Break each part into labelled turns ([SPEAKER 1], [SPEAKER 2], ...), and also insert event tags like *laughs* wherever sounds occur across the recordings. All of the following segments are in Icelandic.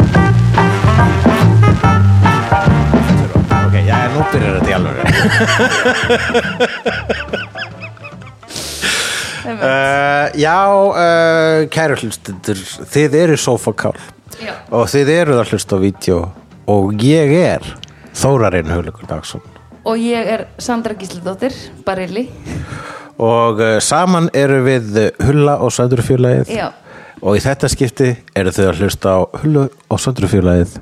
[SPEAKER 1] *laughs*
[SPEAKER 2] Uh, já, uh, kæru hlustendur, þið eru sofakál
[SPEAKER 1] Já.
[SPEAKER 2] og þið eru það hlust á vídeo og ég er Þórarinn Hugleikur Dagsson
[SPEAKER 1] Og ég er Sandra Gísladóttir, Barilli
[SPEAKER 2] og uh, saman eru við Hulla og Söndrufjörlægið
[SPEAKER 1] Já.
[SPEAKER 2] og í þetta skipti eru þið að hlusta á Hullu og Söndrufjörlægið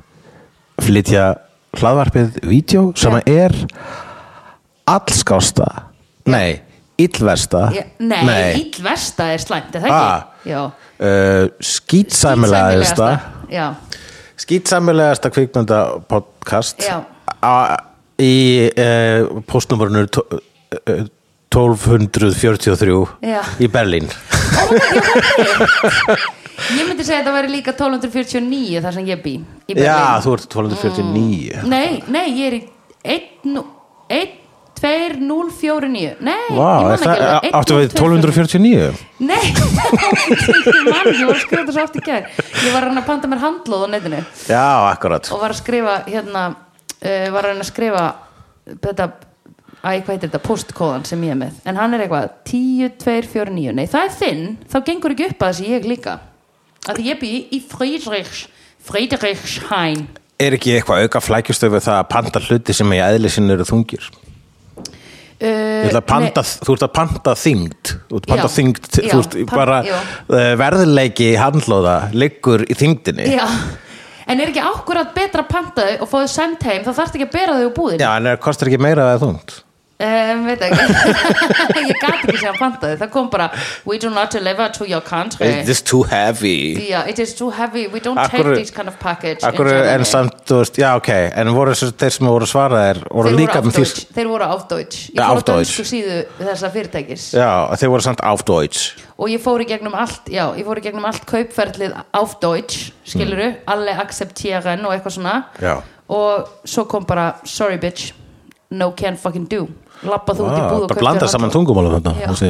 [SPEAKER 2] flytja hlaðvarpið vídeo sem
[SPEAKER 1] Já.
[SPEAKER 2] er allskásta, nei, illversta
[SPEAKER 1] ég, Nei, nei. illversta er slæmt, er það
[SPEAKER 2] Ah.
[SPEAKER 1] ekki? Já
[SPEAKER 2] uh, skýtsæmilaðista
[SPEAKER 1] Já,
[SPEAKER 2] skýtsamlegasta kvikmynda podcast
[SPEAKER 1] Já.
[SPEAKER 2] á- í uh, postnumurinu uh, 1243
[SPEAKER 1] Já.
[SPEAKER 2] í Berlín
[SPEAKER 1] ég myndi segja að það væri líka 1249 þar sem ég bý í Berlín. Mm.
[SPEAKER 2] Já, þú ert 1249
[SPEAKER 1] Nei, nei, ég er í 1, 1, 2, 0, 4, 9 Nei,
[SPEAKER 2] Vá, er
[SPEAKER 1] ég man
[SPEAKER 2] það,
[SPEAKER 1] ekki alveg.
[SPEAKER 2] áttu
[SPEAKER 1] 1,
[SPEAKER 2] við 1249?
[SPEAKER 1] Nei, *laughs* ég man ekki, ég var að skrifa þessu oft í gær Ég var að reyna að panta mér handlóð á netinu
[SPEAKER 2] Já, akkurat
[SPEAKER 1] og var að skrifa hérna, uh, var að reyna að skrifa þetta, æ, hvað heitir þetta postkóðan sem ég er með, en hann er eitthvað 10, 2, 4, 9, nei það er þinn þá gengur ekki upp að þessi ég líka að því ég bý í Friedrichs Friedrichshain
[SPEAKER 2] Er ekki eitthvað auka flækjustöfu það að panta hluti sem í eðli sinni eru þungir? Þú ert að panta, þú ert að panta þyngd Þú ert að panta
[SPEAKER 1] Eh, Já.
[SPEAKER 2] þyngd
[SPEAKER 1] Já,
[SPEAKER 2] Þú ert
[SPEAKER 1] pan-
[SPEAKER 2] bara
[SPEAKER 1] já.
[SPEAKER 2] eh, verðleiki handlóða liggur í þyngdinni
[SPEAKER 1] Já, en er ekki akkurat betra að panta þau og fá þau send heim, þá þarfst ekki að bera þau úr búðin
[SPEAKER 2] Já, en er- kostar ekki meira að það er þungt
[SPEAKER 1] Um, veit ekki *laughs* ég gati ekki sem að panta þau það kom bara, we do not deliver to your country
[SPEAKER 2] It's just too heavy
[SPEAKER 1] Yeah, it is too heavy, we don't
[SPEAKER 2] Akkur-
[SPEAKER 1] take this kind of package in
[SPEAKER 2] Akkur,
[SPEAKER 1] Germany.
[SPEAKER 2] en samt, þú veist, já ok En voru þessu, þeir sem voru svaraðir voru
[SPEAKER 1] þeir
[SPEAKER 2] líka
[SPEAKER 1] voru
[SPEAKER 2] með þýsk
[SPEAKER 1] Deutsch, þeir voru auf Deutsch ég
[SPEAKER 2] Ja,
[SPEAKER 1] fór
[SPEAKER 2] auf
[SPEAKER 1] á
[SPEAKER 2] Deutsch.
[SPEAKER 1] dönsku síðu þessa fyrirtækis
[SPEAKER 2] Já, þeir voru samt auf Deutsch
[SPEAKER 1] og ég fór í gegnum allt já, ég fór í gegnum allt kaupferlið auf Deutsch skiluru, alle acceptieren og eitthvað svona
[SPEAKER 2] Mm. Já.
[SPEAKER 1] og svo kom bara, sorry bitch no can fucking do lappa þú út í
[SPEAKER 2] Vá,
[SPEAKER 1] búð og
[SPEAKER 2] Ah, Bara blanda saman tungumálum
[SPEAKER 1] Já.
[SPEAKER 2] þarna á
[SPEAKER 1] *laughs*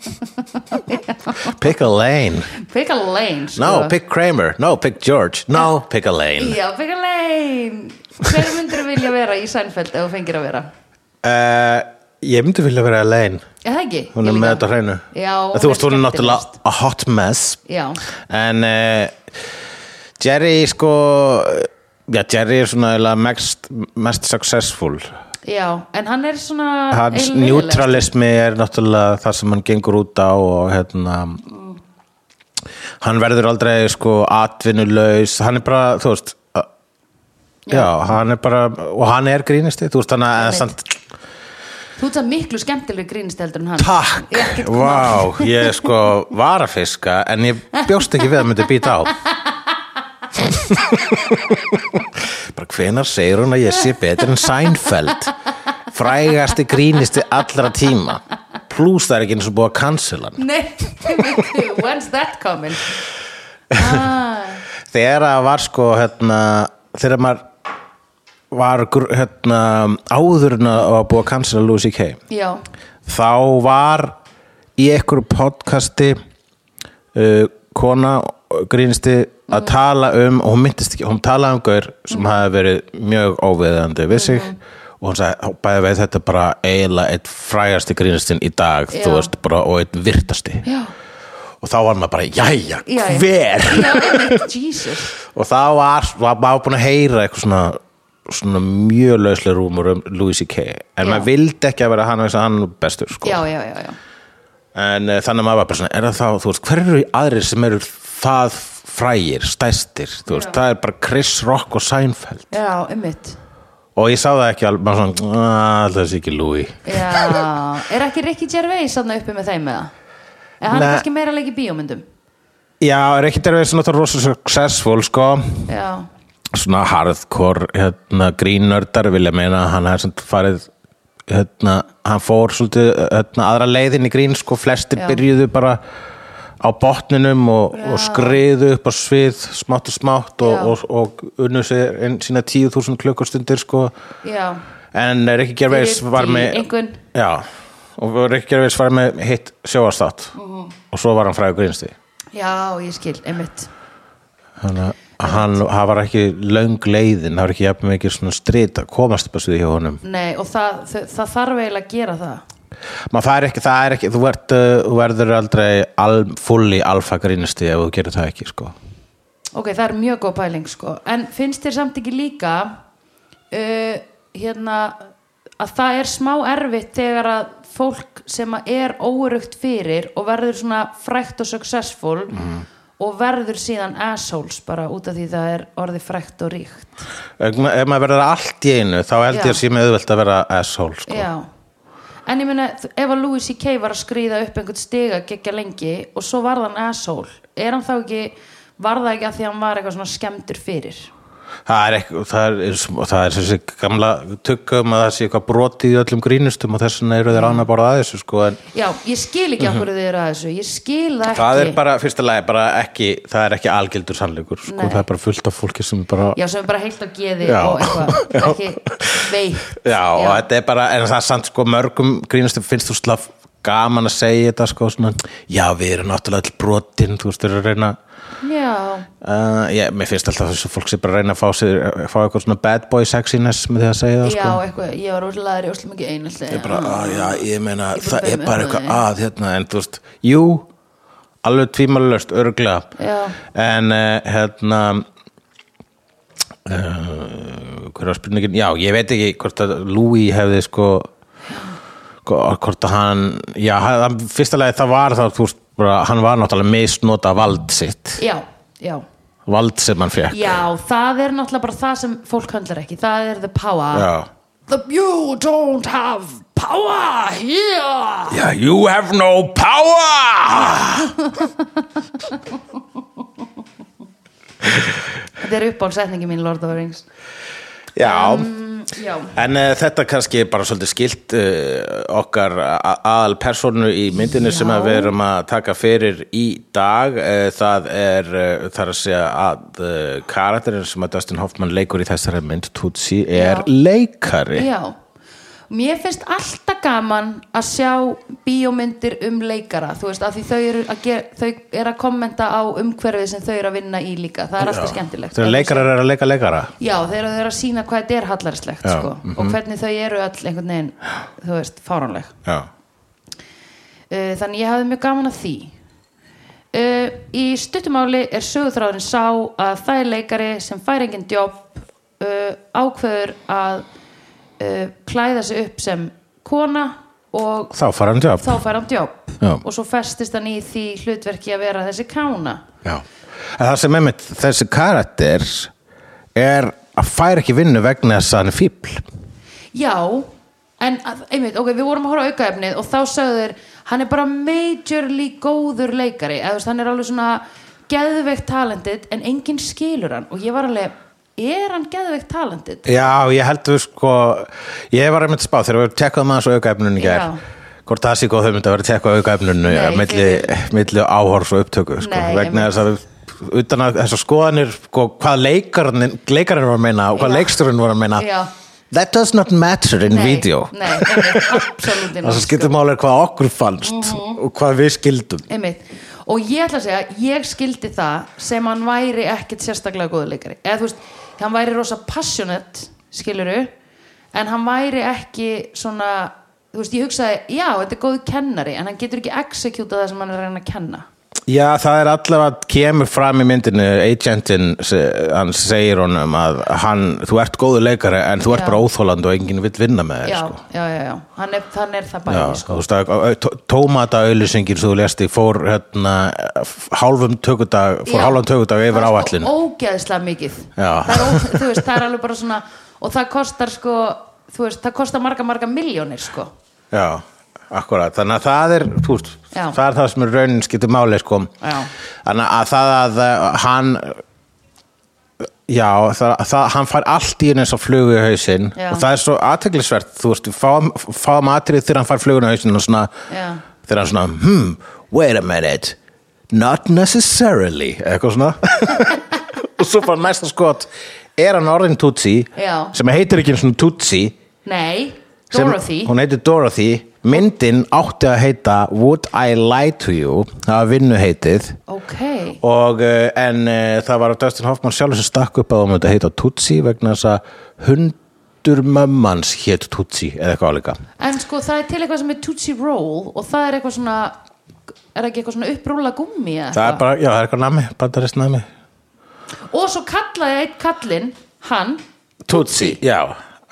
[SPEAKER 2] síðinni. Pick a lane
[SPEAKER 1] pick a lane sko.
[SPEAKER 2] No, pick Kramer No, pick George No, pick a lane
[SPEAKER 1] já, pick a lane hver myndir vilja vera í Seinfeld ef þú fengir að vera
[SPEAKER 2] uh, Ég myndi vilja vera a lane
[SPEAKER 1] er það ekki?
[SPEAKER 2] Hún er
[SPEAKER 1] Ég
[SPEAKER 2] með
[SPEAKER 1] líka.
[SPEAKER 2] þetta á hreinu
[SPEAKER 1] já,
[SPEAKER 2] Þú varst hún er
[SPEAKER 1] skemmtilegust.
[SPEAKER 2] náttúrulega a hot mess
[SPEAKER 1] Já.
[SPEAKER 2] En uh, Jerry sko Já, Jerry er svona eiginlega mest, mest successful
[SPEAKER 1] Já, en hann er svona
[SPEAKER 2] Hans
[SPEAKER 1] eiginlega leiðilegur.
[SPEAKER 2] neutralismi er náttúrulega það sem hann gengur út á og hérna hann verður aldrei sko atvinnulaus, hann er bara þú veist, uh, já, hann er bara og hann er grínisti, þú veist hann að
[SPEAKER 1] veit.
[SPEAKER 2] samt,
[SPEAKER 1] Þú ert að miklu skemmtileg grínist heldur en hann
[SPEAKER 2] takk,
[SPEAKER 1] Ekkert mál.
[SPEAKER 2] vá ég sko var að fiska en ég bjóst ekki við að myndi býta á bara hvenar segir hún að ég sé betur en Seinfeld frægasti grínisti allra tíma pluss það er ekki eins og búið að cancela hann
[SPEAKER 1] Nei, *laughs* veitu, when's that coming? Ah,
[SPEAKER 2] þegar að var sko hérna, þegar maður var gr- hérna, áður en að var búið að cancela Lucy K
[SPEAKER 1] já,
[SPEAKER 2] þá var í einhverju podcasti uh, kona uh, grínisti
[SPEAKER 1] Mm.
[SPEAKER 2] að tala um og hún myndist ekki, hún talaði um gaur sem hafi verið mjög óviðandi við
[SPEAKER 1] Mm.
[SPEAKER 2] sig og hún sagði, bæði veið þetta er bara eiginlega eitt frægasti grínistin í dag,
[SPEAKER 1] Já.
[SPEAKER 2] þú veist, bara og eitt virtasti
[SPEAKER 1] já,
[SPEAKER 2] og þá var maður bara, jæja,
[SPEAKER 1] já
[SPEAKER 2] hver
[SPEAKER 1] Já, einmitt, Jesus
[SPEAKER 2] og það var, var maður búin að heyra eitthvað svona, svona mjög lauslega rúmur um Louis C.K. en
[SPEAKER 1] Já.
[SPEAKER 2] maður vildi ekki að vera hann og þess að hann er bestur sko.
[SPEAKER 1] Já, já, já, já
[SPEAKER 2] en uh, þannig að maður var bara svona er það þá, þú veist, hver eru aðrir sem eru það frægir, stæstir þú veist, það er bara Chris Rock og Seinfeld
[SPEAKER 1] Já, einmitt
[SPEAKER 2] og ég sá það ekki alveg, maður svona "Ah, það er ekki Louis
[SPEAKER 1] Já, er ekki Ricky Gervais þarna uppi með þeim eða? En hann er
[SPEAKER 2] Nei.
[SPEAKER 1] kannski meira leik í bíómyndum
[SPEAKER 2] já, er ekki derfið svona það rosa successful sko
[SPEAKER 1] Já,
[SPEAKER 2] svona harðkor hérna, grínördar vilja meina að hann hafði samt farið hérna, hann fór svolítið hérna, aðra leiðin í grín sko flestir
[SPEAKER 1] Já.
[SPEAKER 2] byrjuðu bara á botninum og, og skriðu upp á svið smátt og smátt
[SPEAKER 1] Já.
[SPEAKER 2] og, og, og unnu sér inn sína 10.000 klukkustundir sko
[SPEAKER 1] já
[SPEAKER 2] en Rikki Gervais
[SPEAKER 1] Fyrir
[SPEAKER 2] var
[SPEAKER 1] því
[SPEAKER 2] með
[SPEAKER 1] einhvern.
[SPEAKER 2] já, og Rikki Gervais var með hitt
[SPEAKER 1] Mhm.
[SPEAKER 2] sjóastátt og svo var hann fræði grínsti
[SPEAKER 1] Já, ég skil, einmitt
[SPEAKER 2] þannig að hann, hann var ekki löng leiðin, það var ekki jafn mikið svona strita, komast upp að svið hjá honum
[SPEAKER 1] Nei, og það, það, það þarf eiginlega að gera það
[SPEAKER 2] maður fær ekki, það er ekki, þú, ert, uh, þú verður aldrei al, fulli alfa grínisti ef þú gerir það ekki, sko
[SPEAKER 1] Ok, það er mjög góð pæling sko En finnst þér samt ekki líka uh, hérna að það er smá erfitt þegar að fólk sem að er óurugt fyrir og verður svona frækt og successful og verður síðan assholes bara út af því það er orðið frækt og ríkt
[SPEAKER 2] ef ma- ef maður verður allt í einu, þá held ég
[SPEAKER 1] Já.
[SPEAKER 2] að sé með auðvelt að vera asshole, sko
[SPEAKER 1] Já En ég meina, þ- ef að Louis C.K. var að skrýða upp einhvern stiga geggja lengi og svo varð hann asshole er hann þá ekki, var það ekki að því að hann var eitthvað svona skemmtur fyrir
[SPEAKER 2] það er ekki, það er, það er þessi gamla tugum að það sé eitthvað brotið í öllum grínustum og þess vegna eru þeir án að borða að þessu, sko en
[SPEAKER 1] Já, ég skil ekki okkur þau eru að þessu Ég skil það ekki
[SPEAKER 2] Mhm. það er bara, fyrsta lagi, bara ekki það er ekki algildur sannleikur, sko
[SPEAKER 1] Nei.
[SPEAKER 2] það er bara fullt af fólki sem bara
[SPEAKER 1] Já, sem er bara heilt á geði
[SPEAKER 2] Já.
[SPEAKER 1] og
[SPEAKER 2] Já.
[SPEAKER 1] eitthvað Ekki veikt
[SPEAKER 2] Já, og þetta er bara, en það er samt sko mörgum grínustum finnst þú slaf gaman að segja þetta sko svona, já við erum náttúrulega all brotin, þú veist, við erum að reyna
[SPEAKER 1] Já,
[SPEAKER 2] uh, ég, mér finnst alltaf þess að fólk sé bara að reyna að fá, sér, fá eitthvað svona bad boy sexiness með því að segja það
[SPEAKER 1] já,
[SPEAKER 2] sko
[SPEAKER 1] eitthvað Ég var úrlaður í óslum ekki einaldi
[SPEAKER 2] Ég bara, að, já, ég meina,
[SPEAKER 1] Ég
[SPEAKER 2] það
[SPEAKER 1] bara
[SPEAKER 2] er
[SPEAKER 1] beið
[SPEAKER 2] bara
[SPEAKER 1] með
[SPEAKER 2] eitthvað
[SPEAKER 1] það,
[SPEAKER 2] að hérna, en þú veist, jú alveg tvímalöst, örglega
[SPEAKER 1] Já.
[SPEAKER 2] en uh, hérna uh, hver var spurningin já, ég veit ekki hvort að Louis hefði sko hvo- hvort að hann, já, hann, fyrsta lagi það var það, þú veist, bara, hann var náttúrulega misnota vald sitt
[SPEAKER 1] já, já
[SPEAKER 2] vald sem hann fekk
[SPEAKER 1] Já, það er náttúrulega bara það sem fólk höndlar ekki Það er the power
[SPEAKER 2] Já.
[SPEAKER 1] The you don't have power here
[SPEAKER 2] Yeah, you have no power
[SPEAKER 1] *laughs* Þetta er uppáhaldsetningi mín Lord of the Rings
[SPEAKER 2] Já,
[SPEAKER 1] mm, Já,
[SPEAKER 2] En uh, þetta kannski er bara svolítið skilt uh, okkar aðal personu í myndinu sem að við erum að taka fyrir í dag uh, það er uh, þar að segja að uh, karakterin sem að Dustin Hoffman leikur í þessari mynd Tutsi er
[SPEAKER 1] Já.
[SPEAKER 2] leikari
[SPEAKER 1] já Mér finnst alltaf gaman að sjá bíómyndir um leikara þú veist, af því þau eru að, ger, þau eru að kommenta á umhverfið sem þau eru að vinna í líka það er alltaf skemmtilegt
[SPEAKER 2] Þegar leikarar er að leika leikara
[SPEAKER 1] Já, þegar þau eru að sína hvað þetta er hallarslegt
[SPEAKER 2] Já, mhm.
[SPEAKER 1] sko, og hvernig þau eru öll einhvern veginn, þú veist, fáránleg
[SPEAKER 2] Já,
[SPEAKER 1] uh, þannig ég hafði mjög gaman að því uh, í stuttumáli er sögutráðurinn sá að það er leikari sem fær engin djóp uh, ákveður að uh, klæða sig upp sem kona og
[SPEAKER 2] þá fara hann jobb
[SPEAKER 1] þá fær hann djóp
[SPEAKER 2] Já.
[SPEAKER 1] og svo festist hann í því hlutverki að vera þessi kána
[SPEAKER 2] Já. En það sem einmitt þessi karakter er að færa ekki vinnu vegna þess að hann er fíbl
[SPEAKER 1] Já, en að- einmitt, ok, við vorum að horfa á aukaefnið og þá sögðu þeir, hann er bara majorly góður leikari, eða þú veist, hann er alveg svona geðveikt talendit en enginn skilur hann og ég var alveg, er hann geðveikt talendit?
[SPEAKER 2] Já, ég heldur sko ég var einmitt spáð þegar við tekkaðum aðeins á aukaefnunni í gær
[SPEAKER 1] Já.
[SPEAKER 2] hvort það sé góð þau myndi að vera að tekka á aukaefnunni
[SPEAKER 1] Nei,
[SPEAKER 2] milli, milli áhors og upptöku sko,
[SPEAKER 1] Nei,
[SPEAKER 2] vegna þess að utan að þessar skoðanir sko, hvað leikarinn, leikarinn var að meina og hvað
[SPEAKER 1] Já.
[SPEAKER 2] leiksturinn var að meina
[SPEAKER 1] Já.
[SPEAKER 2] that does not matter in
[SPEAKER 1] Nei,
[SPEAKER 2] video
[SPEAKER 1] Nei, einmitt, sko. absolutt
[SPEAKER 2] það sem skiptir máli er hvað okkur fannst
[SPEAKER 1] Mhm.
[SPEAKER 2] og hvað við skildum
[SPEAKER 1] einmitt og ég ætla að segja, ég skildi það sem hann væri ekkit sérstaklega góður leikari eða þú veist, hann væri rosa passionate skiluru, en hann væri ekki svona þú veist, ég hugsaði, já, þetta er góð kennari en hann getur ekki executa það sem hann er að reyna að kenna
[SPEAKER 2] Já, það er allavega kemur fram í myndinu agentinn, se- hann segir honum að hann, þú ert góður leikari en þú ert
[SPEAKER 1] Já.
[SPEAKER 2] bara óþóland og enginn vill vinna með þér
[SPEAKER 1] já,
[SPEAKER 2] sko.
[SPEAKER 1] já, já, já, hann er, hann er það
[SPEAKER 2] Já,
[SPEAKER 1] bæði sko.
[SPEAKER 2] þú veist að tómataauðlýsingin sem þú lesti fór hérna, f- hálfum tökudag fór
[SPEAKER 1] Já.
[SPEAKER 2] hálfum tökudag yfir
[SPEAKER 1] Það er
[SPEAKER 2] áallin
[SPEAKER 1] sko ógeðslega mikið
[SPEAKER 2] Já.
[SPEAKER 1] það er, ó, þú veist, það er alveg bara svona og það kostar sko þú veist, það kostar marga marga miljónir sko
[SPEAKER 2] Já, akkurat, þannig að það er þú veist,
[SPEAKER 1] Já.
[SPEAKER 2] það er það sem er raunin skiptir máli sko.
[SPEAKER 1] Já.
[SPEAKER 2] þannig að það að uh, hann já, það, það, hann fær allt í henni eins og flugu í hausinn
[SPEAKER 1] Já.
[SPEAKER 2] og það er svo aðteglisvert, þú veist, við fáum, fáum atrið þegar hann fær fluguna í hausinn og svona
[SPEAKER 1] Já.
[SPEAKER 2] þegar hann svona, hmm, wait a minute not necessarily eitthvað svona *laughs* og svo fara næsta skot er hann orðin Tutsi
[SPEAKER 1] Já.
[SPEAKER 2] sem heitir ekki einu svona Tutsi
[SPEAKER 1] nei,
[SPEAKER 2] sem-
[SPEAKER 1] Dorothy
[SPEAKER 2] hún heitir Dorothy myndin átti að heita Would I Lie to You það var vinnu heitið
[SPEAKER 1] ok,
[SPEAKER 2] og, eh, en uh, það var Dustin Hoffman sjálfur sem stakk upp að það myndi heita Tutsi vegna þess að hundur mömmans hétt Tutsi eða eitthvað álíka
[SPEAKER 1] en sko það er til eitthvað sem er Tootsie Roll og það er eitthvað svona er það ekki eitthvað svona upprúla gummi eða
[SPEAKER 2] það er
[SPEAKER 1] eitthvað?
[SPEAKER 2] bara, já, það er eitthvað nami, bandarist nami
[SPEAKER 1] og svo kallaði einn kallinn hann
[SPEAKER 2] Tutsi, já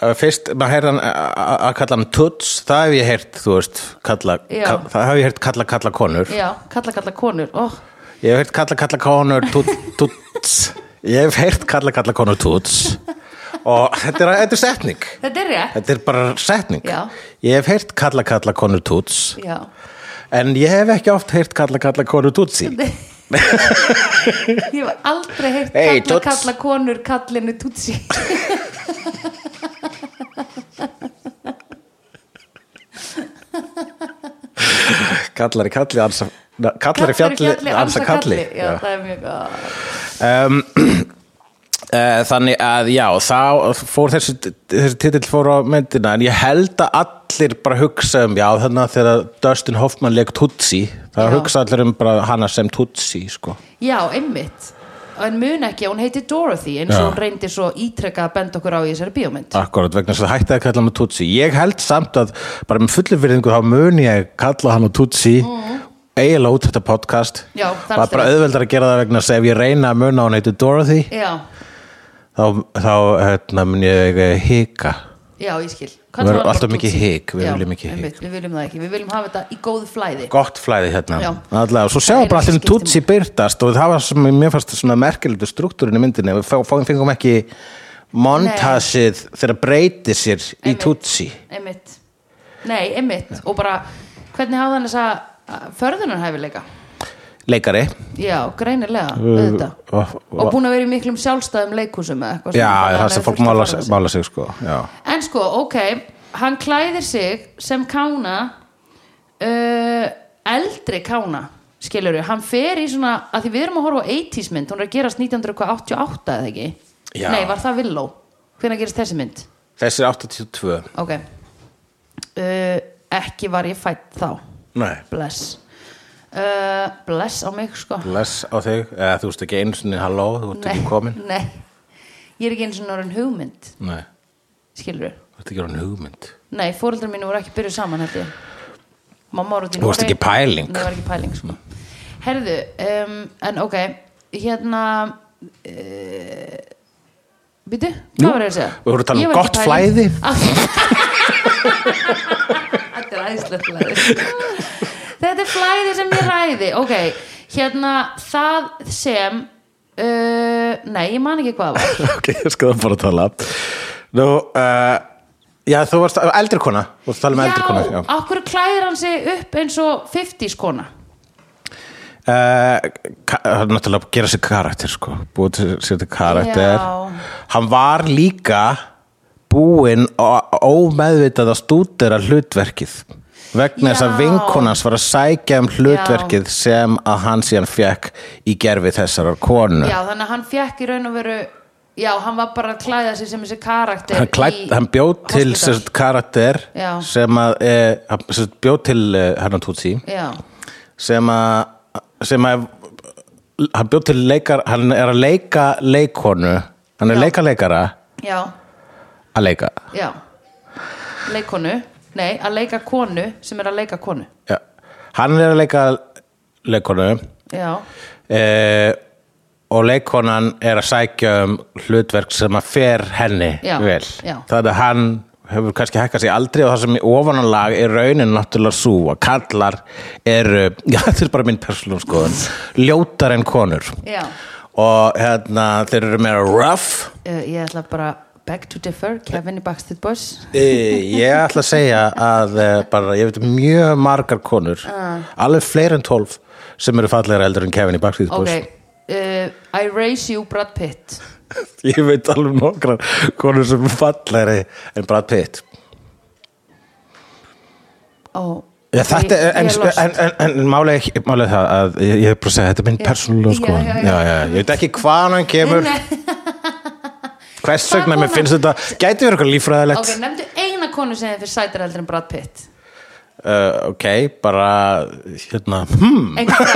[SPEAKER 2] Eh, fyrst, maður heyrði hann eh, að að kalla hann Tuts það hef ég heyrt, þú veist kalla,
[SPEAKER 1] Já.
[SPEAKER 2] ka, það hef ég heyrt kalla kalla konur
[SPEAKER 1] já, kalla kalla konur oh,
[SPEAKER 2] Ég hef heyrt kalla kalla konur tut- tuts Ég hef heyrt kalla kalla konur tuts og þetta er, þetta er setning
[SPEAKER 1] þetta er rétt
[SPEAKER 2] Þetta er bara setning
[SPEAKER 1] Já.
[SPEAKER 2] Ég hef heyrt kalla kalla konur tuts
[SPEAKER 1] já,
[SPEAKER 2] en ég hef ekki oft heyrt kalla kalla konur tutsi *laughs*
[SPEAKER 1] ég hef aldrei heitt
[SPEAKER 2] Hey,
[SPEAKER 1] kalla
[SPEAKER 2] Toots.
[SPEAKER 1] kalla konur kallinu
[SPEAKER 2] *laughs*
[SPEAKER 1] Tootsie
[SPEAKER 2] Kallar í kalli ansa na, Kallar í fjalli ansa kalli
[SPEAKER 1] já, það er mjög gott
[SPEAKER 2] *clears throat* um, uh, Þannig að já þá fór þessi, þessi titill fór á myndina en ég held að allir bara hugsa um já þannig að þegar Dustin Hoffman leik tutsi það
[SPEAKER 1] Já.
[SPEAKER 2] hugsa allir um bara hana sem tutsi sko
[SPEAKER 1] Já, einmitt En mun ekki, að hún heiti Dorothy eins
[SPEAKER 2] Já.
[SPEAKER 1] og hún reyndi svo ítrekka að benda okkur á í þessari bíómynd
[SPEAKER 2] Akkurat, vegna þess að hætti að kalla hann Tutsi Ég held samt að bara með fullu virðingu þá mun ég kalla hann Tutsi eiginlega út þetta podcast
[SPEAKER 1] Mm. Já, það
[SPEAKER 2] það er
[SPEAKER 1] er
[SPEAKER 2] bara
[SPEAKER 1] allt í lagi.
[SPEAKER 2] auðveldar að gera það vegna þess að ef ég reyna að muna að hún heiti Dorothy
[SPEAKER 1] Já,
[SPEAKER 2] þá, þá hérna, mun ég eh, hika
[SPEAKER 1] já, ég skil
[SPEAKER 2] Við erum
[SPEAKER 1] Kallar hann
[SPEAKER 2] alltaf
[SPEAKER 1] bara
[SPEAKER 2] mikið
[SPEAKER 1] Tootsie.
[SPEAKER 2] hik, við
[SPEAKER 1] Já,
[SPEAKER 2] viljum ekki hik.
[SPEAKER 1] einmitt, Við viljum það ekki, við viljum hafa þetta í góðu flæði
[SPEAKER 2] Gott flæði hérna
[SPEAKER 1] Já.
[SPEAKER 2] Alla, og Svo
[SPEAKER 1] Það
[SPEAKER 2] sjáum
[SPEAKER 1] er
[SPEAKER 2] bara
[SPEAKER 1] ekki
[SPEAKER 2] allir um
[SPEAKER 1] skipti máli.
[SPEAKER 2] Tutsi byrtast og það var sem mér fannst svona merkilegt struktúrin í myndinni við fá- fá- fengum ekki montasið þegar breyti sér í
[SPEAKER 1] Einmitt.
[SPEAKER 2] Tutsi
[SPEAKER 1] Einmitt Nei, einmitt Og bara, hvernig hafa hann þessa uh, förðunarhæfileika?
[SPEAKER 2] leikari
[SPEAKER 1] Já, greinilega, auðvitað
[SPEAKER 2] og-
[SPEAKER 1] Og búin að vera í miklum sjálfstæðum leikhúsum eða eitthvað svona,
[SPEAKER 2] Já,
[SPEAKER 1] þannig að
[SPEAKER 2] það
[SPEAKER 1] hann
[SPEAKER 2] sem
[SPEAKER 1] hefur
[SPEAKER 2] fólk
[SPEAKER 1] þurft að
[SPEAKER 2] mála,
[SPEAKER 1] forða sér.
[SPEAKER 2] mála sig sko já.
[SPEAKER 1] En sko, ok, hann klæðir sig sem kána uh, eldri kána skilur hann fer í svona að því við erum að horfa á 80s mynd, hún er að gerast 1988 eða ekki?
[SPEAKER 2] Já.
[SPEAKER 1] Nei, var það villó? Hvenær gerist þessi mynd?
[SPEAKER 2] Þessi er 82
[SPEAKER 1] Ok uh, Ekki var ég fætt þá
[SPEAKER 2] Nei
[SPEAKER 1] Bless uh, Bless á mig sko
[SPEAKER 2] Bless á þig, eða, þú veist ekki einu sinni halló, þú ert
[SPEAKER 1] Nei,
[SPEAKER 2] ekki komin
[SPEAKER 1] *laughs* Nei, ég er ekki eins og norðin hugmynd
[SPEAKER 2] Nei,
[SPEAKER 1] skilur
[SPEAKER 2] þú ert ekki orðin hugmynd
[SPEAKER 1] Nei, fóreldrar mínu voru ekki byrjuð saman held ég Mamma voru út í
[SPEAKER 2] Þú varst
[SPEAKER 1] Noregi.
[SPEAKER 2] ekki pæling.
[SPEAKER 1] Nei, það var ekki pæling sko. Herðu, um, en ok Hérna uh, Býtu,
[SPEAKER 2] Jú,
[SPEAKER 1] hvað var ég að segja?
[SPEAKER 2] við vorum að tala um
[SPEAKER 1] Ég var ekki
[SPEAKER 2] gott
[SPEAKER 1] pæling. Ah. *laughs* Þetta er æðislegt flæði Þetta er flæði sem ég ræði Ok, hérna Það sem uh, Nei, ég man ekki hvað var
[SPEAKER 2] *laughs* Ok, ég skal það bara tala Nú, uh, já þú varst eldri kona Þú varst að tala um eldri kona
[SPEAKER 1] Já,
[SPEAKER 2] já.
[SPEAKER 1] okkur klæðir hann sig upp eins og 50s kona
[SPEAKER 2] Uh, ka- það er náttúrulega að gera sér karakter sko Búið til sér til karakter
[SPEAKER 1] Já.
[SPEAKER 2] Hann var líka búinn á- ómeðvitað að stúdera hlutverkið vegna þess að
[SPEAKER 1] Já.
[SPEAKER 2] vinkonans var að sækja um hlutverkið sem að hann síðan fekk í gerfi þessarar konu
[SPEAKER 1] Já, þannig að hann fekk í raun og veru Já, hann var bara að klæða sig sem þessi karakter
[SPEAKER 2] hann, klæd,
[SPEAKER 1] í
[SPEAKER 2] hann bjóð til
[SPEAKER 1] hospital.
[SPEAKER 2] sér karakter
[SPEAKER 1] Já.
[SPEAKER 2] sem að e, hann sem sagt bjóð til e, hennan Tutsi
[SPEAKER 1] Já,
[SPEAKER 2] sem að sem að hann bjóð til leikar hann er að leika leikonu hann er
[SPEAKER 1] Já.
[SPEAKER 2] leika leikara
[SPEAKER 1] já,
[SPEAKER 2] að leika
[SPEAKER 1] já Leikonu, nei, að leika konu sem er að leika konu
[SPEAKER 2] Já. Hann er að leika leikonu
[SPEAKER 1] Já,
[SPEAKER 2] eh, og leikonan er að sækja um hlutverk sem að fer henni
[SPEAKER 1] Já,
[SPEAKER 2] vel.
[SPEAKER 1] já.
[SPEAKER 2] Það er hann hefur kannski hækkað sér aldrei og það sem í ofananlag er raunin náttúrulega sú að kallar eru, *laughs* já þetta er bara minn persónum skoðun, ljótar en konur
[SPEAKER 1] já
[SPEAKER 2] og hérna þeir eru meira rough
[SPEAKER 1] uh, Ég ætla bara back to differ Kevin í Backstreet Boys
[SPEAKER 2] Eh, Ég ætla að segja að eh, bara, ég veit um mjög margar konur
[SPEAKER 1] Ah.
[SPEAKER 2] alveg fleiri en tólf sem eru fallegra eldur en Kevin í Backstreet
[SPEAKER 1] Ok,
[SPEAKER 2] Boys
[SPEAKER 1] uh, I raise you Brad Pitt
[SPEAKER 2] Ég veit alveg nokkrar konur sem er fallegri en Brad Pitt
[SPEAKER 1] Ó,
[SPEAKER 2] Já, þetta,
[SPEAKER 1] ég-
[SPEAKER 2] en,
[SPEAKER 1] ég er lost.
[SPEAKER 2] en, en, en, en málega ekki málega það að ég, ég hef bara að segja þetta er minn
[SPEAKER 1] Já.
[SPEAKER 2] persónulega sko
[SPEAKER 1] Já, já, já.
[SPEAKER 2] Ég veit ekki hvaðan hann kemur
[SPEAKER 1] Nei.
[SPEAKER 2] hvers
[SPEAKER 1] Hvað
[SPEAKER 2] vegna mér
[SPEAKER 1] konan-
[SPEAKER 2] finnst þetta gæti verið eitthvað líffræðilegt
[SPEAKER 1] Ok, nefndu eina konu sem þið fyrir sætir eldur en Brad Pitt
[SPEAKER 2] uh, ok, bara hérna, hmm
[SPEAKER 1] Engu fræg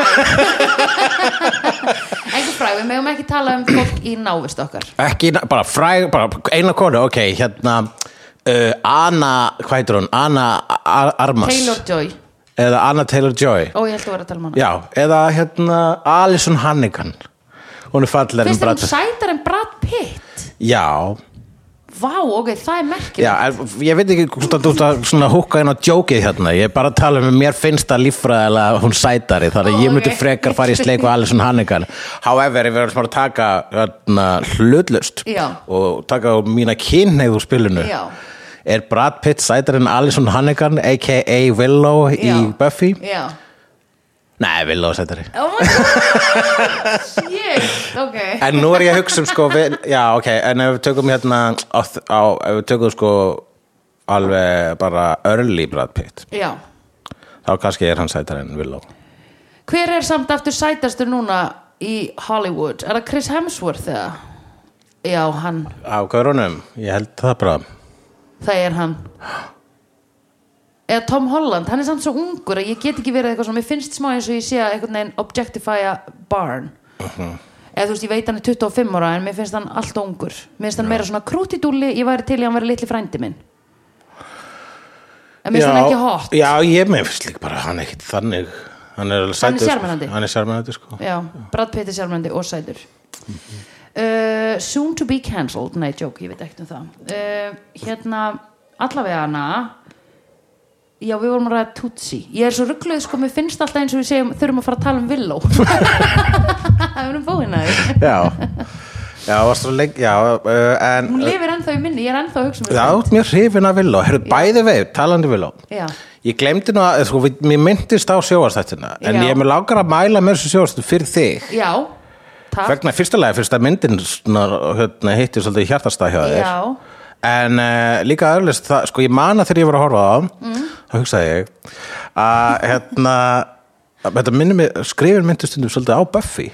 [SPEAKER 1] Engu fræg, við megum ekki tala um fólk í návist okkar
[SPEAKER 2] ekki, bara fræg, bara eina konu ok, hérna uh, Anna, hvað heitir hún? Anna Ar Armas
[SPEAKER 1] Taylor Joy,
[SPEAKER 2] eða Anna Taylor-Joy
[SPEAKER 1] ó ég held að vera að tala um hana
[SPEAKER 2] já, eða hérna Alison Hannigan hún er fallegri en
[SPEAKER 1] Finnst þér
[SPEAKER 2] um Brad
[SPEAKER 1] hún sætar en Brad Pitt?
[SPEAKER 2] já,
[SPEAKER 1] Vá, ok, það er merkilegt
[SPEAKER 2] já, en ég veit ekki hvort að þú ert að svona húka inn á djókið hérna ég er bara að tala um að mér finnst það líffræðilega hún sætari, þannig
[SPEAKER 1] Ó,
[SPEAKER 2] að ég myndi
[SPEAKER 1] ok.
[SPEAKER 2] frekar fara í sleik við Alison Hannigan however, ég verður smá að taka hérna, hlutlust
[SPEAKER 1] Já.
[SPEAKER 2] og taka á mína kynneið úr spilinu
[SPEAKER 1] Já.
[SPEAKER 2] er Brad Pitt sætari en Alison Hannigan aka Willow
[SPEAKER 1] Já.
[SPEAKER 2] í Buffy
[SPEAKER 1] Já.
[SPEAKER 2] nei, Willow er sætari
[SPEAKER 1] Oh my god Shit, ok
[SPEAKER 2] en nú er ég að hugsa um sko við, já ok, en ef við tökum hérna á, á, ef við tökum sko alveg bara early Brad Pitt,
[SPEAKER 1] Já,
[SPEAKER 2] þá kannski er hann sætar en Willow
[SPEAKER 1] hver er samt aftur sætastur núna í Hollywood? Er það Chris Hemsworth eða? Já, hann,
[SPEAKER 2] á körunum, ég held það bara
[SPEAKER 1] það er hann Eða Tom Holland, hann er samt svo ungur að ég get ekki verið eitthvað svona, mér finnst smá eins og ég sé að einhvern veginn objectifya barn eða þú veist, ég veit hann er 25 ára en mér finnst hann allt ungur mér finnst hann meira svona krútidúlli, ég væri til í að hann væri litli frændi minn en mér finnst hann ekki hot
[SPEAKER 2] já, ég með finnst líka bara hann er ekkit þannig hann er, alveg
[SPEAKER 1] Hann er
[SPEAKER 2] sætur, sko.
[SPEAKER 1] sjarmerandi.
[SPEAKER 2] hann er sjarmennandi
[SPEAKER 1] *laughs*
[SPEAKER 2] sko
[SPEAKER 1] Já, Brad Pitt er sjálfmyndi og sætur uh, Soon to be cancelled Nei, joke, ég veit ekkert um það uh, Hérna, allavega hana Já, við vorum að ræða Tutsi Ég er svo ruggluð, sko, mér finnst alltaf eins og við segjum Þurfum að fara að tala um *laughs* Villó Það erum búin að því
[SPEAKER 2] já, já, varst þú lengi já, uh, en
[SPEAKER 1] Hún lifir ennþá í minni, ég er ennþá að hugsa um
[SPEAKER 2] já,
[SPEAKER 1] þetta.
[SPEAKER 2] þú ert mjög hrifin af Willow, herru bæði veið, talandi um Willow
[SPEAKER 1] Já,
[SPEAKER 2] Ég glemdi nú að, sko, við- mér myndist á sjóastættina en
[SPEAKER 1] Já.
[SPEAKER 2] ég er með langar að mæla með þessu sjóastættu fyrir þig
[SPEAKER 1] já Takk,
[SPEAKER 2] vegna fyrstulega fyrst að myndin svona, hérna, hittir svolítið í hjartastað hjá þér
[SPEAKER 1] já
[SPEAKER 2] en uh, líka öðlust það, sko, ég man að þegar ég var að horfa á mm. þá hugsaði ég að, hérna að Þetta minnir mig, skrifin myndist stundum svolítið á Buffy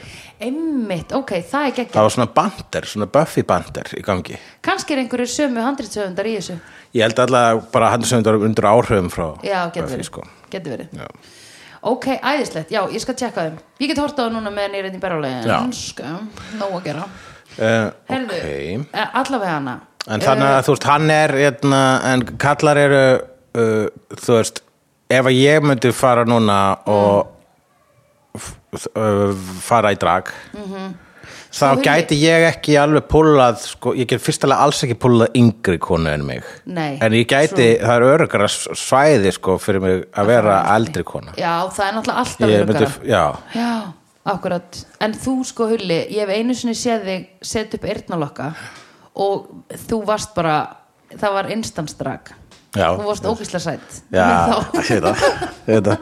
[SPEAKER 1] Einmitt, ok, það er geggjart
[SPEAKER 2] Það var svona bandir, svona Buffy bandir í gangi
[SPEAKER 1] Kannski er einhverju sömu handritsöfundar í þessu
[SPEAKER 2] Ég held alltaf bara hann sem þetta var undir áhrifum frá
[SPEAKER 1] Já, getur
[SPEAKER 2] Buffy
[SPEAKER 1] verið,
[SPEAKER 2] sko.
[SPEAKER 1] getur verið.
[SPEAKER 2] Já.
[SPEAKER 1] Ok, æðislegt, já, ég skal tjekka þeim Ég get horta á það núna meðan ég er einn í
[SPEAKER 2] Já.
[SPEAKER 1] berjulegin Sko, nóg að gera
[SPEAKER 2] Uh,
[SPEAKER 1] Herðu,
[SPEAKER 2] ok.
[SPEAKER 1] eh, allavega hana
[SPEAKER 2] En þannig
[SPEAKER 1] Eh.
[SPEAKER 2] að þú veist, hann er hérna, en kallar eru uh, þú veist, ef að ég myndi fara núna og f- uh, fara í drag
[SPEAKER 1] Mhm.
[SPEAKER 2] þá
[SPEAKER 1] Svo
[SPEAKER 2] gæti ég ekki alveg púlað, sko, ég get fyrst alveg alls ekki púlað yngri konu en mig
[SPEAKER 1] Nei,
[SPEAKER 2] en ég gæti, það er örugra svæði, sko, fyrir mig að vera eldri kona
[SPEAKER 1] Eh, Já, það er náttúrulega alltaf
[SPEAKER 2] Ég
[SPEAKER 1] öruggara.
[SPEAKER 2] myndi- já,
[SPEAKER 1] Já, akkurat En þú sko Hulli, ég hef einu sinni séð þig set upp eyrnalokka og þú varst bara það var instansdrag
[SPEAKER 2] Já.
[SPEAKER 1] Þú varst ókislega sætt
[SPEAKER 2] já,
[SPEAKER 1] *laughs* Þá-
[SPEAKER 2] ég veit það, ég veit það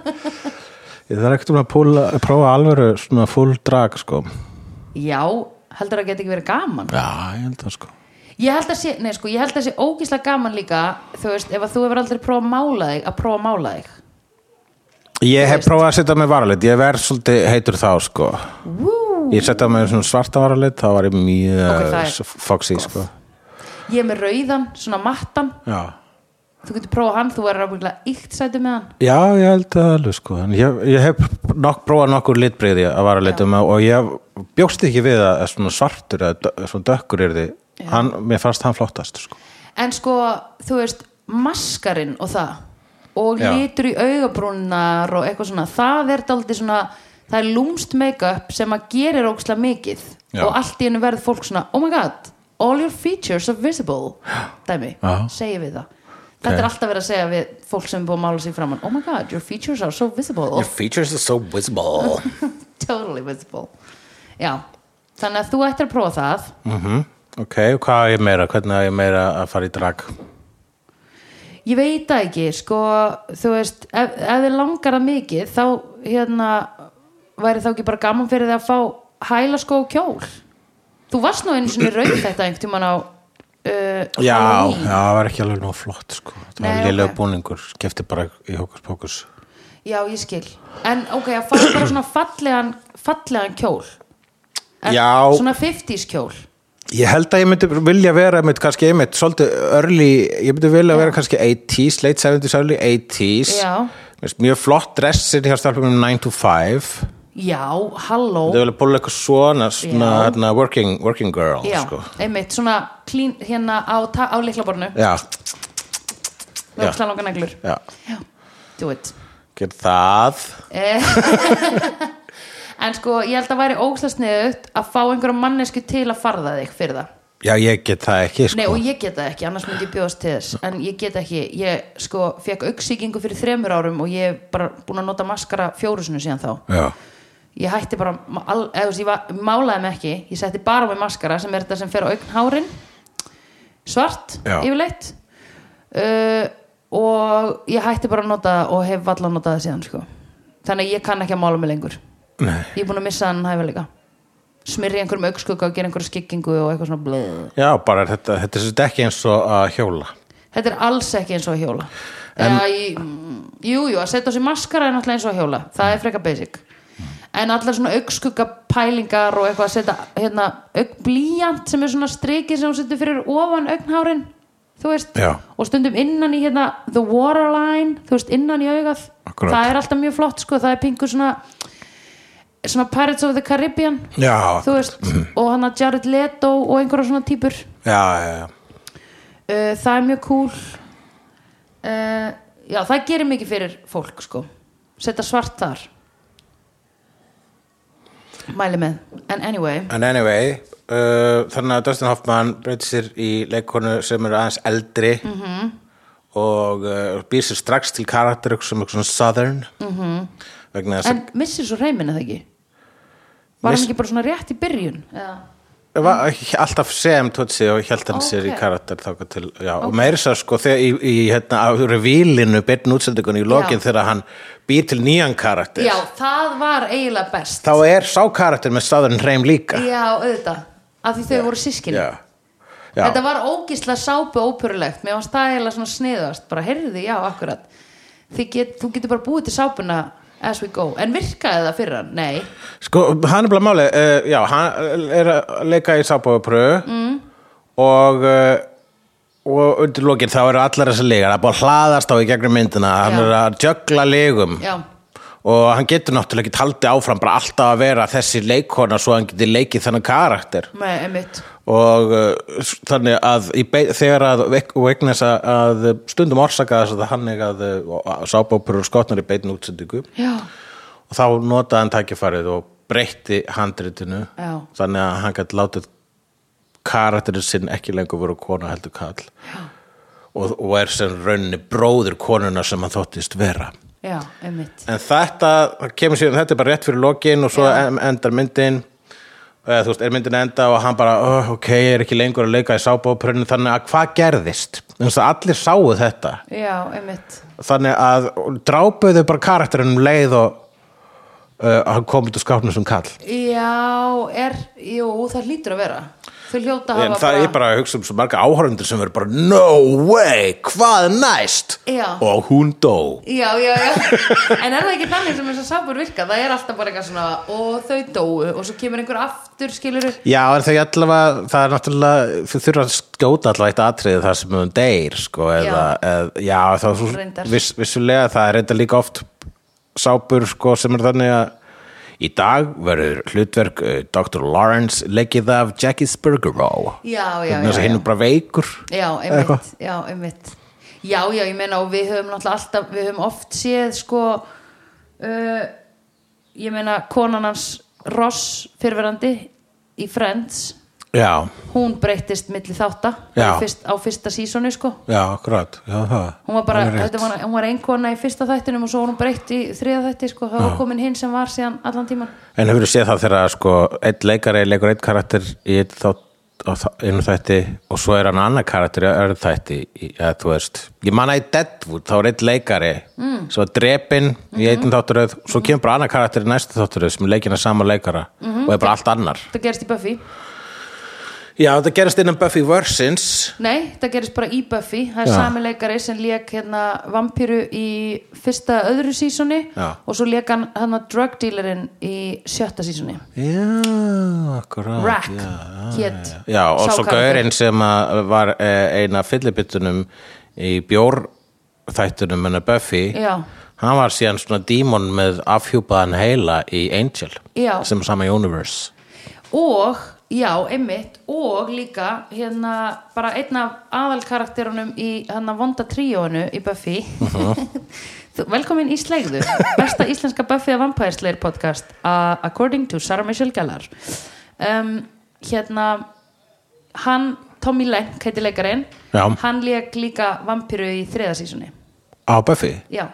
[SPEAKER 2] ég þarf ekkert um að púla, prófa alvöru svona full drag, sko
[SPEAKER 1] já heldur að geta ekki verið gaman
[SPEAKER 2] Já, ég held það sko
[SPEAKER 1] Ég held að sé, nei sko, ég held að sé ógíslega gaman líka, þú veist, ef að þú hefur aldrei prófað að mála þig, að prófa að mála þig.
[SPEAKER 2] Ég hef prófað að setja mig varalit, ég verð svolítið heitur þá sko
[SPEAKER 1] Vú!
[SPEAKER 2] Ég setja mig svona svarta varalit, þá var ég
[SPEAKER 1] Ok,
[SPEAKER 2] mjög
[SPEAKER 1] það er
[SPEAKER 2] okay, foxy sko
[SPEAKER 1] Ég er með rauðan, svona mattan,
[SPEAKER 2] Já. þú
[SPEAKER 1] þú getur prófað hann, þú verður ábyggilega ykt sætu með hann.
[SPEAKER 2] Já, ég held það alveg sko En ég, ég hef nokk, prófað nokkur litbrigði að varalitum og ég bjóst ekki við að svona svartur eða dö- svona dökkur er því hann, Mér fannst hann flottast sko
[SPEAKER 1] En sko, þú veist, maskarinn og það, og
[SPEAKER 2] Já.
[SPEAKER 1] litur í augabrúnar og eitthvað svona, það er daldið svona, það er lúmst make-up sem að gerir ógíslega mikið
[SPEAKER 2] Já.
[SPEAKER 1] og allt í hennu verður fólk svona, oh my god, all your features are visible, dæmi,
[SPEAKER 2] Já.
[SPEAKER 1] segi við það. Þetta
[SPEAKER 2] Ok.
[SPEAKER 1] er alltaf verið að segja við fólk sem er búið að mála sig framann, oh my god, your features are so visible.
[SPEAKER 2] features are so visible
[SPEAKER 1] *laughs* totally visible já, þannig að þú ættir að prófa það
[SPEAKER 2] Ok, hvað á ég meira? Hvernig á ég meira að fara í drag?
[SPEAKER 1] ég veit það ekki, sko þú veist, ef, ef þið langar það mikið þá, hérna væri þá ekki bara gaman fyrir þið að fá hæla sko og kjól þú varst nú einu sinni rauð þetta einhvern tímann á uh,
[SPEAKER 2] Já, já,
[SPEAKER 1] Halloween.
[SPEAKER 2] það var ekki alveg nóg flott sko. Það
[SPEAKER 1] Nei,
[SPEAKER 2] var lélega
[SPEAKER 1] ok.
[SPEAKER 2] búningur, skipti bara í hókus pókus
[SPEAKER 1] já, ég skil en ok, að fara bara svona fallegan fallegan kjól
[SPEAKER 2] Já,
[SPEAKER 1] svona 50s kjól
[SPEAKER 2] Ég held að ég myndi vilja vera einmitt, kannski einmitt, svolítið early ég myndi vilja vera kannski 80s late 70s, early 80s
[SPEAKER 1] Já.
[SPEAKER 2] Mér finnst Mjög flott dressir hjá stelpunum 9 to 5
[SPEAKER 1] já, halló
[SPEAKER 2] Þau vilja bóla eitthvað svona, svona
[SPEAKER 1] Já.
[SPEAKER 2] hérna, working, working girl
[SPEAKER 1] já,
[SPEAKER 2] sko.
[SPEAKER 1] einmitt, svona clean, hérna á, ta- á leiklaborinu
[SPEAKER 2] Já,
[SPEAKER 1] með ókslega langar neglur
[SPEAKER 2] já,
[SPEAKER 1] já, do it
[SPEAKER 2] gerð það
[SPEAKER 1] en sko, ég held að væri ókslega sniðut að fá einhverja mannesku til að farða þig fyrir það
[SPEAKER 2] Já, ég get það ekki sko.
[SPEAKER 1] Nei, og ég get það ekki, annars myndi ég bjóðast til þess en ég get ekki, ég sko fekk auksíkingu fyrir þremur árum og ég er bara búin að nota maskara fjórusinu síðan þá
[SPEAKER 2] Já,
[SPEAKER 1] ég hætti bara, ma- al- eða þú veist, ég var, málaði mig ekki ég setti bara á mig maskara sem er þetta sem fer á augnhárin svart,
[SPEAKER 2] Já.
[SPEAKER 1] yfirleitt uh, og ég hætti bara að nota það og hef valla notað það síðan sko. þannig að ég kann ekki að mála mig lengur
[SPEAKER 2] Nei.
[SPEAKER 1] ég er búin að missa hann hæfileika smyrja einhverjum augskugga og gera einhverju skikkingu og eitthvað svona blöð
[SPEAKER 2] já bara þetta, þetta er svolítið ekki eins og að hjóla
[SPEAKER 1] Þetta er alls ekki eins og að hjóla Eða, í, mm, Jú, jú, að setja á sig maskara er náttúrulega eins og að hjóla Það er freka basic En allar svona augskugga pælingar og eitthvað að setja hérna, augblíjant sem er svona strikið sem hún setur fyrir ofan augnhárin þú veist,
[SPEAKER 2] Já.
[SPEAKER 1] og stundum innan í hérna the waterline, þú veist, innan í augað
[SPEAKER 2] Akkurat.
[SPEAKER 1] það er alltaf mjög flott, sko, það er pingu svona svona Pirates of the Caribbean
[SPEAKER 2] Já,
[SPEAKER 1] þú veist, og hann að Jared Leto og einhverja svona típur
[SPEAKER 2] já, já, já
[SPEAKER 1] uh, það er mjög cool uh, já, það gerir mikið fyrir fólk sko, setja svart þar mæli með, en anyway
[SPEAKER 2] En anyway, uh, þannig að Dustin Hoffman breytir sér í leikonu sem eru aðeins eldri -hmm.
[SPEAKER 1] Mhm.
[SPEAKER 2] og uh, býr sér strax til karakter sem eitthvað svona southern mm -hmm. vegna þess að
[SPEAKER 1] Mhm. en missir svo reymin eða ekki var hann
[SPEAKER 2] Miss-
[SPEAKER 1] ekki bara svona rétt í byrjun eða,
[SPEAKER 2] það var ekki alltaf sem tótsi og hjælt hann sér í
[SPEAKER 1] Ok.
[SPEAKER 2] karakter þáka til, já, og meiri sér sko þegar í, í hérna, á revílinu byrn útsendingunni í lokin
[SPEAKER 1] Já.
[SPEAKER 2] þegar hann býr til nýjan karakter
[SPEAKER 1] já, það var eiginlega best
[SPEAKER 2] þá er sá karakter með southern hreim líka
[SPEAKER 1] já, auðvitað, af því þau voru sískinni
[SPEAKER 2] já, já.
[SPEAKER 1] Þetta var ógisla sápu óperulegt Mér varst það eiginlega svona sniðast Bara heyrði, já, akkurat Þið Get, þú getur bara búið til sápuna as we go En virkaði það fyrir hann? Nei
[SPEAKER 2] Sko, hann er bara málið, uh, já, hann er að leika í sábóðapröðu mm. og uh, og undir lokinn þá eru allar þessar legar það er búið að hlaðast á í gegnum myndina hann
[SPEAKER 1] Já.
[SPEAKER 2] er að jögla legum
[SPEAKER 1] Já,
[SPEAKER 2] og hann getur náttúrulega ekki haldið áfram bara alltaf að vera þessi leikona svo hann getur leikið þannig karakter
[SPEAKER 1] með einmitt
[SPEAKER 2] og uh, s- þannig að í be- þegar að vek- og vegna þess að- að stundum orsaka þess að hann er að sábóðapröðu skotnar í beitin útsendingu
[SPEAKER 1] Já,
[SPEAKER 2] og þá notaði hann tækifærið og breytti handritinu
[SPEAKER 1] Já.
[SPEAKER 2] þannig að hann gæti látið karakterinn sinn ekki lengur voru kona heldur kall og, og er sem rauninni bróðir konuna sem hann þóttist vera
[SPEAKER 1] já, einmitt
[SPEAKER 2] en þetta það kemur sér, þetta er bara rétt fyrir lokin og svo
[SPEAKER 1] Já.
[SPEAKER 2] en- endar myndin eða þú veist, er myndin að enda og hann bara oh, ok, ég er ekki lengur að leika í sábóprunni þannig að hvað gerðist? Þannig að allir sáu þetta
[SPEAKER 1] Já, einmitt
[SPEAKER 2] þannig að drápuðu bara karakterinn um leið og uh, hann kom út úr skápnum sem kall
[SPEAKER 1] Já, er, jú, það hlýtur að vera Þau hljóta að
[SPEAKER 2] en
[SPEAKER 1] hafa
[SPEAKER 2] það er bara að hugsa um svo marga áhörundur sem verður bara no way, hvað næst
[SPEAKER 1] Já.
[SPEAKER 2] og hún dó
[SPEAKER 1] Já, já, já En er það ekki þannig sem þess að sápur virka? Það er alltaf bara eitthvað svona Og þau dóu Og svo kemur einhver aftur, skilur
[SPEAKER 2] Já, en þau allavega, það er náttúrulega þau þurfa að skjóta allavega eitt atriði þar sem hún deyr, sko, eða eð, já, þá er svo
[SPEAKER 1] Reyndar.
[SPEAKER 2] viss, vissulega það er reynda líka oft sápur, sko, sem er þannig að í dag verður hlutverk uh, Dr. Lawrence leikið af Jackie Spurgerow
[SPEAKER 1] Já, já, já,
[SPEAKER 2] þess að hinn
[SPEAKER 1] já.
[SPEAKER 2] er bara veikur
[SPEAKER 1] Já,
[SPEAKER 2] Eitthvað.
[SPEAKER 1] einmitt, já, einmitt Já, já, ég meina og við höfum náttúrulega alltaf við höfum oft séð sko uh, ég meina konan hans Ross fyrverandi í Friends
[SPEAKER 2] Já,
[SPEAKER 1] hún breyttist milli þátta
[SPEAKER 2] Já.
[SPEAKER 1] í fyrst, á fyrsta sísonu sko
[SPEAKER 2] já, akkurat já, það,
[SPEAKER 1] hún var bara,
[SPEAKER 2] alveg rétt.
[SPEAKER 1] þetta var, hún var ein kona í fyrsta þættinum og svo var hún breytt í þriða þætti sko, það var komin hinn sem var síðan allan tíman
[SPEAKER 2] En hefur þú séð það þegar að, sko, einn leikari leikur einn karakter í einn þátt á þa- einu þætti og svo er hann annar karakter í öðru þætti í- eða þú veist ég manna í Deadwood, þá er einn leikari mm. svo drepin
[SPEAKER 1] Mhm.
[SPEAKER 2] í einn þátturöð svo kemur bara annar karakter í næstu þátturöð sem er leikina sama leikara
[SPEAKER 1] Mhm.
[SPEAKER 2] og er bara allt annar
[SPEAKER 1] það gerist í Buffy,
[SPEAKER 2] Já, þetta gerist innan Buffy Versins
[SPEAKER 1] nei, það gerist bara í Buffy það er
[SPEAKER 2] Já.
[SPEAKER 1] sami leikari sem lék hérna vampíru í fyrsta öðru sísoni
[SPEAKER 2] Já.
[SPEAKER 1] og svo lék hann hann að drug dealerinn í sjötta sísoni
[SPEAKER 2] Já, akkurat
[SPEAKER 1] Rack
[SPEAKER 2] já, já,
[SPEAKER 1] hét
[SPEAKER 2] já. já, og
[SPEAKER 1] sá
[SPEAKER 2] svo
[SPEAKER 1] karakter.
[SPEAKER 2] gaurinn sem að var eh, eina fyllibittunum í bjórþættunum hennar Buffy
[SPEAKER 1] Já.
[SPEAKER 2] hann var síðan svona dímon með afhjúpaðan heila í Angel
[SPEAKER 1] Já.
[SPEAKER 2] sem er sama universe
[SPEAKER 1] og, já, einmitt og líka, hérna bara einn af aðalkarakterunum í hérna vonda tríónu í Buffy
[SPEAKER 2] Mhm.
[SPEAKER 1] *laughs* Þú- velkomin í Slegðu besta íslenska Buffy að Vampire Slayer podcast uh, according to Sarah Michelle Gellar um, hérna hann, Tommy Lenk heiti leikarinn,
[SPEAKER 2] Já.
[SPEAKER 1] hann lék líka vampiru í þriðasísunni
[SPEAKER 2] á Buffy
[SPEAKER 1] já,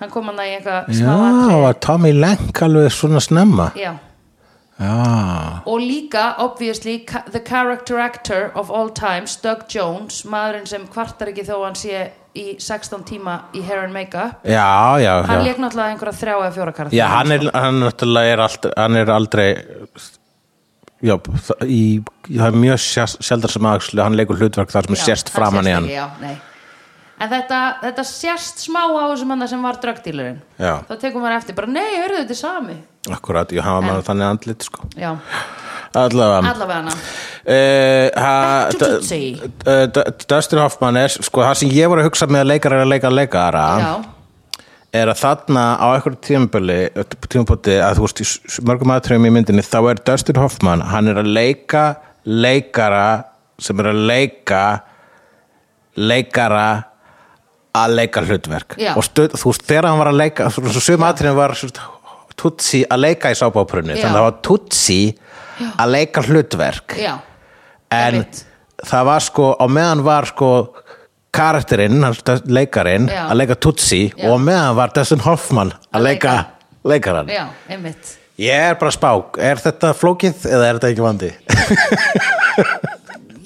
[SPEAKER 1] hann kom hann í eitthvað
[SPEAKER 2] já,
[SPEAKER 1] smá atriði.
[SPEAKER 2] var Tommy Lenk alveg svona snemma
[SPEAKER 1] já
[SPEAKER 2] já,
[SPEAKER 1] og líka, obviously, ca- the character actor of all times, Doug Jones maðurinn sem kvartar ekki þó hann sé í 16 tíma í hair and makeup
[SPEAKER 2] já, já,
[SPEAKER 1] hann
[SPEAKER 2] já.
[SPEAKER 1] leik náttúrulega einhverja þrjá eða fjóra karakter
[SPEAKER 2] Já, hann er, hann náttúrulega er aldrei, hann er aldrei já, það, í, það er mjög sjás- sjaldan sem aðeinslu, hann leikur hlutverk þar sem er sérst framan í hann.
[SPEAKER 1] já, nei En þetta, þetta sérst smá á þessum manna sem var drögdýlurinn.
[SPEAKER 2] Já.
[SPEAKER 1] Þá tekum maður eftir, bara nei, hörðu þetta er sami.
[SPEAKER 2] Akkurat, já, hann var með þannig andlit, sko.
[SPEAKER 1] Já,
[SPEAKER 2] Allavega.
[SPEAKER 1] allavega hana.
[SPEAKER 2] Eh, ha-
[SPEAKER 1] Back to
[SPEAKER 2] d-
[SPEAKER 1] Tootsie.
[SPEAKER 2] d- d- Dustin Hoffman er, sko, það sem ég var að hugsa með að leikara að leika leikara
[SPEAKER 1] Já,
[SPEAKER 2] er að þarna á einhverjum tímabili tímabóti að þú veist í s- mörgum aðtröfum í myndinni þá er Dustin Hoffman hann er að leika leikara sem er að leika leikara að leika hlutverk
[SPEAKER 1] Já.
[SPEAKER 2] og stöð, þú veist þegar hann var að leika þú veist sum aðtröfum var svo, tutsi að leika í sábáprunni
[SPEAKER 1] Já.
[SPEAKER 2] þannig að það var tutsi að leika hlutverk
[SPEAKER 1] já,
[SPEAKER 2] en
[SPEAKER 1] einmitt.
[SPEAKER 2] það var sko á meðan var sko karakterinn, hans leikarinn
[SPEAKER 1] Já.
[SPEAKER 2] að leika Tutsi
[SPEAKER 1] Já.
[SPEAKER 2] og á meðan var Dustin Hoffman
[SPEAKER 1] Að
[SPEAKER 2] að leika
[SPEAKER 1] leika.
[SPEAKER 2] leikarann
[SPEAKER 1] já, einmitt.
[SPEAKER 2] ég er bara að spá, er þetta flókið eða er þetta ekki vandi?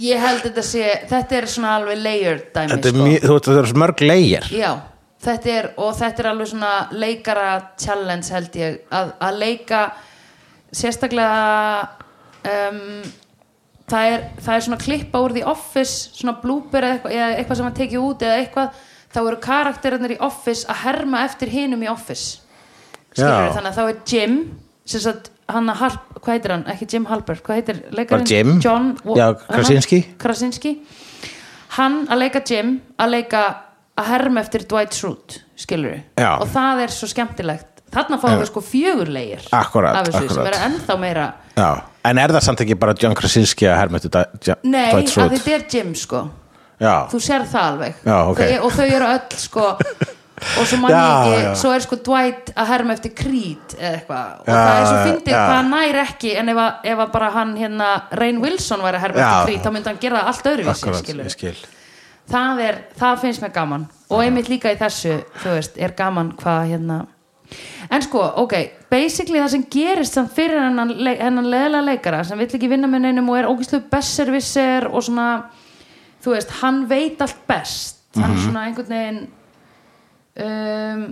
[SPEAKER 1] Ég held þetta sé, þetta er svona alveg layered dæmi.
[SPEAKER 2] Þetta er,
[SPEAKER 1] sko.
[SPEAKER 2] mjög, þú veist, þetta er svo mörg leigir
[SPEAKER 1] Já, þetta er og þetta er alveg svona leikara challenge held ég að, að leika sérstaklega um, það, er, það er svona klippa úr The Office svona blúper eða eitthvað, eða eitthvað sem að tekið út eða eitthvað þá eru karakterinir í Office að herma eftir hinum í Office Skilurðu?
[SPEAKER 2] Já.
[SPEAKER 1] þannig að þá er Jim sem sagt hann að Harp, hvað heitir hann, ekki Jim Halpert hvað heitir leikarinn?
[SPEAKER 2] Bara Jim?
[SPEAKER 1] John Wa-
[SPEAKER 2] Já, Krasinski.
[SPEAKER 1] Hann- Krasinski hann að leika Jim að leika að herma eftir Dwight Schrute skilur
[SPEAKER 2] Já.
[SPEAKER 1] og það er svo skemmtilegt þarna fáum við sko fjögurlegir
[SPEAKER 2] Akkurat,
[SPEAKER 1] af þessu sem
[SPEAKER 2] akkurat.
[SPEAKER 1] er ennþá meira
[SPEAKER 2] Já. en er það samt ekki bara John Krasinski að hermættu
[SPEAKER 1] nei,
[SPEAKER 2] Dwight
[SPEAKER 1] að
[SPEAKER 2] Schrute?
[SPEAKER 1] þetta er Jim sko
[SPEAKER 2] Já,
[SPEAKER 1] þú sér það alveg
[SPEAKER 2] Já, ok.
[SPEAKER 1] þau, og þau eru öll sko og svo mann
[SPEAKER 2] Já,
[SPEAKER 1] ég
[SPEAKER 2] já.
[SPEAKER 1] ekki, svo er sko Dwight að herma eftir Creed eða eitthvað og
[SPEAKER 2] Já,
[SPEAKER 1] það er svo fyndið
[SPEAKER 2] já.
[SPEAKER 1] hvað hann nær ekki en ef, að, ef að bara hann hérna Rain Wilson væri að herma
[SPEAKER 2] Já.
[SPEAKER 1] eftir Creed þá myndi hann gera það allt öðruvísi
[SPEAKER 2] akkurat,
[SPEAKER 1] skilurðu.
[SPEAKER 2] ég skil
[SPEAKER 1] það, er, það finnst mér gaman og einmitt líka í þessu þú veist, er gaman hvað hérna en sko, ok, basically það sem gerist samt fyrir hennan, le- hennan leðlega leikara sem vill ekki vinna með neinum og er ógæslu besservisser og svona þú veist, hann veit allt best hann
[SPEAKER 2] Mhm.
[SPEAKER 1] er svona einhvern veginn um,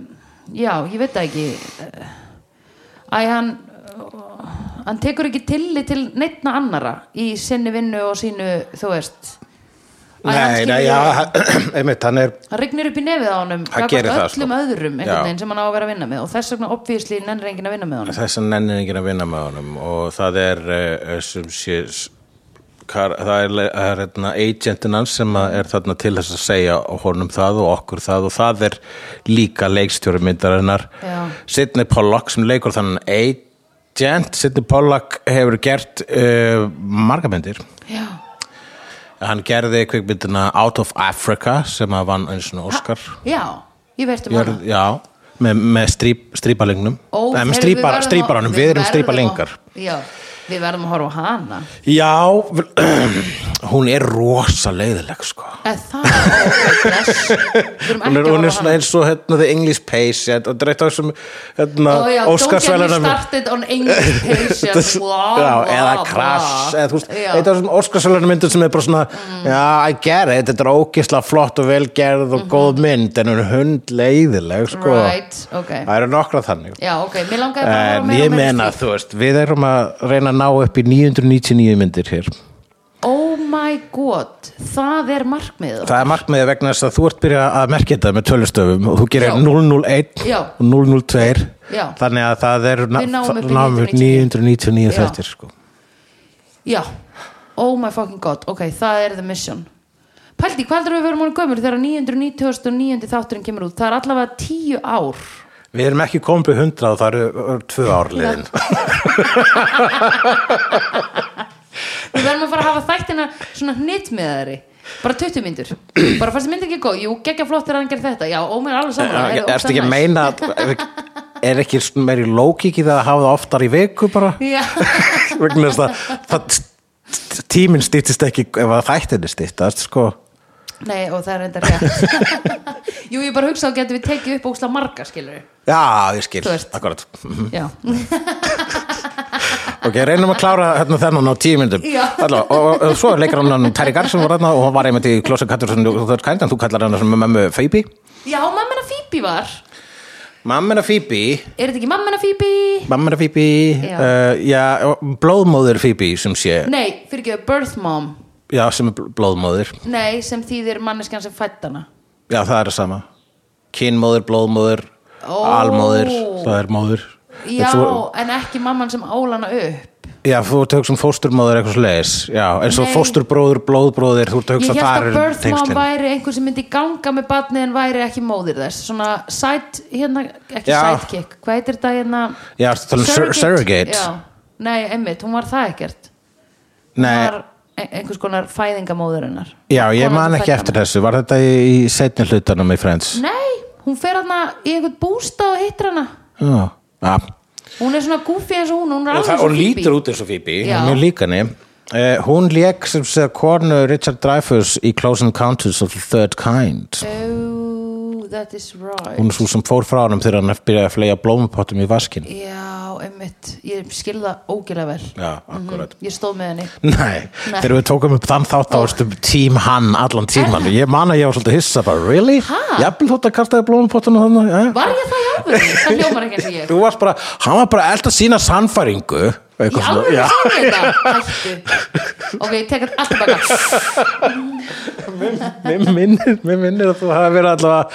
[SPEAKER 1] já, ég veit það ekki æ, hann hann tekur ekki tilli til neittna annara í sinni vinnu og sínu, þú veist Æ, hann
[SPEAKER 2] Nei,
[SPEAKER 1] skilur-
[SPEAKER 2] nei, já, *clears throat* einmitt, hann er
[SPEAKER 1] hann rignir upp í nefið á honum
[SPEAKER 2] Hann
[SPEAKER 1] gagnvart
[SPEAKER 2] gerir það,
[SPEAKER 1] öllum
[SPEAKER 2] sko.
[SPEAKER 1] öðrum einhvern
[SPEAKER 2] Já.
[SPEAKER 1] veginn sem hann á að vera að vinna með og þess vegna obvísli nennir enginn að vinna með honum
[SPEAKER 2] þess að nennir enginn að vinna með honum og það er uh, sem sé s- kar, það er, le- það er hérna, agentin hans sem að er þarna til þess að segja honum það og okkur það og það er líka leikstjóri myndarinnar
[SPEAKER 1] Já.
[SPEAKER 2] Sidney Pollack sem leikur þannig agent Sidney Pollack hefur gert uh, marga myndir
[SPEAKER 1] já,
[SPEAKER 2] hann gerði kvikmyndina Out of Africa sem að vann eins og Oscar
[SPEAKER 1] já, ég veit um
[SPEAKER 2] Jörð,
[SPEAKER 1] hana
[SPEAKER 2] já, með, með strýp, strýpalingnum
[SPEAKER 1] Ó,
[SPEAKER 2] Nei, með
[SPEAKER 1] heyrðu,
[SPEAKER 2] strýpar,
[SPEAKER 1] verðum að-
[SPEAKER 2] strýparanum, við erum
[SPEAKER 1] verðum
[SPEAKER 2] strýpalingar
[SPEAKER 1] að- já, við verðum að horfa á hana
[SPEAKER 2] Já, *clears throat* vel- hún er rosa leiðileg sko
[SPEAKER 1] eða það, ok, bless við erum
[SPEAKER 2] Hún er, hún
[SPEAKER 1] ekki að
[SPEAKER 2] er svona
[SPEAKER 1] horfa á hana
[SPEAKER 2] eins og hérna The English Patient og dreitt á þessum hérna,
[SPEAKER 1] Ó, já, Don't get me
[SPEAKER 2] Óskarsvelunum
[SPEAKER 1] started on
[SPEAKER 2] *laughs*
[SPEAKER 1] English patients blah,
[SPEAKER 2] Já,
[SPEAKER 1] blah,
[SPEAKER 2] eða
[SPEAKER 1] blah.
[SPEAKER 2] Crash eða þú veist,
[SPEAKER 1] Já. Mm.
[SPEAKER 2] eitt af þessum Óskarsvelunum myndum sem er bara svona Já, I get it, þetta er ógisla flott og velgerð og góð mynd en hún er hund leiðileg sko
[SPEAKER 1] Mhm. Right, ok.
[SPEAKER 2] Það eru nokkra þannig
[SPEAKER 1] já, ok, mér langaði bara að
[SPEAKER 2] En
[SPEAKER 1] horfa meira
[SPEAKER 2] ég
[SPEAKER 1] og meira um
[SPEAKER 2] meina,
[SPEAKER 1] slíkt.
[SPEAKER 2] þú veist, við erum að reyna að ná upp í 999 myndir hér
[SPEAKER 1] oh my god, það er markmiður
[SPEAKER 2] Það er markmiðið vegna þess að þú ert byrjað að merkja þetta með tölustöfum og þú gerir
[SPEAKER 1] Já.
[SPEAKER 2] 001
[SPEAKER 1] Já.
[SPEAKER 2] og 002
[SPEAKER 1] Já.
[SPEAKER 2] þannig að það er
[SPEAKER 1] Við náum upp í 999
[SPEAKER 2] 999
[SPEAKER 1] Já.
[SPEAKER 2] þættir sko.
[SPEAKER 1] já, oh my fucking god ok, það er the mission Pældi, hvað heldur við verum hún gömur þegar 999. þátturinn kemur út það er allavega tíu ár
[SPEAKER 2] Við erum ekki komin upp í 100 og það eru eru tvö ár
[SPEAKER 1] *laughs*
[SPEAKER 2] liðin.
[SPEAKER 1] við verðum að fara að hafa þættina svona hnitt með þeirri bara 20 myndur, bara fannst myndin ekki góð jú, geggja flott er að hann gerir þetta, já, ómur alveg saman
[SPEAKER 2] Erstu ekki að meina að er ekki svona meiri lókik í það að hafa það oftar í viku bara?
[SPEAKER 1] já,
[SPEAKER 2] *laughs* Vegna þess að það- t- t- tíminn stýttist ekki ef að þættinni stýttast, sko.
[SPEAKER 1] nei, og það er enda rétt *laughs* jú, ég bara hugsa að getum við tekið upp ósla marga, skilur
[SPEAKER 2] Já, ég skil,
[SPEAKER 1] Þú veist.
[SPEAKER 2] akkurat.
[SPEAKER 1] já,
[SPEAKER 2] Ok, reynum að klára hérna þennan á tíu myndum.
[SPEAKER 1] Já.
[SPEAKER 2] Alla, og, og, og svo er leikar hann hann Terry Garson var hérna og hann var einmitt í Klósa Kattursson og þú ert kænt en þú kallar hann sem mömmu Feibi.
[SPEAKER 1] já, mammina Phoebe var
[SPEAKER 2] Mammina Feibi,
[SPEAKER 1] er þetta ekki mammina Phoebe?
[SPEAKER 2] mammina Feibi,
[SPEAKER 1] Já.
[SPEAKER 2] uh, já, og blóðmóðir Feibi sem sé,
[SPEAKER 1] nei, fyrir ekki, birth mom
[SPEAKER 2] já, sem er bl- blóðmóðir.
[SPEAKER 1] nei, sem þýðir manneskan sem fætt hana
[SPEAKER 2] Já, það er það sama. Kynmóðir, blóðmóðir,
[SPEAKER 1] Ó.
[SPEAKER 2] almóðir, það er móðir.
[SPEAKER 1] já,
[SPEAKER 2] En þú-
[SPEAKER 1] en ekki mamman sem ála hana upp
[SPEAKER 2] Já, þú ert að hugsa um fósturmóður eitthvað slegis Já, eins og
[SPEAKER 1] Nei.
[SPEAKER 2] fósturbróður, blóðbróðir Þú ert að
[SPEAKER 1] Ég
[SPEAKER 2] hugsa
[SPEAKER 1] held
[SPEAKER 2] þar
[SPEAKER 1] að
[SPEAKER 2] eru
[SPEAKER 1] birth mom
[SPEAKER 2] tengslin.
[SPEAKER 1] væri einhver sem myndi ganga með barnið en væri ekki móðir þess svona side, hérna, ekki
[SPEAKER 2] Já.
[SPEAKER 1] sidekick hvað heitir þetta hérna
[SPEAKER 2] Já, ertu að tala um sur- surrogate?
[SPEAKER 1] Já. Nei, einmitt, hún var það ekkert
[SPEAKER 2] Nei,
[SPEAKER 1] Hún var ein- einhvers konar fæðingamóður hennar
[SPEAKER 2] Eh. já, ég
[SPEAKER 1] Konan
[SPEAKER 2] man
[SPEAKER 1] sem
[SPEAKER 2] ekki
[SPEAKER 1] fæddi
[SPEAKER 2] eftir þessu Var þetta í, í setni hlutanum í Friends?
[SPEAKER 1] hana. Nei, hún fer hérna í einhvern bústað og hittir hana
[SPEAKER 2] Já, já
[SPEAKER 1] hún er svona goofy eins og hún, hún er
[SPEAKER 2] Mm. Og
[SPEAKER 1] alveg
[SPEAKER 2] það,
[SPEAKER 1] svo
[SPEAKER 2] hún
[SPEAKER 1] Phoebe.
[SPEAKER 2] lítur út eins og Phoebe
[SPEAKER 1] Já.
[SPEAKER 2] Mjög líkani Uh, hún lék sem segja konu Richard Dreyfuss í Close Encounters of the Third Kind
[SPEAKER 1] Oh, that is right
[SPEAKER 2] hún er svo sem fór frá hann þegar hann byrjaði að flega blómupottum í vaskin
[SPEAKER 1] Já, einmitt, ég skilða ógilega vel Mm,
[SPEAKER 2] Já, akkurat
[SPEAKER 1] Ég stóð með henni
[SPEAKER 2] Mhm. Nei,
[SPEAKER 1] Nei.
[SPEAKER 2] þegar við tókum upp þann þátt þá varstum tím hann allan tíman og ég man að ég var svolítið hissa bara, really?
[SPEAKER 1] Ha?
[SPEAKER 2] Jafnvel þótt að kastaði blómupottunum þannig eh?
[SPEAKER 1] Var ég það í alvöru? Það hljómar ekki eins og ég
[SPEAKER 2] Þú varst bara, hann var bara eld að sína sannfæringu eitthvað
[SPEAKER 1] Í
[SPEAKER 2] svona.
[SPEAKER 1] alvöru
[SPEAKER 2] Já.
[SPEAKER 1] sagði ég þetta? Hættu Ok, ég tek allt tilbaka
[SPEAKER 2] Mér minnir, mér minnir að þú hafa verið allavega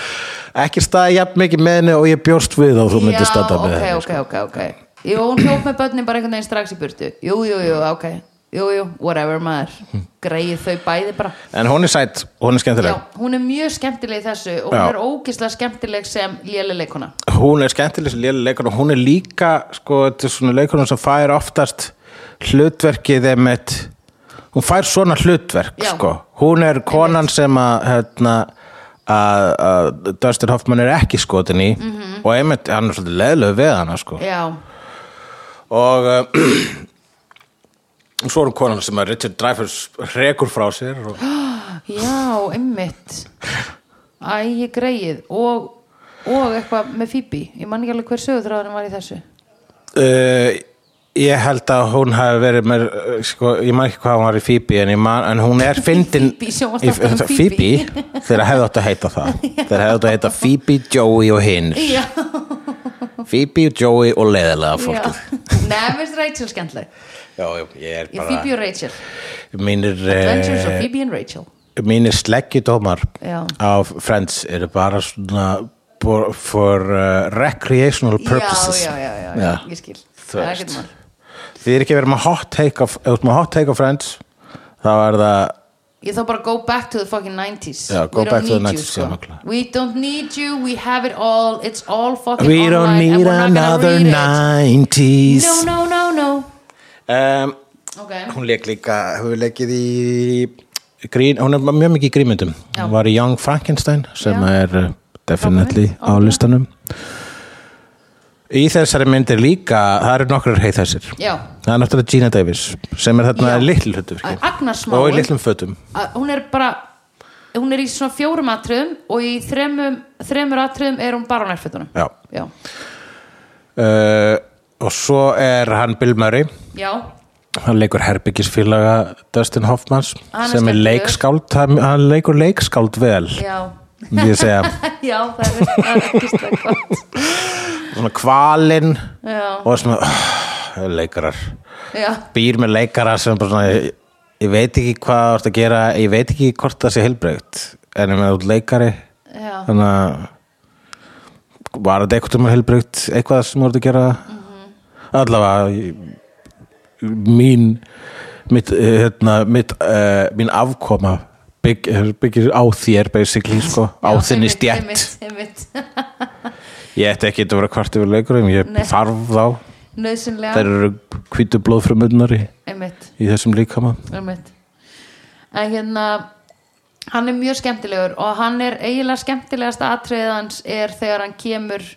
[SPEAKER 2] ekki staðið jafn mikið með henni og ég bjóst við að þú myndir
[SPEAKER 1] Já,
[SPEAKER 2] staða með
[SPEAKER 1] ok,
[SPEAKER 2] henni sko.
[SPEAKER 1] ok, ok, ok Jú, hún hljók með börnin bara einhvern veginn strax í burtu Jú, jú, jú, ok Jú, jú, whatever
[SPEAKER 2] Hm.
[SPEAKER 1] maður Greið þau bæði bara
[SPEAKER 2] En hún er sætt, hún er
[SPEAKER 1] Já,
[SPEAKER 2] skemmtileg
[SPEAKER 1] hún er mjög skemmtileg í þessu og hún
[SPEAKER 2] Já.
[SPEAKER 1] er ógislega skemmtileg sem lélileikuna
[SPEAKER 2] Hún er skemmtileg sem lélega leikur og hún er líka, sko, þetta er svona leikurinn sem fær oftast hlutverkið emitt, hún fær svona hlutverk,
[SPEAKER 1] Já.
[SPEAKER 2] sko. Hún er konan sem að, hérna, að að Dustin Hoffman er ekki skotin í
[SPEAKER 1] Mhm.
[SPEAKER 2] og einmitt, hann er svolítið leðlegu við hana, sko.
[SPEAKER 1] Já,
[SPEAKER 2] Og uh, *clears throat* svo er hún konan sem að Richard Dreyfuss rekur frá sér
[SPEAKER 1] *gasps*
[SPEAKER 2] og
[SPEAKER 1] Já, einmitt Æ, ég greið og, og eitthvað með Phoebe ég man ekki alveg hver sögutráðurinn var í þessu
[SPEAKER 2] Uh, ég held að hún hafi verið með, uh, sko, ég man ekki hvað hún var í Phoebe en, ég man, en hún
[SPEAKER 1] *laughs*
[SPEAKER 2] er fyndin
[SPEAKER 1] Phoebe, sjónvarpsþáttunum
[SPEAKER 2] í-
[SPEAKER 1] Phoebe.
[SPEAKER 2] Phoebe, þeirra hefði átt að heita
[SPEAKER 1] *laughs*
[SPEAKER 2] það þeirra hefði átt að heita Phoebe, Joey og hinn
[SPEAKER 1] Já,
[SPEAKER 2] Phoebe, Joey og leðilega
[SPEAKER 1] já.
[SPEAKER 2] fólkið
[SPEAKER 1] Nei, mér finnst Rachel skemmtileg
[SPEAKER 2] já, já, ég er
[SPEAKER 1] Ég
[SPEAKER 2] bara
[SPEAKER 1] Phoebe og Rachel
[SPEAKER 2] mínir,
[SPEAKER 1] Adventures of
[SPEAKER 2] eh,
[SPEAKER 1] Phoebe and Rachel
[SPEAKER 2] mínir sleggjudómar
[SPEAKER 1] Já.
[SPEAKER 2] af Friends eru bara svona for, for uh, recreational purposes
[SPEAKER 1] já, já, já, já,
[SPEAKER 2] Já.
[SPEAKER 1] ég skil
[SPEAKER 2] Þú
[SPEAKER 1] Það er
[SPEAKER 2] veist.
[SPEAKER 1] ekkert mál
[SPEAKER 2] þið er ekki verið með hot take of, ef þú ert með hot take of Friends þá er það
[SPEAKER 1] Ég þá bara go back to the fucking 90s
[SPEAKER 2] Já, go
[SPEAKER 1] We don't
[SPEAKER 2] back to the
[SPEAKER 1] need
[SPEAKER 2] 90s,
[SPEAKER 1] you,
[SPEAKER 2] já,
[SPEAKER 1] sko.
[SPEAKER 2] nákvæmlega.
[SPEAKER 1] We don't need you, we have it all It's all fucking
[SPEAKER 2] We don't
[SPEAKER 1] online and
[SPEAKER 2] need
[SPEAKER 1] we're not gonna
[SPEAKER 2] another
[SPEAKER 1] read it.
[SPEAKER 2] 90s
[SPEAKER 1] No, no, no, no
[SPEAKER 2] um,
[SPEAKER 1] okay.
[SPEAKER 2] Hún leik líka, hefur leikið í grín, hún er mjög mikið í grímyndum
[SPEAKER 1] Já.
[SPEAKER 2] Hún var í Young Frankenstein sem
[SPEAKER 1] Já.
[SPEAKER 2] er uh, definitely
[SPEAKER 1] Frábær mynd,
[SPEAKER 2] á listanum Í þessari myndir líka, það eru nokkrar heið þessir
[SPEAKER 1] Já.
[SPEAKER 2] Það er náttúrulega Gina Davis sem er þarna
[SPEAKER 1] Já.
[SPEAKER 2] litlu hlutu
[SPEAKER 1] Agnar eh? Smáin
[SPEAKER 2] og í litlum fötum
[SPEAKER 1] að hún er bara hún er í svona fjórum atriðum og í þremum, þremur atriðum er hún bara á nærfötunum
[SPEAKER 2] Já.
[SPEAKER 1] já,
[SPEAKER 2] uh, og svo er hann Bill Murray
[SPEAKER 1] já.
[SPEAKER 2] hann leikur herbyggisfélaga Dustin Hoffmans
[SPEAKER 1] Hann er
[SPEAKER 2] sem er
[SPEAKER 1] skemmtilegur.
[SPEAKER 2] leikskáld hann, hann leikur leikskáld vel
[SPEAKER 1] já. *laughs*
[SPEAKER 2] myndi ég segja,
[SPEAKER 1] já það er, það er ekki stakk gott
[SPEAKER 2] svona kvalinn
[SPEAKER 1] já,
[SPEAKER 2] og svona uh, leikarar,
[SPEAKER 1] já,
[SPEAKER 2] býr með leikara sem bara svona, ég, ég veit ekki hvað þú ert að gera, ég veit ekki hvort það sé heilbreygt, en ef þú ert leikari
[SPEAKER 1] já
[SPEAKER 2] þannig að var þetta eitthvað um að heilbreygt
[SPEAKER 1] Mhm.
[SPEAKER 2] eitthvað sem þú ert að gera allavega ég- mín mitt, eh, hérna, mitt, uh, mín afkoma bygg, byggir á þér basically sko, á
[SPEAKER 1] *laughs* Já,
[SPEAKER 2] þinni
[SPEAKER 1] einmitt,
[SPEAKER 2] stjætt
[SPEAKER 1] einmitt, einmitt.
[SPEAKER 2] ég ætti ekki að vera kvart yfir leikurum ég
[SPEAKER 1] Nei.
[SPEAKER 2] þarf þá
[SPEAKER 1] Nauðsynlega
[SPEAKER 2] þær eru hvítu blóðfrumunar í,
[SPEAKER 1] einmitt,
[SPEAKER 2] í þessum líkama
[SPEAKER 1] einmitt. En hérna hann er mjög skemmtilegur og hann er eiginlega skemmtilegasta atriðið hans er þegar hann kemur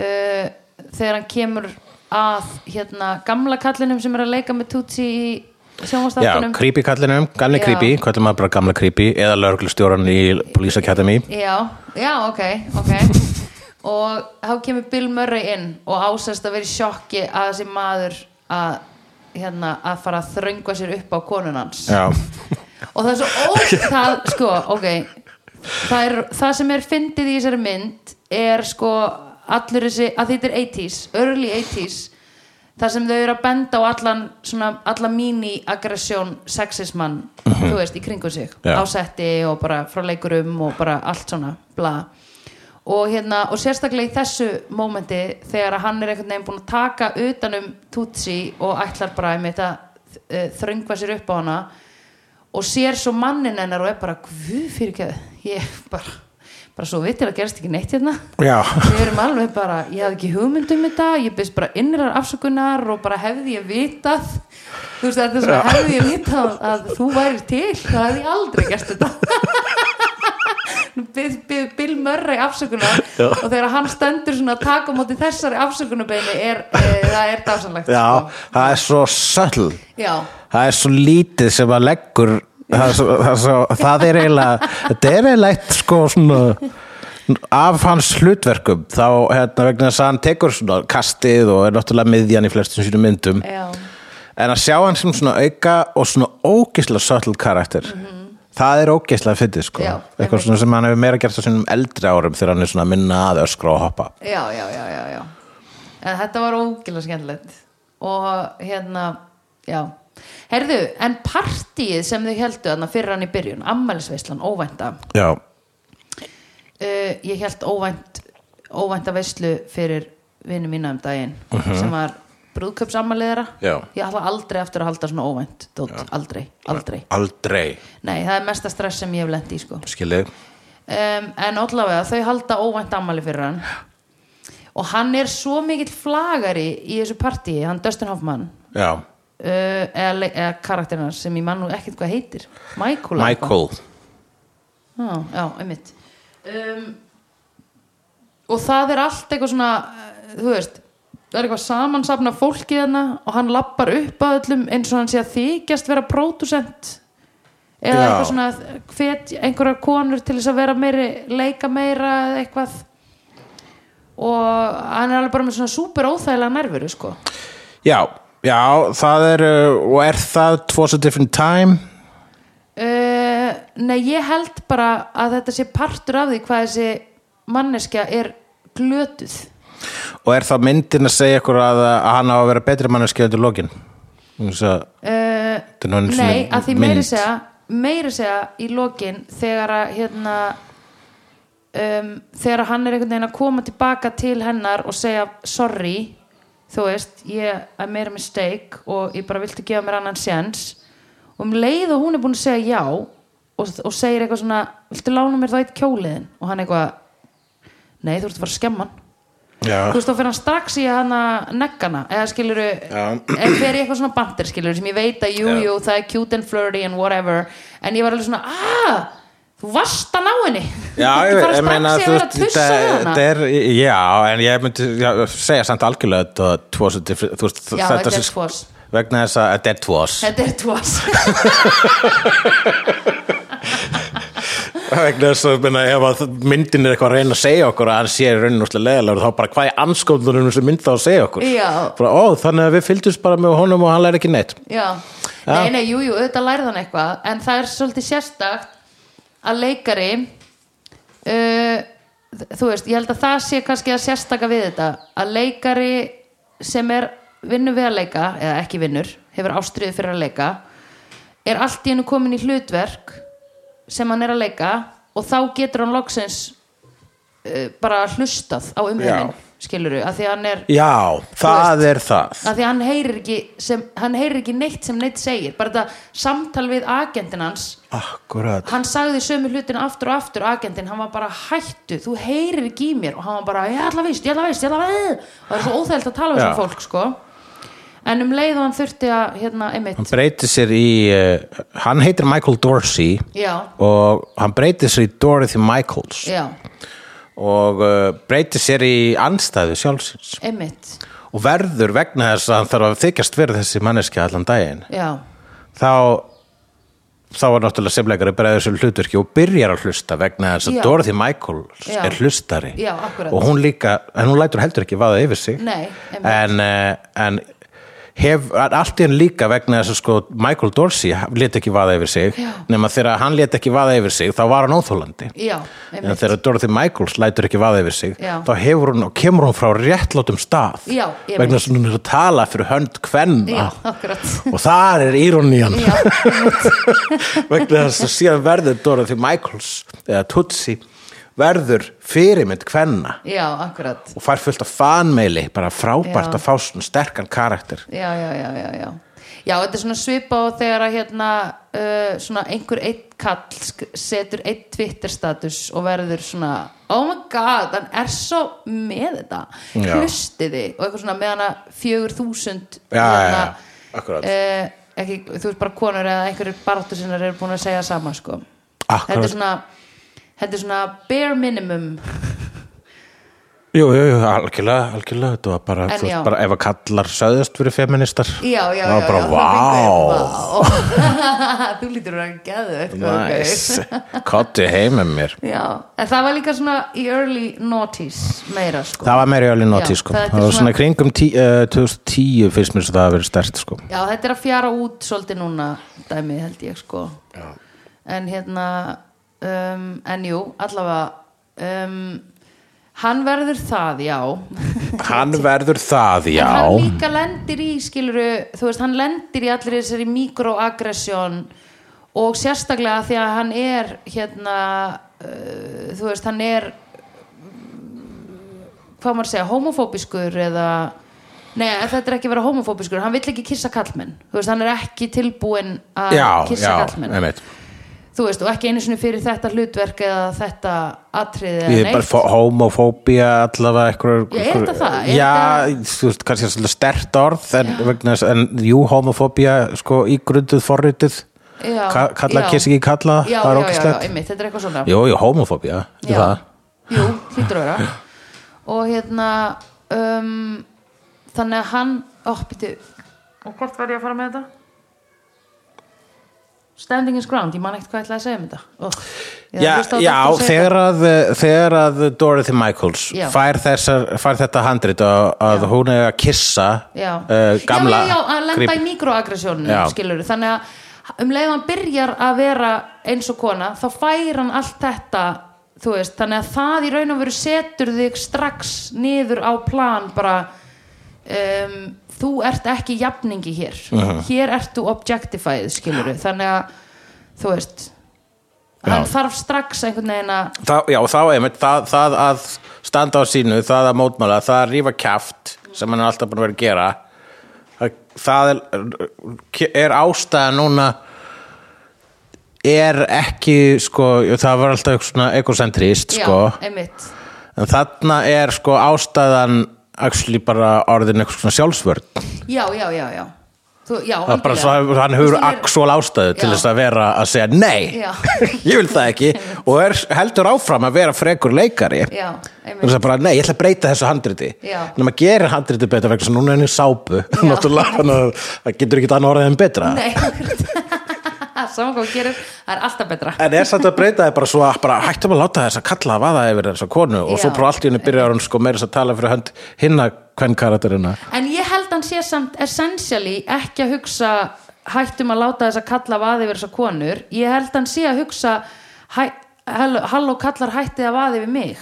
[SPEAKER 1] uh, þegar hann kemur að hérna gamla kallinum sem er að leika með Tutsi í
[SPEAKER 2] já,
[SPEAKER 1] sjónvastáttunum
[SPEAKER 2] creepy kallinum, gamli
[SPEAKER 1] Já.
[SPEAKER 2] creepy kallum maður bara gamla creepy eða lögreglustjóran í Police Academy
[SPEAKER 1] Já, já, ok,
[SPEAKER 2] *laughs*
[SPEAKER 1] ok Og þá kemur Bill Murray inn og ásast að vera í sjokki að þessi maður að, hérna, að fara að þröngva sér upp á konun hans *laughs*
[SPEAKER 2] já,
[SPEAKER 1] Og það er svo ó, það, sko, ok það, er, það sem er fyndið í þessari mynd er sko allur þessi, að þetta er 80s early 80s þar sem þau eru að benda á allan svona, alla mini-aggressjón sexismann þú veist, í kringum sig
[SPEAKER 2] Já.
[SPEAKER 1] á setti og bara frá leikurum og bara allt svona, bla og hérna, og sérstaklega í þessu mómenti þegar að hann er einhvern veginn búin að taka utanum Tutsi og ætlar bara einmitt að eh, þröngva sér upp á hana og sér svo mannin hennar og er bara, guð fyrir ekki ég bara, bara svo vitir að gerst ekki neitt hérna
[SPEAKER 2] já,
[SPEAKER 1] við erum alveg bara, ég hafði ekki hugmynd um þetta ég byrst bara innrar afsökunar og bara hefði ég vitað þú veist þetta er svona, hefði ég vitað að þú væri til, það hefði ég aldrei gert þetta Bið- bið Bill Murray afsökunar og þegar hann stendur svona að taka á móti þessari afsökunarbeini er, e, það er dásanlegt
[SPEAKER 2] já
[SPEAKER 1] sko.
[SPEAKER 2] það er svo söll
[SPEAKER 1] já,
[SPEAKER 2] það er svo lítið sem að leggur það, er svo, það, er svo, það er eiginlega þetta er eiginlega eitt sko svona af hans hlutverkum þá hérna vegna þess að hann tekur svona kastið og er náttúrulega miðjan í flestum sínum myndum
[SPEAKER 1] já,
[SPEAKER 2] en að sjá hann sem svona auka og svona ógislega söll karakter það er ógislega fyndið sko
[SPEAKER 1] Já,
[SPEAKER 2] eitthvað svona sem hann hefur meira gert á sínum eldri árum þegar hann er svona minna að öskra og hoppa
[SPEAKER 1] já, já, já, já, já. en þetta var ógilega skemmtilegt og hérna já, herðu en partíið sem þau heldu þarna fyrir hann í byrjun, ammælisveislan, óvænta
[SPEAKER 2] já,
[SPEAKER 1] uh, ég held óvænt óvænta veislu fyrir vinnu mína um daginn sem var brúðköpsammæliðara
[SPEAKER 2] Já.
[SPEAKER 1] ég ætla aldrei aftur að halda svona óvænt dótt, aldrei, aldrei
[SPEAKER 2] aldrei
[SPEAKER 1] nei, það er mesta stress sem ég hef lent í sko
[SPEAKER 2] skilið,
[SPEAKER 1] um, en allavega þau halda óvænt ammali fyrir hann og hann er svo mikill flagari í þessu partíi, hann Dustin Hoffman uh,
[SPEAKER 2] já,
[SPEAKER 1] eða, le- eða karakterina sem ég man nú ekkert hvað heitir Michael eða eitthvað.
[SPEAKER 2] Michael
[SPEAKER 1] já, já, einmitt um, og það er allt eitthvað svona eh, þú veist, það er eitthvað samansafna fólkið hérna og hann lappar upp að öllum eins og hann sé að þykjast vera pródusent eða
[SPEAKER 2] Já.
[SPEAKER 1] eitthvað svona hvet einhverjar konur til þess að vera meiri leika meira eða eitthvað og hann er alveg bara með svona súper óþægilega nærveru sko
[SPEAKER 2] já, já, það er uh, og er það Twas a Different Time
[SPEAKER 1] uh, nei ég held bara að þetta sé partur af því hvað þessi manneskja er glötuð
[SPEAKER 2] og er það myndin að segja ykkur að, að hann á að vera betri manneski undir lokin þetta
[SPEAKER 1] uh,
[SPEAKER 2] er nú einu sinni
[SPEAKER 1] Nei, að því meiri
[SPEAKER 2] mynd.
[SPEAKER 1] segja meiri segja í lokin þegar að hérna um, þegar að hann er einhvern veginn að koma tilbaka til hennar og segja sorry, þú veist ég I made a mistake og ég bara viltu gefa mér annan séns og um leið og hún er búin að segja já og, og segir eitthvað svona, viltu lána mér þá eitt kjóliðin og hann eitthvað nei, þú ert að fara að skemma hann
[SPEAKER 2] já,
[SPEAKER 1] þú veist, þá fyrir hann strax í hana neggana, eða skilur eða fer í eitthvað svona bandir, skilur sem ég veit að jú,
[SPEAKER 2] Já.
[SPEAKER 1] jú, það er cute and flirty and whatever en ég var alveg svona, aah þú varst að ná henni
[SPEAKER 2] já
[SPEAKER 1] þú
[SPEAKER 2] ég,
[SPEAKER 1] fara
[SPEAKER 2] ég meina
[SPEAKER 1] strax
[SPEAKER 2] þú
[SPEAKER 1] í að vera að
[SPEAKER 2] veist,
[SPEAKER 1] tussa
[SPEAKER 2] þetta-
[SPEAKER 1] við hana
[SPEAKER 2] þetta er, já, en ég myndi já, segja samt algjörlega þetta Twas a Different þú veist,
[SPEAKER 1] Já,
[SPEAKER 2] þetta
[SPEAKER 1] þetta er
[SPEAKER 2] sé- sko-
[SPEAKER 1] twas.
[SPEAKER 2] vegna þess að þetta er Twas
[SPEAKER 1] þetta er twas
[SPEAKER 2] *laughs* vegna þess að minna, ef að myndin er eitthvað að reyna að segja okkur að hann sé í rauninu úrslega leðilegur þá bara hvað er anskóðunum sem mynd þá að segja okkur
[SPEAKER 1] Já.
[SPEAKER 2] bara, ó, þannig að við fylgdumst bara með honum og hann læri ekki neitt
[SPEAKER 1] já, nei, nei, jú, jú, auðvitað lærði hann eitthvað en það er svolítið sérstakt að leikari uh, þú veist, ég held að það sé kannski að sérstaka við þetta að leikari sem er vinnur við að leika, eða ekki vinnur hefur ástriðu fyrir að leika er allt í hennu komin í hlutverk sem hann er að leika og þá getur hann loksins uh, bara hlustað á umhengin
[SPEAKER 2] Já.
[SPEAKER 1] skiluru, af því að hann er
[SPEAKER 2] Já, það er það
[SPEAKER 1] af því að hann heyrir ekki sem, hann heyrir ekki neitt sem neitt segir bara þetta samtal við agentin hans
[SPEAKER 2] Akkurat
[SPEAKER 1] hann sagði sömu hlutin aftur og aftur agentin, hann var bara hættu, þú heyrir ekki í mér og hann var bara, ég ætla vist, ég ætla vist, ég ætla vist og það er svo óþægilt að tala við
[SPEAKER 2] Já.
[SPEAKER 1] svona fólk sko en um leið og hann þurfti að hérna,
[SPEAKER 2] Hann
[SPEAKER 1] einmitt,
[SPEAKER 2] breytir sér í uh, Hann heitir Michael Dorsey
[SPEAKER 1] já,
[SPEAKER 2] og hann breytir sér í Dorothy Michaels
[SPEAKER 1] já
[SPEAKER 2] og uh, breytir sér í anstæðu sjálfsins
[SPEAKER 1] einmitt,
[SPEAKER 2] og verður vegna þess að hann þarf að þykjast verið þessi manneskja allan daginn
[SPEAKER 1] já,
[SPEAKER 2] þá þá er náttúrulega semleikari bregður þessu hlutverki og byrjar að hlusta vegna þess að
[SPEAKER 1] Já.
[SPEAKER 2] Dorothy Michaels
[SPEAKER 1] Já.
[SPEAKER 2] er hlustari
[SPEAKER 1] Já, akkurat.
[SPEAKER 2] og hún líka, en hún lætur heldur ekki vaða yfir sig
[SPEAKER 1] Nei, einmitt.
[SPEAKER 2] en, eh, en hef, allt í hann líka vegna þess að sko Michael Dorsey let ekki vaða yfir sig
[SPEAKER 1] Já.
[SPEAKER 2] nema þegar hann let ekki vaða yfir sig þá var hann óþólandi
[SPEAKER 1] já
[SPEAKER 2] en
[SPEAKER 1] einmitt,
[SPEAKER 2] þegar Dorothy Michaels lætur ekki vaða yfir sig
[SPEAKER 1] Já.
[SPEAKER 2] þá hefur hún og kemur hún frá réttlátum stað
[SPEAKER 1] Já, ég
[SPEAKER 2] vegna
[SPEAKER 1] veit.
[SPEAKER 2] þess að hún er að tala fyrir hönd kvenna
[SPEAKER 1] já, akkurat *laughs*
[SPEAKER 2] og þar er írónían
[SPEAKER 1] já, einmitt,
[SPEAKER 2] vegna þess að síðan verður Dorothy Michaels eða Tutsi verður fyrirmynd kvenna
[SPEAKER 1] já, akkurat
[SPEAKER 2] og fær fullt af fanmeili bara frábært
[SPEAKER 1] Já.
[SPEAKER 2] að fá svona sterkan karakter
[SPEAKER 1] já, já, já, já, já Já, þetta er svona svipa á þegar að hérna uh, svona einhver eitt kall sk- setur eitt Twitter status og verður svona, oh my god hann er svo með þetta
[SPEAKER 2] Já.
[SPEAKER 1] hlustiði og eitthvað svona með hana 4000
[SPEAKER 2] já, já, já, akkurat
[SPEAKER 1] Hérna, Eh, ekki, þú veist bara konur eða einhverjir baráttu sinnar eru búin að segja sama sko.
[SPEAKER 2] Akkurat.
[SPEAKER 1] þetta er svona þetta er svona bare minimum
[SPEAKER 2] jú, jú, jú, algjörlega, algjörlega þetta var bara,
[SPEAKER 1] En
[SPEAKER 2] þú
[SPEAKER 1] já.
[SPEAKER 2] veist, bara ef að kallar söðust fyrir feministar
[SPEAKER 1] já, já, já,
[SPEAKER 2] það
[SPEAKER 1] já, *laughs*
[SPEAKER 2] var bara,
[SPEAKER 1] þá
[SPEAKER 2] vá
[SPEAKER 1] fengu ég, vá. *laughs* þú lítur að geðu eitthvað
[SPEAKER 2] Nice, *laughs* kottu heim með mér
[SPEAKER 1] Já, en það var líka svona í early noughties meira sko
[SPEAKER 2] Það var meiri öllin á
[SPEAKER 1] Já,
[SPEAKER 2] tísku
[SPEAKER 1] það er
[SPEAKER 2] Það var
[SPEAKER 1] svona-
[SPEAKER 2] svona kringum tí, uh, 2010 finnst mér svo það að vera stert sko.
[SPEAKER 1] Já, þetta er að fjara út svolítið núna dæmið held ég sko Já. En hérna um, en jú, allavega um, hann verður það, já
[SPEAKER 2] Hann verður það,
[SPEAKER 1] En hann
[SPEAKER 2] já
[SPEAKER 1] líka lendir í, skiluru þú veist, hann lendir í allir þessari mikroagressjón og sérstaklega því að hann er hérna uh, þú veist, hann er hvað maður að segja, homofóbiskur eða Nei, en þetta er ekki að vera homofóbiskur, hann vill ekki kissa kallmenn þú veist, hann er ekki tilbúin að
[SPEAKER 2] Já,
[SPEAKER 1] kissa
[SPEAKER 2] já,
[SPEAKER 1] kallmenn
[SPEAKER 2] einmitt
[SPEAKER 1] þú veist, og ekki einu sinni fyrir þetta hlutverk eða þetta atriði eða
[SPEAKER 2] Ég er bara
[SPEAKER 1] neitt.
[SPEAKER 2] fó- homofóbía allavega einhver,
[SPEAKER 1] Já, er þetta það? Er
[SPEAKER 2] Já,
[SPEAKER 1] þetta-
[SPEAKER 2] þú veist, kannski svolítið stert orð en, vegna, þess- en jú, homofóbía sko ígrunduð forritið
[SPEAKER 1] Já,
[SPEAKER 2] Ka- kalla
[SPEAKER 1] já.
[SPEAKER 2] kiss ekki kalla
[SPEAKER 1] já,
[SPEAKER 2] það er
[SPEAKER 1] já, já, já,
[SPEAKER 2] ógæslegt
[SPEAKER 1] einmitt, þetta er eitthvað svona
[SPEAKER 2] Jú, jú, homofóbía, þetta er það
[SPEAKER 1] Jú, hlýtur að vera og hérna um, þannig að hann ó, býtu og hvort verð ég að fara með þetta? Standing is ground, ég man ekkert hvað ég ætlaði að segja um þetta Ó, ég
[SPEAKER 2] Já,
[SPEAKER 1] hlustaði á
[SPEAKER 2] já
[SPEAKER 1] doktor segja
[SPEAKER 2] þegar, að, þegar að Dorothy Michaels
[SPEAKER 1] Já.
[SPEAKER 2] fær, þessar, fær þetta handrit að, að hún er að kissa
[SPEAKER 1] já.
[SPEAKER 2] eh, gamla
[SPEAKER 1] já, já, já, að lenda
[SPEAKER 2] creep-
[SPEAKER 1] í mikroagressjónu
[SPEAKER 2] Já.
[SPEAKER 1] skilur þannig að um leið og hann byrjar að vera eins og kona þá fær hann allt þetta þú veist, þannig að það í raun og veru setur þig strax niður á plan bara um, þú ert ekki jafningi hér hér ertu objectifæð skilur þannig að þú veist
[SPEAKER 2] Já.
[SPEAKER 1] hann þarf strax einhvern veginn að
[SPEAKER 2] Þá, já, þá einmitt, það, það að standa á sínu, það að mótmála, það að rífa kjaft sem hann er alltaf búin að vera að gera það, það er, er ástæða núna er ekki sko, það var alltaf eitthvað svona ekocentrist sko,
[SPEAKER 1] já, einmitt
[SPEAKER 2] en þarna er sko ástæðan actually bara orðin eitthvað svona sjálfsvörn
[SPEAKER 1] já, já, já, já Þú, já,
[SPEAKER 2] það er bara
[SPEAKER 1] algjörlega.
[SPEAKER 2] svo að hann hefur
[SPEAKER 1] Þú veist, hann er-
[SPEAKER 2] actual ástæðu til
[SPEAKER 1] Já.
[SPEAKER 2] þess að vera að segja nei,
[SPEAKER 1] Já.
[SPEAKER 2] *laughs* ég vil það ekki og er heldur áfram að vera frekur leikari
[SPEAKER 1] Já, einmitt.
[SPEAKER 2] og það er bara, nei, ég ætla að breyta þessu handriti
[SPEAKER 1] Já.
[SPEAKER 2] nema gerir handriti betra vegna þess að núna er henni sápu *laughs* náttúrulega, þannig að það getur ekki annað orðið en betra
[SPEAKER 1] Nei, *laughs* saman hvað þú gerir, það er alltaf betra
[SPEAKER 2] en er samt að breyta það bara svo að bara hættum að láta þess að kalla að vaða yfir þessa konu og
[SPEAKER 1] Já.
[SPEAKER 2] svo bara allt í henni byrjar hún sko meira þess að tala fyrir hönd hinna hvern karakterina
[SPEAKER 1] En ég held hann sé samt essentially ekki að hugsa hættum að láta þess að kalla vaði yfir þessar konur Ég held hann sé að hugsa hæ, halló, halló kallar hættið að vaði yfir mig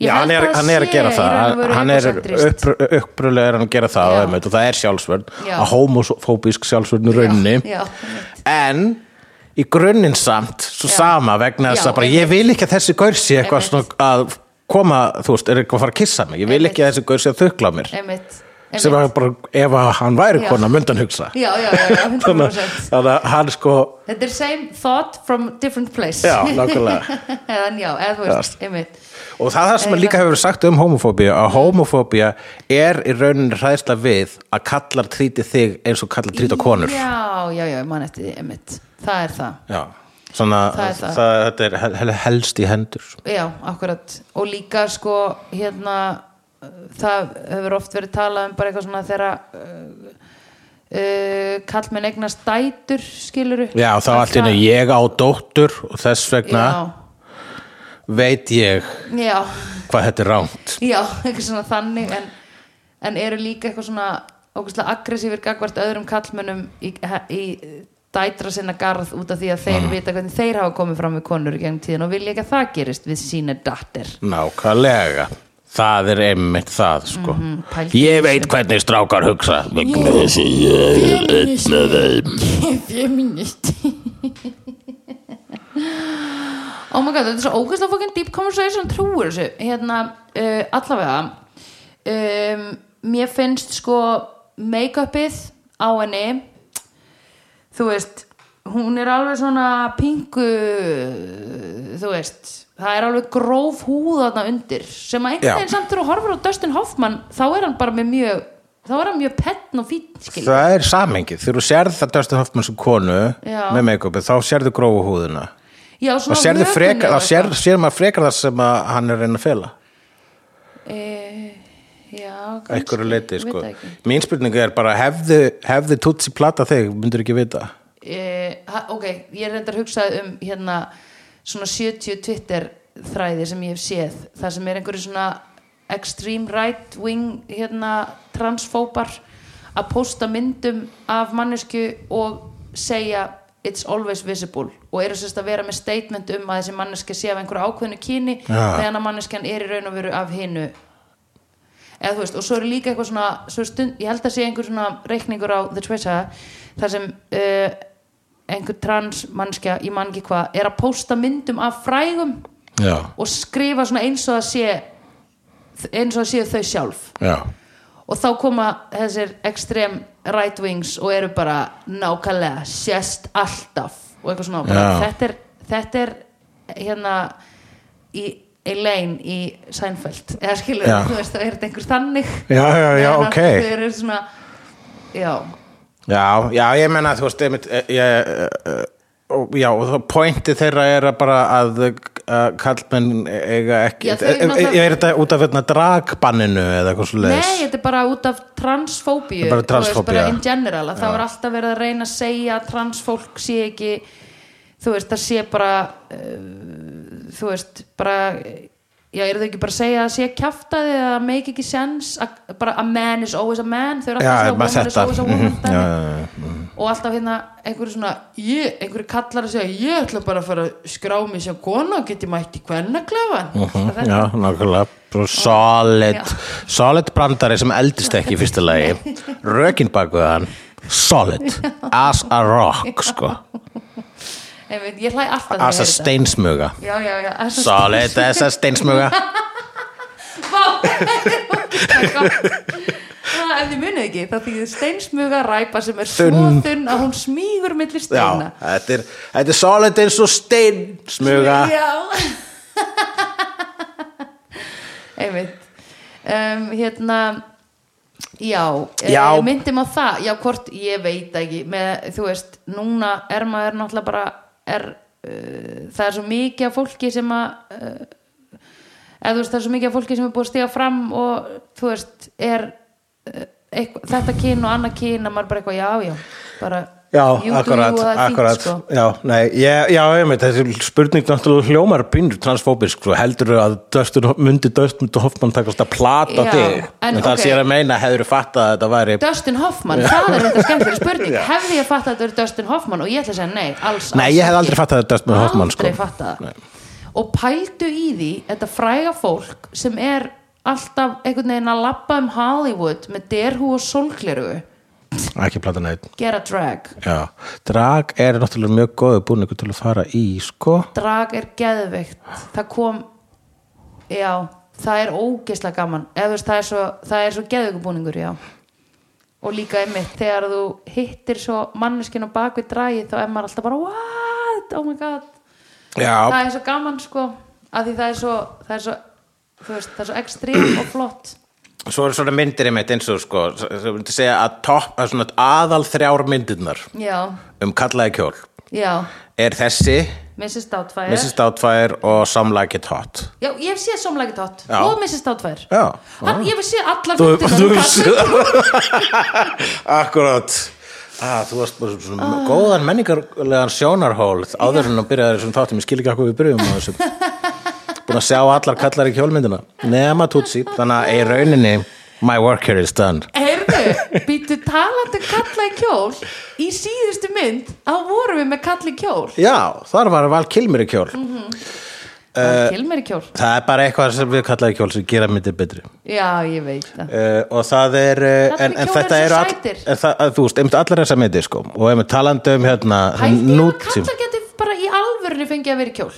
[SPEAKER 1] Ég
[SPEAKER 2] Já, hann
[SPEAKER 1] held
[SPEAKER 2] er,
[SPEAKER 1] það
[SPEAKER 2] hann er að
[SPEAKER 1] sé
[SPEAKER 2] gera
[SPEAKER 1] í
[SPEAKER 2] það
[SPEAKER 1] raun og
[SPEAKER 2] Hann-
[SPEAKER 1] veru
[SPEAKER 2] hann er
[SPEAKER 1] egocentrist.
[SPEAKER 2] upprulega er hann að gera það
[SPEAKER 1] Já.
[SPEAKER 2] og, einmitt, og það er sjálfsvörn
[SPEAKER 1] Já.
[SPEAKER 2] að homofóbísk sjálfsvörn í rauninni
[SPEAKER 1] Já, já,
[SPEAKER 2] en í grunninn samt svo
[SPEAKER 1] Já.
[SPEAKER 2] sama vegna þess
[SPEAKER 1] Já,
[SPEAKER 2] að bara
[SPEAKER 1] einmitt.
[SPEAKER 2] ég vil ekki að þessi gaur sé eitthvað
[SPEAKER 1] Einmitt.
[SPEAKER 2] svona að koma, þú veist, er eitthvað að fara að kissa mig ég vil ekki að þessi gaur sé að þukla á mér
[SPEAKER 1] einmitt, einmitt.
[SPEAKER 2] sem var bara, ef að hann væri
[SPEAKER 1] Já.
[SPEAKER 2] kona myndi hann hugsa
[SPEAKER 1] já, já,
[SPEAKER 2] *laughs*
[SPEAKER 1] já, já,
[SPEAKER 2] þannig
[SPEAKER 1] 100%
[SPEAKER 2] að- þannig að hann sko
[SPEAKER 1] Þetta er same thought from different place
[SPEAKER 2] Já, nákvæmlega.
[SPEAKER 1] *laughs* En já, eða þú veist, einmitt
[SPEAKER 2] og það er það sem
[SPEAKER 1] Eiginlega.
[SPEAKER 2] líka hefur verið sagt um homofóbíu að homofóbía er í rauninni hræðsla við að kallar tríti þig eins og kallar tríti á konur
[SPEAKER 1] Já, já, já, ég man eftir því, einmitt Það er það,
[SPEAKER 2] Já. svona
[SPEAKER 1] Það
[SPEAKER 2] það
[SPEAKER 1] er það.
[SPEAKER 2] það, þetta er hel- hel- helst í hendur sko.
[SPEAKER 1] já, akkurat Og líka sko, hérna Það hefur oft verið talað um bara eitthvað svona þegar uh, uh, kallmenn eignast dætur skiluru
[SPEAKER 2] Já, þá allt innu ég á dóttur og þess vegna
[SPEAKER 1] Já,
[SPEAKER 2] veit ég
[SPEAKER 1] já
[SPEAKER 2] hvað þetta er rámt
[SPEAKER 1] já, *laughs* eitthvað svona þannig en, en eru líka eitthvað svona ókvæslega aggressífir gagvart öðrum kallmönnum í, í dætra sinna garð út af því að þeir vita hvernig þeir hafa komið fram við konur í gegnum tíðin og vilja ekki að það gerist við sína datter
[SPEAKER 2] Nákvæmlega Það er einmitt það sko.
[SPEAKER 1] Mhm, pældu
[SPEAKER 2] Ég veit hvernig strákar hugsa vegna þessi ég er einn með þeim
[SPEAKER 1] feminist oh my god, þetta er svo ógæslega fókin deep conversation trúur þessu hérna, uh, allavega um, mér finnst sko make-upið á henni þú veist hún er alveg svona pingu þú veist það er alveg gróf húð þarna undir sem
[SPEAKER 2] Já.
[SPEAKER 1] að einhvern veginn samt þegar þú horfir á Dustin Hoffman þá er hann bara með mjög þá er hann mjög petn og fín skilur.
[SPEAKER 2] Það er samengið, þegar þú sérð það Dustin Hoffman sem konu
[SPEAKER 1] Já.
[SPEAKER 2] með make-upi þá sérðu grófu húðina
[SPEAKER 1] Já,
[SPEAKER 2] þá
[SPEAKER 1] svona
[SPEAKER 2] sérðu
[SPEAKER 1] vökunni
[SPEAKER 2] frekar,
[SPEAKER 1] og
[SPEAKER 2] þá sér,
[SPEAKER 1] eitthvað.
[SPEAKER 2] sér maður frekar það sem að hann er að reyna að fela
[SPEAKER 1] Eh, Já, kannski,
[SPEAKER 2] einhverju leiti
[SPEAKER 1] ég
[SPEAKER 2] sko.
[SPEAKER 1] veit það ekki.
[SPEAKER 2] mín spurning er bara hefði, hefði tutsi plata þig, myndur ekki vita
[SPEAKER 1] Eh, ha- Ok, ég reyndar að hugsa um hérna svona 70 Twitter þræði sem ég hef séð það sem er einhverju svona extreme right wing hérna transfópar að posta myndum af mannesku og segja it's always visible og eru sérst að vera með statement um að þessi manneski sé af einhverju ákveðnu kyni
[SPEAKER 2] Já.
[SPEAKER 1] meðan að manneskjan er í raun og veru af hinu eða þú veist, og svo eru líka eitthvað svona svo er stund, ég held að sé einhver svona reikningur á The Twitter þar sem uh, einhver trans mannskja, ég man ekki hvað, er að posta myndum af frægum
[SPEAKER 2] Já,
[SPEAKER 1] og skrifa svona eins og það sé eins og það séu þau sjálf
[SPEAKER 2] já
[SPEAKER 1] og þá koma þessir extrem right wings og eru bara nákvæmlega sérst alltaf og eitthvað svona bara,
[SPEAKER 2] Já.
[SPEAKER 1] þetta, er, þetta er hérna í Elaine í Seinfeld eða skilur,
[SPEAKER 2] Já.
[SPEAKER 1] þú veist, það er þetta einhver þannig
[SPEAKER 2] Já, já, já,
[SPEAKER 1] Meðan að
[SPEAKER 2] ok.
[SPEAKER 1] þau eru svona já,
[SPEAKER 2] Já, já, ég menna þú veist einmitt, eh, ég, eh, og- já, og þá pointi þeirra er að bara að uh, kallmenn eiga ekki
[SPEAKER 1] Já,
[SPEAKER 2] já,
[SPEAKER 1] þau
[SPEAKER 2] er,
[SPEAKER 1] náttúrulega-
[SPEAKER 2] er þetta út af hérna, dragbanninu eða eitthvað svo
[SPEAKER 1] nei, þetta er bara út af transfóbíu,
[SPEAKER 2] Þetta er bara
[SPEAKER 1] þú veist, bara
[SPEAKER 2] transfóbía.
[SPEAKER 1] in general, að það var alltaf verið að reyna að segja að transfólk sé ekki þú veist, það sé bara uh, þú veist, bara já, eru þau ekki bara að segja að sé kjaftaði eða að make ekki sense a, bara a man is always a man þau eru
[SPEAKER 2] Já,
[SPEAKER 1] alltaf
[SPEAKER 2] bara
[SPEAKER 1] að segja
[SPEAKER 2] þetta
[SPEAKER 1] woman is always a woman
[SPEAKER 2] Mhm, já,
[SPEAKER 1] dæmi.
[SPEAKER 2] já, já.
[SPEAKER 1] og alltaf hérna einhverju svona, ég, einhverju kallar að segja ég ætla bara að fara að skrá mig sem kona og get ég mætt í kvennaklefan
[SPEAKER 2] Mhm, Já, nákvæmlega Svo solid,
[SPEAKER 1] Já.
[SPEAKER 2] solid brandari sem eldist ekki í fyrsta
[SPEAKER 1] *laughs*
[SPEAKER 2] lagi Rökin bakuð hann Solid, as a rock sko.
[SPEAKER 1] Einmitt, ég hlæ alltaf
[SPEAKER 2] As a
[SPEAKER 1] þegar ég heyri þetta.
[SPEAKER 2] steinsmuga
[SPEAKER 1] já, já, já, as a
[SPEAKER 2] Solid, as a steinsmuga
[SPEAKER 1] *laughs* Vá, *laughs* þetta er ógeðslega gott. Það, ef þið munið ekki þá þýðir steinsmuga ræpa sem er svo
[SPEAKER 2] Þunn.
[SPEAKER 1] þunn að hún smýgur millir
[SPEAKER 2] Já,
[SPEAKER 1] steina
[SPEAKER 2] þetta er, þetta er solid eins og steinsmuga
[SPEAKER 1] Já. einmitt um, hérna já,
[SPEAKER 2] Já.
[SPEAKER 1] eh, myndum á það já, hvort, ég veit ekki með, þú veist, núna er maður náttúrulega bara er, uh, það er svo mikið af fólki sem að uh, eða þú veist, það er svo mikið af fólki sem er búið að stiga fram og þú veist, er uh, eitthvað, þetta kyn og annað kyn að maður bara eitthvað, já, já, bara
[SPEAKER 2] Já,
[SPEAKER 1] you do you
[SPEAKER 2] akkurat,
[SPEAKER 1] og það er fínt,
[SPEAKER 2] akkurat
[SPEAKER 1] sko.
[SPEAKER 2] Já, nei, ég, já, ég veit, þessi spurning náttúrulega hljómar pínur transfóbisk svo heldur að döstur, myndi döstmund og hoffmann takast að plata
[SPEAKER 1] Já,
[SPEAKER 2] þig
[SPEAKER 1] en
[SPEAKER 2] en það
[SPEAKER 1] ok.
[SPEAKER 2] sé að meina, hefur fattað að þetta væri
[SPEAKER 1] Dustin Hoffman, það er þetta
[SPEAKER 2] *laughs*
[SPEAKER 1] skemmtileg spurning hefði ég fatt að þetta er Dustin Hoffman og ég ætla að segja nei, alls
[SPEAKER 2] Nei,
[SPEAKER 1] alls
[SPEAKER 2] ég hef
[SPEAKER 1] ekki.
[SPEAKER 2] aldrei fattað að Dustin Hoffman sko.
[SPEAKER 1] aldrei fattað það. og pældu í því þetta fræga fólk sem er alltaf einhvern veginn að labba um Hollywood með derhú og solgleru
[SPEAKER 2] Ekki plata neitt
[SPEAKER 1] gera drag,
[SPEAKER 2] Já, drag er náttúrulega mjög góðu búin ykkur til að fara í, sko
[SPEAKER 1] drag er geðveikt það kom já, það er ógeislega gaman eða þú veist, það er svo, það er svo geðugubúningur já og líka einmitt þegar þú hittir svo manneskinn á bakvið dragi þá er maður alltaf bara what, oh my god það
[SPEAKER 2] já,
[SPEAKER 1] er svo gaman sko af því það er svo, það er svo þú veist, það er svo ekstrím og flott
[SPEAKER 2] svo er svona myndir einmitt eins og sko, þú myndir segja að topp, að svona aðal þrjár myndirnar
[SPEAKER 1] já,
[SPEAKER 2] um kallaði kjól
[SPEAKER 1] já,
[SPEAKER 2] er þessi,
[SPEAKER 1] Mrs. Doubtfire
[SPEAKER 2] Mrs. Doubtfire og Some Like It Hot
[SPEAKER 1] já, ég hef séð somlægit hot
[SPEAKER 2] Já.
[SPEAKER 1] og Mrs. Doubtfire
[SPEAKER 2] Já.
[SPEAKER 1] Hann, ég hef séð allar
[SPEAKER 2] Þú-
[SPEAKER 1] myndirnar
[SPEAKER 2] þú-
[SPEAKER 1] um Katrínu.
[SPEAKER 2] Akkurát ah, Þú varst bara svona góðan menningarlegan sjónarhól áður en að byrja þessum þáttum, ég skil ekki að hvað við byrjum á þessu Búin að sjá allar kallar í kjólmyndina Nema tutsi, þannig að í rauninni My work here is done
[SPEAKER 1] Heyrðu, býttu talandi um kalla í kjól Í síðustu mynd þá vorum við með kalla í kjól
[SPEAKER 2] Já, þar var val kilmir í kjól
[SPEAKER 1] uh, Kilmer í kjól
[SPEAKER 2] Það er bara eitthvað sem við kallaði kjól sem gera myndir betri
[SPEAKER 1] Já, ég veit það
[SPEAKER 2] Uh, og það er uh,
[SPEAKER 1] Kallar í
[SPEAKER 2] en, en
[SPEAKER 1] kjól
[SPEAKER 2] þetta
[SPEAKER 1] eru
[SPEAKER 2] eru
[SPEAKER 1] svo
[SPEAKER 2] all,
[SPEAKER 1] sætir.
[SPEAKER 2] en það, að, þú veist, einmitt allar þessa myndir sko, og einmitt talandi um hérna
[SPEAKER 1] Hætti að
[SPEAKER 2] nútím
[SPEAKER 1] kalla geti bara í alvörinu fengið að vera í kjól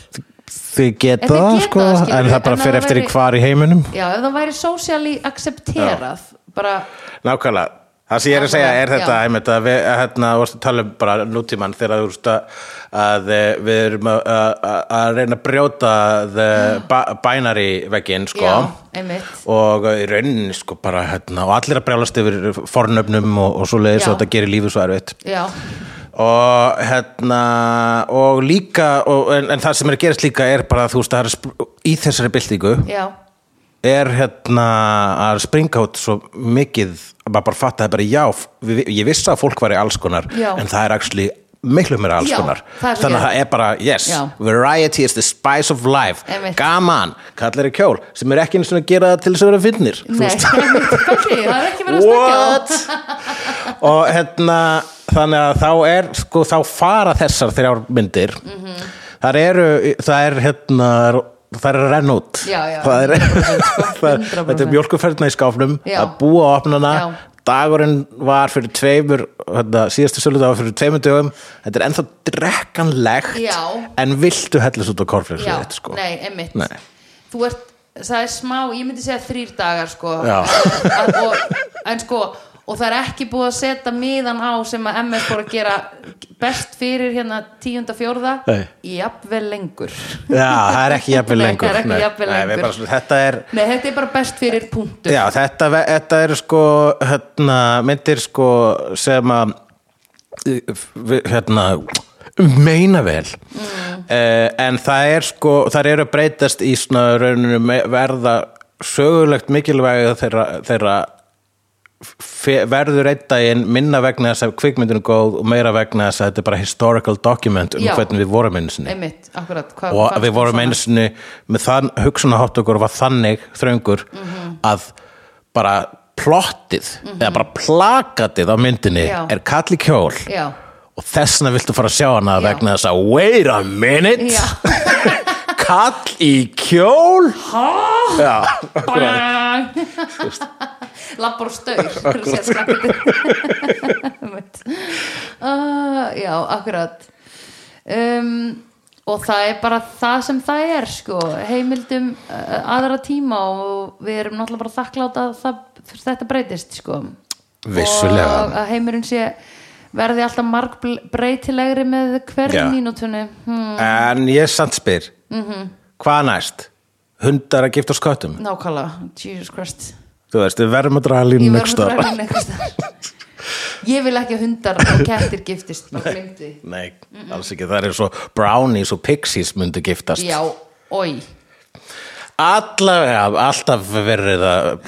[SPEAKER 2] þið geta
[SPEAKER 1] En þið
[SPEAKER 2] það
[SPEAKER 1] geta
[SPEAKER 2] sko
[SPEAKER 1] það, skilurðu,
[SPEAKER 2] en það bara
[SPEAKER 1] en
[SPEAKER 2] fyrir
[SPEAKER 1] það
[SPEAKER 2] eftir í
[SPEAKER 1] væri-
[SPEAKER 2] hvar í heiminum
[SPEAKER 1] Já, ef það væri socially accepterað Bara,
[SPEAKER 2] nákvæmlega, það sem ég er að segja er þetta
[SPEAKER 1] Já.
[SPEAKER 2] einmitt, að við að hérna vorstu að tala um bara nútíman þegar þú veist að, að eh, við erum að, að, að reyna að brjóta the ba- binary veggin sko
[SPEAKER 1] já, einmitt
[SPEAKER 2] og í rauninni sko bara hérna og allir að brjálast yfir fornöfnum og, og svo leiðis
[SPEAKER 1] Já.
[SPEAKER 2] og þetta gerir lífið svo erfitt
[SPEAKER 1] Já,
[SPEAKER 2] og hérna og líka, og, en, en það sem er að gerast líka er bara, þú veist, það er sp- í þessari byltingu
[SPEAKER 1] já,
[SPEAKER 2] er hérna að springa út svo mikið, að maður bara fatta það bara já, við, ég vissi að fólk var í alls konar
[SPEAKER 1] Já.
[SPEAKER 2] en það er actually miklu meira alls
[SPEAKER 1] Já,
[SPEAKER 2] konar
[SPEAKER 1] það er svo
[SPEAKER 2] þannig að
[SPEAKER 1] geðvægt.
[SPEAKER 2] það er bara, yes,
[SPEAKER 1] Já.
[SPEAKER 2] variety is the spice of life
[SPEAKER 1] Einmitt.
[SPEAKER 2] gaman, kallar í kjól sem er ekki einu svona að gera það til þess að vera finnir
[SPEAKER 1] nei, *laughs* einmitt, kalli, það er
[SPEAKER 2] *laughs*
[SPEAKER 1] ekki verið að
[SPEAKER 2] What?
[SPEAKER 1] stekja
[SPEAKER 2] og hérna þannig að þá er sko þá fara þessar þrjár myndir
[SPEAKER 1] Mhm.
[SPEAKER 2] þar eru, það er hérna það er að renna út
[SPEAKER 1] Já, já,
[SPEAKER 2] það er,
[SPEAKER 1] 100% sko,
[SPEAKER 2] það er,
[SPEAKER 1] 100%.
[SPEAKER 2] þetta er mjólkuferðna í skáfnum
[SPEAKER 1] Já.
[SPEAKER 2] að búa á opnana
[SPEAKER 1] Já.
[SPEAKER 2] dagurinn var fyrir tveimur hérna, síðastu söludag var fyrir tveimur dögum þetta er ennþá drekkanlegt
[SPEAKER 1] Já.
[SPEAKER 2] en viltu hellast út á korflins
[SPEAKER 1] Já,
[SPEAKER 2] sko.
[SPEAKER 1] nei, einmitt
[SPEAKER 2] Nei.
[SPEAKER 1] Þú ert, það er smá, ég myndi segja þrýr dagar sko
[SPEAKER 2] Já.
[SPEAKER 1] *laughs* Að- og, En sko, og það er ekki búið að setja miðan á sem að MS fór að gera best fyrir hérna tíunda fjórða
[SPEAKER 2] Nei.
[SPEAKER 1] Jafnvel lengur
[SPEAKER 2] Já, það er ekki jafnvel
[SPEAKER 1] Nei,
[SPEAKER 2] lengur
[SPEAKER 1] það er ekki
[SPEAKER 2] Nei.
[SPEAKER 1] jafnvel
[SPEAKER 2] Nei, við
[SPEAKER 1] lengur.
[SPEAKER 2] bara svona, þetta er
[SPEAKER 1] Nei, þetta er bara best fyrir punktur
[SPEAKER 2] Já, þetta, ve- þetta eru sko hérna, myndir sko sem að við- hérna, meina vel eh, en það er sko þar eru að breytast í svona rauninu verða sögulegt mikilvæg þeirra, þeirra fe- verður einn daginn minna vegna þess að kvikmyndinu góð og meira vegna þess að þetta er bara historical document um
[SPEAKER 1] Já.
[SPEAKER 2] hvernig við vorum einu sinni
[SPEAKER 1] Einmitt, akkurat hvað,
[SPEAKER 2] og
[SPEAKER 1] fannst
[SPEAKER 2] við
[SPEAKER 1] þér
[SPEAKER 2] vorum
[SPEAKER 1] svona?
[SPEAKER 2] einu sinni með þann hugsunahátt okkur var þannig þröngur
[SPEAKER 1] Mhm.
[SPEAKER 2] að bara plottið eða bara plakatið á myndinni
[SPEAKER 1] Já.
[SPEAKER 2] er kalli kjól
[SPEAKER 1] Já,
[SPEAKER 2] og þessna viltu fara að sjá hana
[SPEAKER 1] Já.
[SPEAKER 2] vegna þess að wait a minute
[SPEAKER 1] já
[SPEAKER 2] *laughs* kall í
[SPEAKER 1] *laughs*
[SPEAKER 2] kjól
[SPEAKER 1] Há,
[SPEAKER 2] Já,
[SPEAKER 1] bang Lappar og staur til að sé *laughs* skapið Ah, Já, akkurat um, Og það er bara það sem það er sko, heimildum uh, aðra tíma og við erum náttúrulega bara þakkláta að það, þetta breytist sko.
[SPEAKER 2] Vissulega.
[SPEAKER 1] og að heimurinn sé verði alltaf margbreytilegri með hverju
[SPEAKER 2] Já.
[SPEAKER 1] mínútunni hmm,
[SPEAKER 2] en ég samt spyr
[SPEAKER 1] Mhm.
[SPEAKER 2] hvað næst? hundar að gifta sköttum
[SPEAKER 1] nákvæmlega, Jesus Christ
[SPEAKER 2] þú veist, við verðum að draga línu
[SPEAKER 1] Mhm.
[SPEAKER 2] einhvers
[SPEAKER 1] Ég verður að draga
[SPEAKER 2] staðar.
[SPEAKER 1] inn um einhvers staðar. Ég vil ekki að hundar og kettir giftist Má glimti
[SPEAKER 2] nei,
[SPEAKER 1] Mhm.
[SPEAKER 2] alls ekki, það er svo brownies og pixies myndu giftast
[SPEAKER 1] Já, oi
[SPEAKER 2] Allavega, alltaf verið að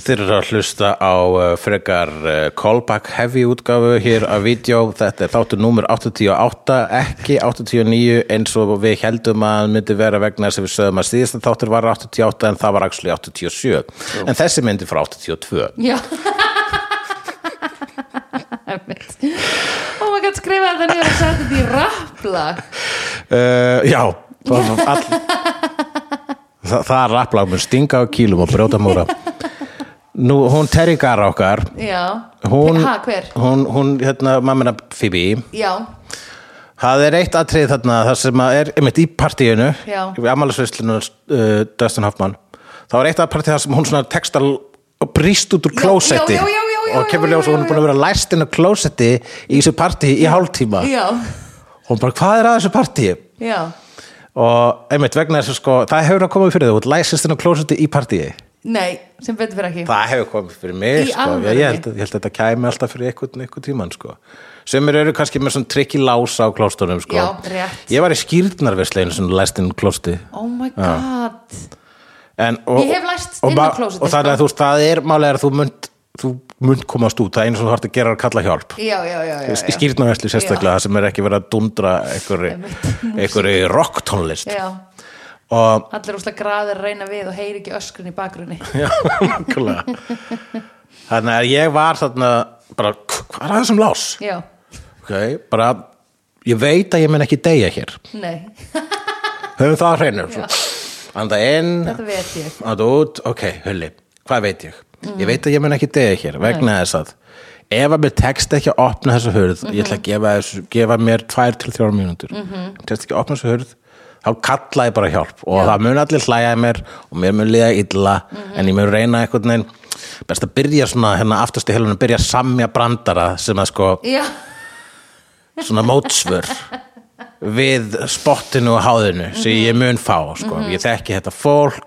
[SPEAKER 2] þeir eru að hlusta á uh, frekar uh, callback heavy útgáfu hér á vídeo, þetta er þáttur númer 88, ekki 89 eins og við heldum að hann myndi vera vegna þess að við sögum að síðasta þáttur var 88 en það var actually 87 en þessi myndi frá 82
[SPEAKER 1] Já *laughs* Einmitt. Oh my god, skrifa þetta niður og setja þetta í rapplag
[SPEAKER 2] uh, Já, það var all Þa, það er rapplag mun stinga á kýlum og brjóta múra Nú, hún Terry Garra okkar
[SPEAKER 1] Já
[SPEAKER 2] hún,
[SPEAKER 1] Ha, hver?
[SPEAKER 2] hún, hún hérna, mammina Phoebe
[SPEAKER 1] Já,
[SPEAKER 2] það er eitt atrið þarna það sem að er, einmitt í partíinu
[SPEAKER 1] Já.
[SPEAKER 2] við ammálisveislunar uh, Dustin Hoffman það var eitt að partið það sem hún svona textar og brýst út úr klósetti
[SPEAKER 1] já, já, já, já,
[SPEAKER 2] og kemur
[SPEAKER 1] já,
[SPEAKER 2] ljós
[SPEAKER 1] já,
[SPEAKER 2] og hún er búin að vera læst inn á klósetti í þessu partí í hálftíma
[SPEAKER 1] já,
[SPEAKER 2] hún bara hvað er að þessu partí
[SPEAKER 1] já
[SPEAKER 2] og einmitt vegna þessu sko það hefur að koma fyrir þau, hún læsist inn á klósetti í partíi
[SPEAKER 1] nei, sem betur fyrir ekki
[SPEAKER 2] það hefur komið fyrir mig
[SPEAKER 1] Í
[SPEAKER 2] sko. ég,
[SPEAKER 1] alvörunni?
[SPEAKER 2] ég, held, ég held að þetta kæmi alltaf fyrir einhvern, einhvern tíman sko. semur eru kannski með svona trikki lása á klóstunum sko.
[SPEAKER 1] Já, rétt.
[SPEAKER 2] ég var í skýrnarverslegin sem læst inn klósti
[SPEAKER 1] oh my god
[SPEAKER 2] en, og,
[SPEAKER 1] Ég hef læst
[SPEAKER 2] og
[SPEAKER 1] inn á
[SPEAKER 2] ba-
[SPEAKER 1] klósettið,
[SPEAKER 2] og það
[SPEAKER 1] sko.
[SPEAKER 2] er, þú veist, það er málega að þú munt, þú munt komast út það er eins og þú harft að gera er að kalla hjálp
[SPEAKER 1] já, já, já, já,
[SPEAKER 2] í
[SPEAKER 1] já.
[SPEAKER 2] skýrnarversli sérstaklega það sem er ekki verið að dundra einhverju- einhverju rocktónlist
[SPEAKER 1] já.
[SPEAKER 2] og
[SPEAKER 1] allir úslega graðir að reyna við og heyri ekki öskrun í bakgrunni
[SPEAKER 2] Já, nákvæmlega. Þannig að ég var þarna bara, hvað er það sem lás?
[SPEAKER 1] já,
[SPEAKER 2] ok, bara ég veit að ég mun ekki deyja hér
[SPEAKER 1] nei,
[SPEAKER 2] höfum það hreinur anda inn,
[SPEAKER 1] þetta veit ég Mm.
[SPEAKER 2] anda út ok, hulli, hvað veit ég ég veit að ég mun ekki deyja hér vegna þess að ef að mér tekst ekki að opna þessa hurð ég ætla að
[SPEAKER 1] Mhm.
[SPEAKER 2] gefa, þessu, gefa mér tvær til þrjár mínútur mm -hmm. tekst ekki að opna þessa hurð þá kalla ég bara hjálp og það mun allir hlæja í mér og mér mun liða illa
[SPEAKER 1] Mhm.
[SPEAKER 2] en ég mun reyna einhvern veginn best að byrja svona hérna aftast í helunum byrja að samja brandara sem að sko
[SPEAKER 1] já,
[SPEAKER 2] svona mótsvör við spottinu og háðinu sem ég
[SPEAKER 1] Mhm.
[SPEAKER 2] mun fá, sko ég þekki þetta fólk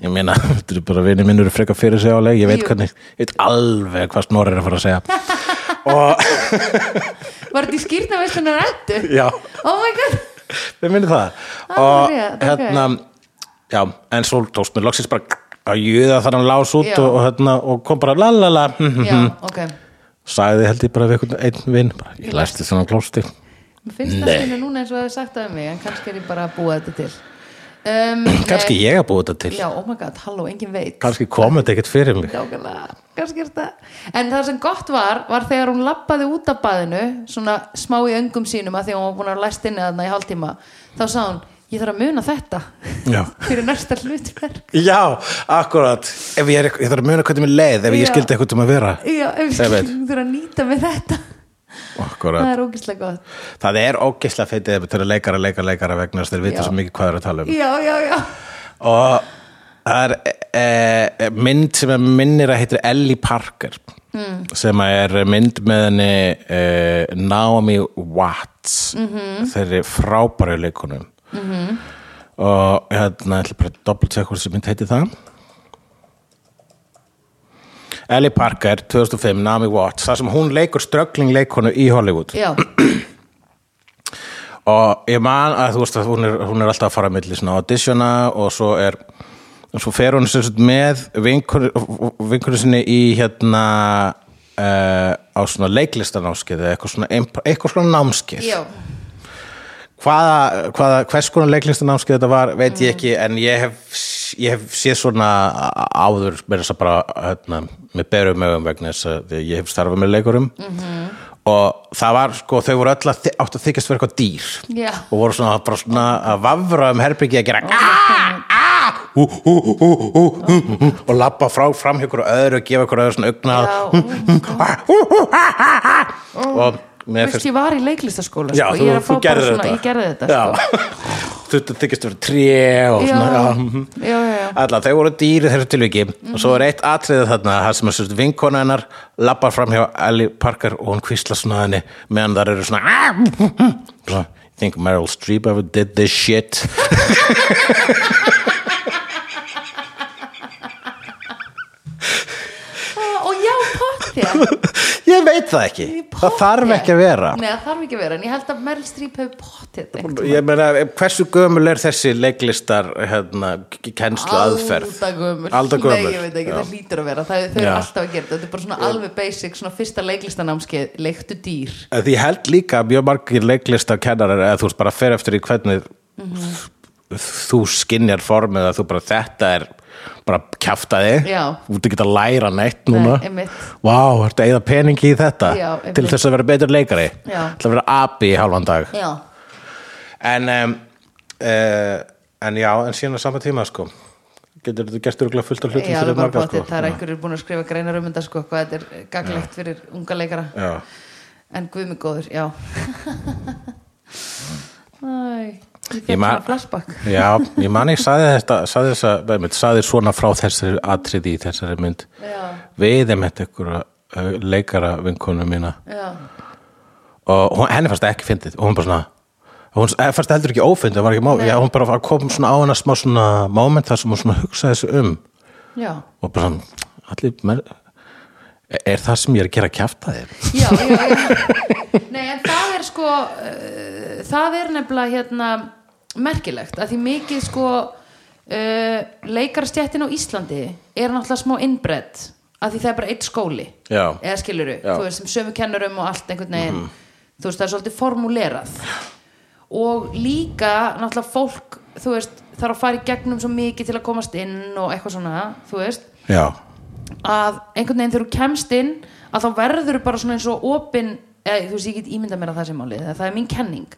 [SPEAKER 2] ég meina, *laughs* þetta eru bara vinni minn eru frekar fyrir sig áleg ég veit
[SPEAKER 1] Mm. Jú.
[SPEAKER 2] hvernig, ég veit alveg hvað snorri er að fara að
[SPEAKER 1] *laughs*
[SPEAKER 2] segja og
[SPEAKER 1] var þetta í skýrnaveislunar rættu?
[SPEAKER 2] já,
[SPEAKER 1] oh my god
[SPEAKER 2] við minnum það
[SPEAKER 1] Ah,
[SPEAKER 2] og
[SPEAKER 1] rétt, ok.
[SPEAKER 2] hérna já, en svo tókst mér loksins bara að jöða þar hann lás út
[SPEAKER 1] Já.
[SPEAKER 2] og, og, hérna, og kom bara la la la mhm,
[SPEAKER 1] já, ok
[SPEAKER 2] sagði held ég bara við einhvern einn vinn bara, ég læsti svona klósti
[SPEAKER 1] Mér finnst það skynna núna eins og það er sagt af mig en kannski er ég bara að búa þetta til um,
[SPEAKER 2] kannski
[SPEAKER 1] nei.
[SPEAKER 2] ég að búið þetta til
[SPEAKER 1] Já, oh my god, halló, engin veit
[SPEAKER 2] kannski kom þetta ekkert fyrir mig
[SPEAKER 1] Nákvæmlega, kannski er þetta En það sem gott var, var þegar hún lappaði út af baðinu svona smá í öngum sínum að því að hún var búin að læst inni þarna í hálftíma þá sá hún, ég þarf að muna þetta *laughs*
[SPEAKER 2] Já.
[SPEAKER 1] fyrir næsta hlutverk
[SPEAKER 2] Já, akkurat Ef ég, er, ég þarf að muna hvernig mér leið ef ég
[SPEAKER 1] Já.
[SPEAKER 2] skildi eitthvað um að vera
[SPEAKER 1] Já, ef
[SPEAKER 2] Ég veit.
[SPEAKER 1] við þurfum að nýta með þetta Það
[SPEAKER 2] Akkurat
[SPEAKER 1] er ógislega gott
[SPEAKER 2] Það er ógeislega feitið til að leikara, leikara, leikara vegna þess þeir vita
[SPEAKER 1] Já.
[SPEAKER 2] svo mikið hvað þeir eru að tala um
[SPEAKER 1] Já, já, já
[SPEAKER 2] og það er e, e, mynd sem er minnir að heitir Ellie Parker sem að er mynd með henni e, Naomi Watts þeirri frábæru leikunum og hérna ætla bara að doppeltjekka hvort sem mynd heiti það Ellie Parker 2005, Naomi Watts þar sem hún leikur ströggling leikonu í Hollywood
[SPEAKER 1] Já,
[SPEAKER 2] og ég man að þú veist að hún er, hún er alltaf að fara að milli svona auditiona og svo er svo fer hún sem sagt með vinkunni sinni í hérna uh, á svona leiklistanámskeið eða eitthvað svona, eitthvað svona námskeið
[SPEAKER 1] já,
[SPEAKER 2] hvaða, hvaða, hvers konar leiklistanámskeið þetta var veit
[SPEAKER 1] Mm.
[SPEAKER 2] ég ekki en ég hef, ég hef séð svona áður með þess að bara hérna, með berum mögum vegna þess að ég hef starfað með leikurum
[SPEAKER 1] Mhm.
[SPEAKER 2] og það var sko þau voru öll að þy- áttu að þykjast vera eitthvað dýr
[SPEAKER 1] Já.
[SPEAKER 2] og voru svona, bara svona að vafra um herbyggi að gera "Ah, ah, hú, hú, hú, hú, hú, hú, hú," og labba frá fram hjá ykkur öðru og gefa ykkur öðru svona augnað
[SPEAKER 1] Já,
[SPEAKER 2] "Hú, hú, ah, hú, hú, ah, ah, ah." og
[SPEAKER 1] þú
[SPEAKER 2] mér
[SPEAKER 1] veist
[SPEAKER 2] finnst
[SPEAKER 1] ég var í leiklistaskóla
[SPEAKER 2] Já,
[SPEAKER 1] sko.
[SPEAKER 2] þú,
[SPEAKER 1] Ég er að fá
[SPEAKER 2] þú
[SPEAKER 1] bara
[SPEAKER 2] gerðir
[SPEAKER 1] svona,
[SPEAKER 2] þetta
[SPEAKER 1] ég gerði þetta sko.
[SPEAKER 2] Já, *laughs* þú þykist að vera tré og svona já. mhm.
[SPEAKER 1] já, já, já.
[SPEAKER 2] Alla, þau voru dýri þessu tilviki og svo er eitt atriðið þarna það sem að sérst vinkona hennar lappar fram hjá Ellie Parker og hún kvísla svona að henni meðan þar eru svona "Ah, mm, mm." Svona, I think Meryl Streep ever did this shit *laughs*
[SPEAKER 1] Ah, Og já, pottið
[SPEAKER 2] *laughs* ég veit það ekki, það þarf ekki að vera
[SPEAKER 1] Nei, það þarf ekki að vera, en ég held að Meryl Streep hefur pottið
[SPEAKER 2] ég meina, hversu gömul er þessi leiklistar hérna, kennslu aðferð
[SPEAKER 1] Aldagömul
[SPEAKER 2] Aldagömul.
[SPEAKER 1] Nei, ég veit ekki,
[SPEAKER 2] Já.
[SPEAKER 1] það hlýtur að vera Það, þau eru
[SPEAKER 2] Já.
[SPEAKER 1] alltaf að gera þetta, þetta er bara svona alveg basic Svona fyrsta leiklistanámskeið, leiktu dýr
[SPEAKER 2] Að Eh, Því ég held líka að mjög margir leiklistakennarar eða þú veist bara fer eftir í hvernig þú skinjar formið að þú bara þetta er bara kjafta þig
[SPEAKER 1] Já.
[SPEAKER 2] þú ert ekki að læra neitt núna
[SPEAKER 1] einmitt.
[SPEAKER 2] vá, ertu að eyða peningi í þetta
[SPEAKER 1] Já, einmitt.
[SPEAKER 2] til þess að vera betur leikari
[SPEAKER 1] Já.
[SPEAKER 2] til að vera api í halvan dag
[SPEAKER 1] Já,
[SPEAKER 2] en, um, uh, en já, en síðan á sama tíma sko getur þetta gert örgulega fullt af hlutum
[SPEAKER 1] já það
[SPEAKER 2] fyrir
[SPEAKER 1] er bara
[SPEAKER 2] marga
[SPEAKER 1] pottið
[SPEAKER 2] sko
[SPEAKER 1] Það er einhverjur búin að skrifa greinar um þetta sko, Hvað þetta er gaglegt fyrir unga leikara
[SPEAKER 2] já.
[SPEAKER 1] En guðmi góður, já Æ,
[SPEAKER 2] Ég
[SPEAKER 1] Ég fekk
[SPEAKER 2] man-
[SPEAKER 1] svona flashback
[SPEAKER 2] Já, ég man ég saði þetta saði, þessa, einmitt, saði svona frá þessari atriði í þessari mynd
[SPEAKER 1] Já,
[SPEAKER 2] við þeim þetta ykkur eh, leikara vinkonu mína
[SPEAKER 1] já,
[SPEAKER 2] og hún, henni fannst það ekki fyndið og hún bara svona hún eh, fannst það heldur ekki ófyndið, það var ekki má
[SPEAKER 1] Nei.
[SPEAKER 2] já, hún bara var- kom svona á hana smá svona moment þar sem hún svona hugsaði þessu um
[SPEAKER 1] já
[SPEAKER 2] og bara svona, allir mer, er það sem ég er að gera kjafta þér?
[SPEAKER 1] Já, já, já Nei, en það er sko uh, það er nefnilega hérna merkilegt, að því mikið sko uh, leikarstjættin á Íslandi er náttúrulega smá innbredd að því það er bara eitt skóli
[SPEAKER 2] Já.
[SPEAKER 1] eða skiluru,
[SPEAKER 2] Já. Mhm.
[SPEAKER 1] þú veist, sem sömu kennurum og allt einhvern veginn, þú veist, það er svolítið formulerað og líka náttúrulega fólk, þú veist þarf að fara í gegnum svo mikið til að komast inn og eitthvað svona, þú veist
[SPEAKER 2] Já,
[SPEAKER 1] að einhvern veginn þegar þú kemst inn að þá verður þú bara svona eins og opin eða, þú veist ég get ímyndað mér að það sem málið eða það er mín kenning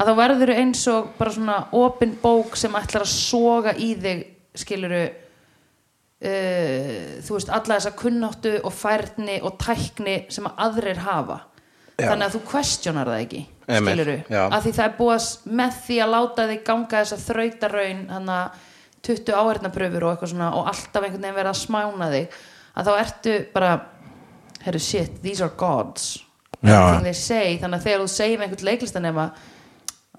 [SPEAKER 1] að þá verður þú eins og bara svona opin bók sem ætlar að soga í þig skiluru uh, þú veist alla þessa kunnáttu og færni og tækni sem að aðrir hafa
[SPEAKER 2] Já.
[SPEAKER 1] þannig að þú questionar það ekki
[SPEAKER 2] Einmitt,
[SPEAKER 1] skiluru,
[SPEAKER 2] já.
[SPEAKER 1] að því það er búið að s- með því að láta þig ganga þess að þrauta raun þannig að 20 áhernapröfur og eitthvað svona og alltaf einhvern veginn verið að smána þig að þá ertu bara herru shit, these are gods
[SPEAKER 2] Já.
[SPEAKER 1] Everything they say, þannig að þegar þú segir með einhvern leiklistanema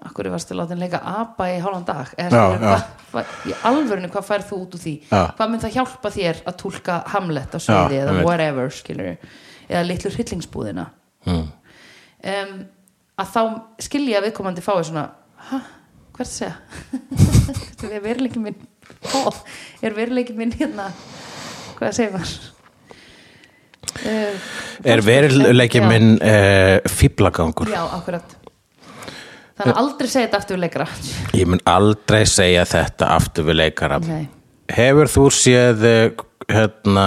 [SPEAKER 1] akkur er varstu að láta henn leika apa í hálfan dag eða
[SPEAKER 2] Já,
[SPEAKER 1] skilur,
[SPEAKER 2] já.
[SPEAKER 1] hva, hva, í alvörinu hvað færð þú út úr því
[SPEAKER 2] Já.
[SPEAKER 1] hvað mun það hjálpa þér að túlka Hamlet á sviði
[SPEAKER 2] Já,
[SPEAKER 1] eða
[SPEAKER 2] einmitt.
[SPEAKER 1] whatever skilur eða litlu hryllingsbúðina
[SPEAKER 2] mm.
[SPEAKER 1] um, að þá skilja viðkomandi fái svona "Ha? hvað er það að segja er veruleikin minn Ó, er veruleikin minn hérna hvað segir maður uh,
[SPEAKER 2] er veruleiki
[SPEAKER 1] Já.
[SPEAKER 2] minn uh, fíblagangur?
[SPEAKER 1] já, akkurat þannig að aldrei segja þetta aftur við leikara
[SPEAKER 2] Ég mun aldrei segja þetta aftur við leikara
[SPEAKER 1] Nei.
[SPEAKER 2] Hefur þú séð eh, hérna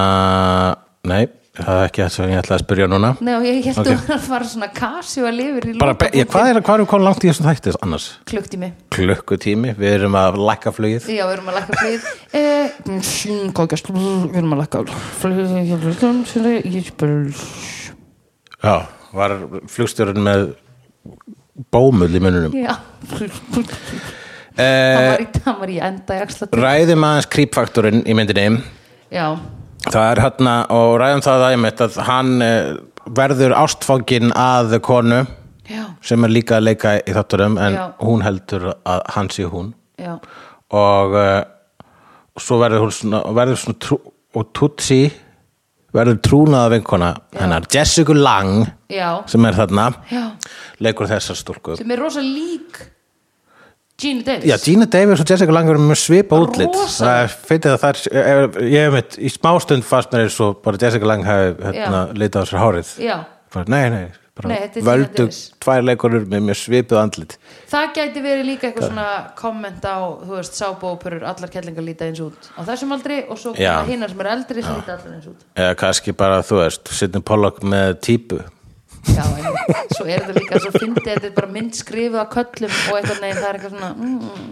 [SPEAKER 2] Nei, það er ekki það sem ég ætla að spyrja núna
[SPEAKER 1] Nei, og ég held
[SPEAKER 2] Ok.
[SPEAKER 1] okay. að það var svona kasju að lifir í
[SPEAKER 2] Bara, be- ég, hvað er hvað erum við komin langt í þessum þættis annars?
[SPEAKER 1] klukktími
[SPEAKER 2] Klukkutími, við erum að lækka flugið
[SPEAKER 1] Já, við erum að lækka flýð Góðgjast, við erum að lækka flýð Ég spil
[SPEAKER 2] Já, var flugstjórun með bómull í mununum
[SPEAKER 1] Já, hann
[SPEAKER 2] eh,
[SPEAKER 1] var í, hann var í enda í axla
[SPEAKER 2] Ræðum aðeins creepfaktorinn í myndinni
[SPEAKER 1] Já,
[SPEAKER 2] Það er hérna og ræðum það að, einmitt að hann eh, verður ástfangin að konu
[SPEAKER 1] já,
[SPEAKER 2] sem er líka að leika í þátturum en
[SPEAKER 1] Já.
[SPEAKER 2] hún heldur að hann sé hún
[SPEAKER 1] já
[SPEAKER 2] og uh, svo verður hún svona, og verður svona trú, og Tutsi verður trúnaða vinkona hennar Jessica Lang
[SPEAKER 1] Já,
[SPEAKER 2] sem er þarna
[SPEAKER 1] já
[SPEAKER 2] leikur þessar stúlku
[SPEAKER 1] Sem er rosa lík Gene Davis
[SPEAKER 2] Já, Gina Davis og Jessica Lang verður mjög svipa útlit
[SPEAKER 1] Rosa.
[SPEAKER 2] það er feitið að það er ef- ég hef mitt, í smástund fast mér svo bara Jessica Lang hefði hérna, leitað á sér hárið
[SPEAKER 1] Já.
[SPEAKER 2] bara, nei, nei, bara
[SPEAKER 1] Nei, þetta er Gina
[SPEAKER 2] völdu
[SPEAKER 1] Davis.
[SPEAKER 2] tvær leikurur með mjög svipið andlit
[SPEAKER 1] Það gæti verið líka eitthvað svona komment á, þú veist, sábóperur allar kellingar líta eins út á þessum aldri og svo
[SPEAKER 2] Já.
[SPEAKER 1] hinnar sem er eldri sem líta allar eins út
[SPEAKER 2] eða kannski bara, þú veist, Sidney Pollock með típu
[SPEAKER 1] Já, en svo er þetta líka svo fyndið þetta er bara mynd skrifuð að köllum og eitthvað neginn það er eitthvað svona mm,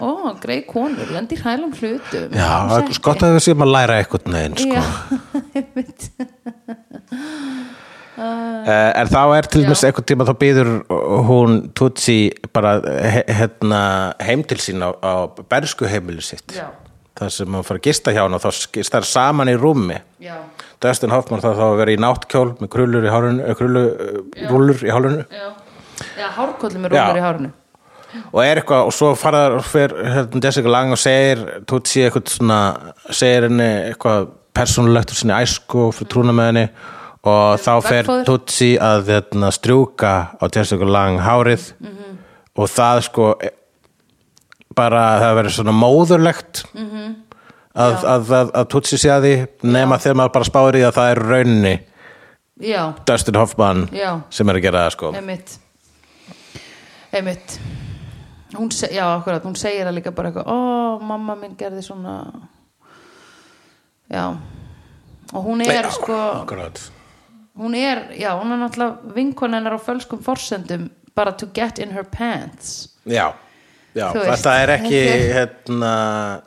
[SPEAKER 1] ó, greið konur, lendir hælum hlutum
[SPEAKER 2] Já,
[SPEAKER 1] Alls
[SPEAKER 2] það er
[SPEAKER 1] ekki.
[SPEAKER 2] gott að við séum að læra eitthvað neginn sko.
[SPEAKER 1] Já, *laughs* einmitt
[SPEAKER 2] Eh, En þá er til
[SPEAKER 1] Já.
[SPEAKER 2] dæmis eitthvað tíma þá býður hún Tutsi bara he- hérna, heim til sín á, á bernsku heimilu sitt
[SPEAKER 1] Já.
[SPEAKER 2] þar sem hún fara að gista hjá hann og þá gista þær saman í rúmi
[SPEAKER 1] Já,
[SPEAKER 2] Dustin Hoffman þarf þá að vera í náttkjól með krullur í hárunu, eh, krullu, eh, rúllur í hárunu
[SPEAKER 1] já Já, hárkollu með rúmur
[SPEAKER 2] Já.
[SPEAKER 1] í hárinu
[SPEAKER 2] og er eitthvað og svo faraðar og fer hérna, Jessica Lang og segir Tutsi eitthvað svona segir henni eitthvað persónulegt úr sinni æsku og fyrir trúna með henni og þá fer
[SPEAKER 1] Veggfóður.
[SPEAKER 2] Tutsi að hérna, strjúka á Jessica Lang hárið
[SPEAKER 1] Mhm.
[SPEAKER 2] og það sko e- bara það verður svona móðurlegt
[SPEAKER 1] Mhm.
[SPEAKER 2] að, að, að, að Tutsi sé að því nema þegar maður bara spáir í að það er rauninni
[SPEAKER 1] Já,
[SPEAKER 2] Dustin Hoffman
[SPEAKER 1] Já.
[SPEAKER 2] sem er að gera það sko
[SPEAKER 1] einmitt Einmitt hún se, Já, akkurat, hún segir það líka bara eitthvað ó, mamma minn gerði svona Já og hún er sko
[SPEAKER 2] Akkurat.
[SPEAKER 1] hún er, já, hún er náttúrulega vinkona hennar á fölskum forsendum bara to get in her pants
[SPEAKER 2] Já, já
[SPEAKER 1] Þú veist.
[SPEAKER 2] þetta er
[SPEAKER 1] *laughs*
[SPEAKER 2] ekki
[SPEAKER 1] Þetta
[SPEAKER 2] hérna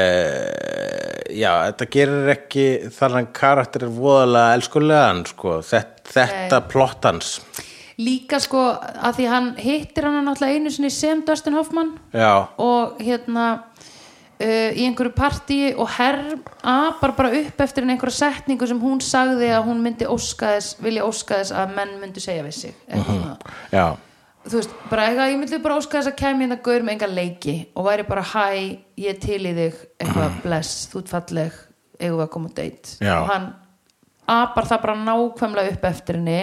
[SPEAKER 2] Uh, já, þetta gerir ekki þar hann karakter er voðalega elskulegan sko. þetta, þetta plottans
[SPEAKER 1] líka sko að því hann hittir hann náttúrulega einu sinni sem Dustin Hoffman
[SPEAKER 2] já,
[SPEAKER 1] og hérna uh, í einhverju partíi og herr apar bara upp eftir henni einhverja setningu sem hún sagði að hún myndi óska þess, vilja óska þess að menn myndi segja við sig eitthvað svona
[SPEAKER 2] já,
[SPEAKER 1] þú veist, bara eitthvað, ég myndi bara óska þess að kæmi hérna gaur með enga leiki og væri bara hæ, ég er til í þig eitthvað bless, þú ert falleg eigum við að koma á date
[SPEAKER 2] Já.
[SPEAKER 1] og hann apar það bara nákvæmlega upp eftir henni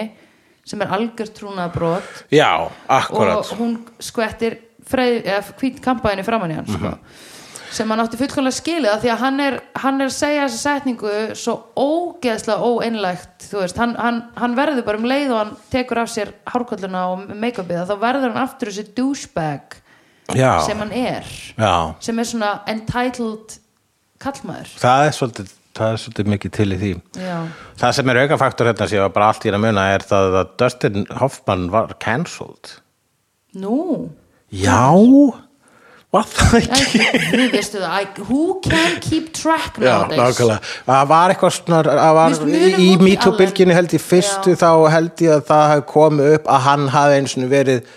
[SPEAKER 1] sem er algjör trúnaðbrot
[SPEAKER 2] já, akkurat
[SPEAKER 1] og hún skvettir freð, eða hvít kampaðinu framann í hann sko.
[SPEAKER 2] Mhm.
[SPEAKER 1] sem hann átti fullkomlega skilið af því að hann er, hann er að segja þessa setningu svo ógeðslega óeinlægt þú veist, hann, hann, hann verður bara um leið og hann tekur af sér hárkolluna og make-upið að þá verður hann aftur þessi douchebag
[SPEAKER 2] já,
[SPEAKER 1] sem hann er
[SPEAKER 2] já,
[SPEAKER 1] sem er svona entitled kallmaður
[SPEAKER 2] það er svolítið það er svolítið mikið til í því
[SPEAKER 1] já,
[SPEAKER 2] það sem er aukafaktor hérna sem ég var bara allt í að muna er það að Dustin Hoffman var cancelled
[SPEAKER 1] nú
[SPEAKER 2] já, var það *laughs* ekki
[SPEAKER 1] þú veistu það, I- who can keep track
[SPEAKER 2] Já,
[SPEAKER 1] nowadays
[SPEAKER 2] nákvæmlega. Það var eitthvað svona, það var
[SPEAKER 1] Við munum
[SPEAKER 2] í
[SPEAKER 1] Woody Allen.
[SPEAKER 2] mítubylginni held ég fyrstu þá held ég að það hafi komið upp að hann hafi eins og verið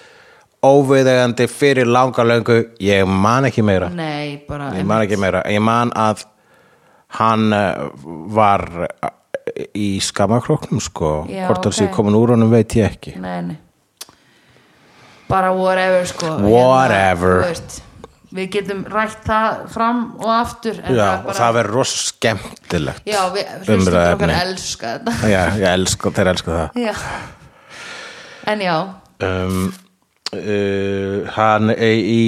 [SPEAKER 2] óviðegandi fyrir langa löngu. Ég man ekki
[SPEAKER 1] Mm,
[SPEAKER 2] meira.
[SPEAKER 1] nei, bara
[SPEAKER 2] Ég man ekki meira. Ég man að hann eh, var eh, í skammakróknum sko.
[SPEAKER 1] Já,
[SPEAKER 2] Hvort hann sé
[SPEAKER 1] ok.
[SPEAKER 2] komin úr honum veit ég ekki.
[SPEAKER 1] nei, nei. bara whatever sko
[SPEAKER 2] Whatever.
[SPEAKER 1] Hérna, þú veist, við getum rætt það fram og aftur en
[SPEAKER 2] Já,
[SPEAKER 1] það er
[SPEAKER 2] og
[SPEAKER 1] bara,
[SPEAKER 2] það verður rosa skemmtilegt.
[SPEAKER 1] já við hlustum okkar
[SPEAKER 2] umræðuefni.
[SPEAKER 1] elska þetta *laughs*
[SPEAKER 2] Já, ég elska, þeir elska það.
[SPEAKER 1] já. en já
[SPEAKER 2] um, uh, hann er í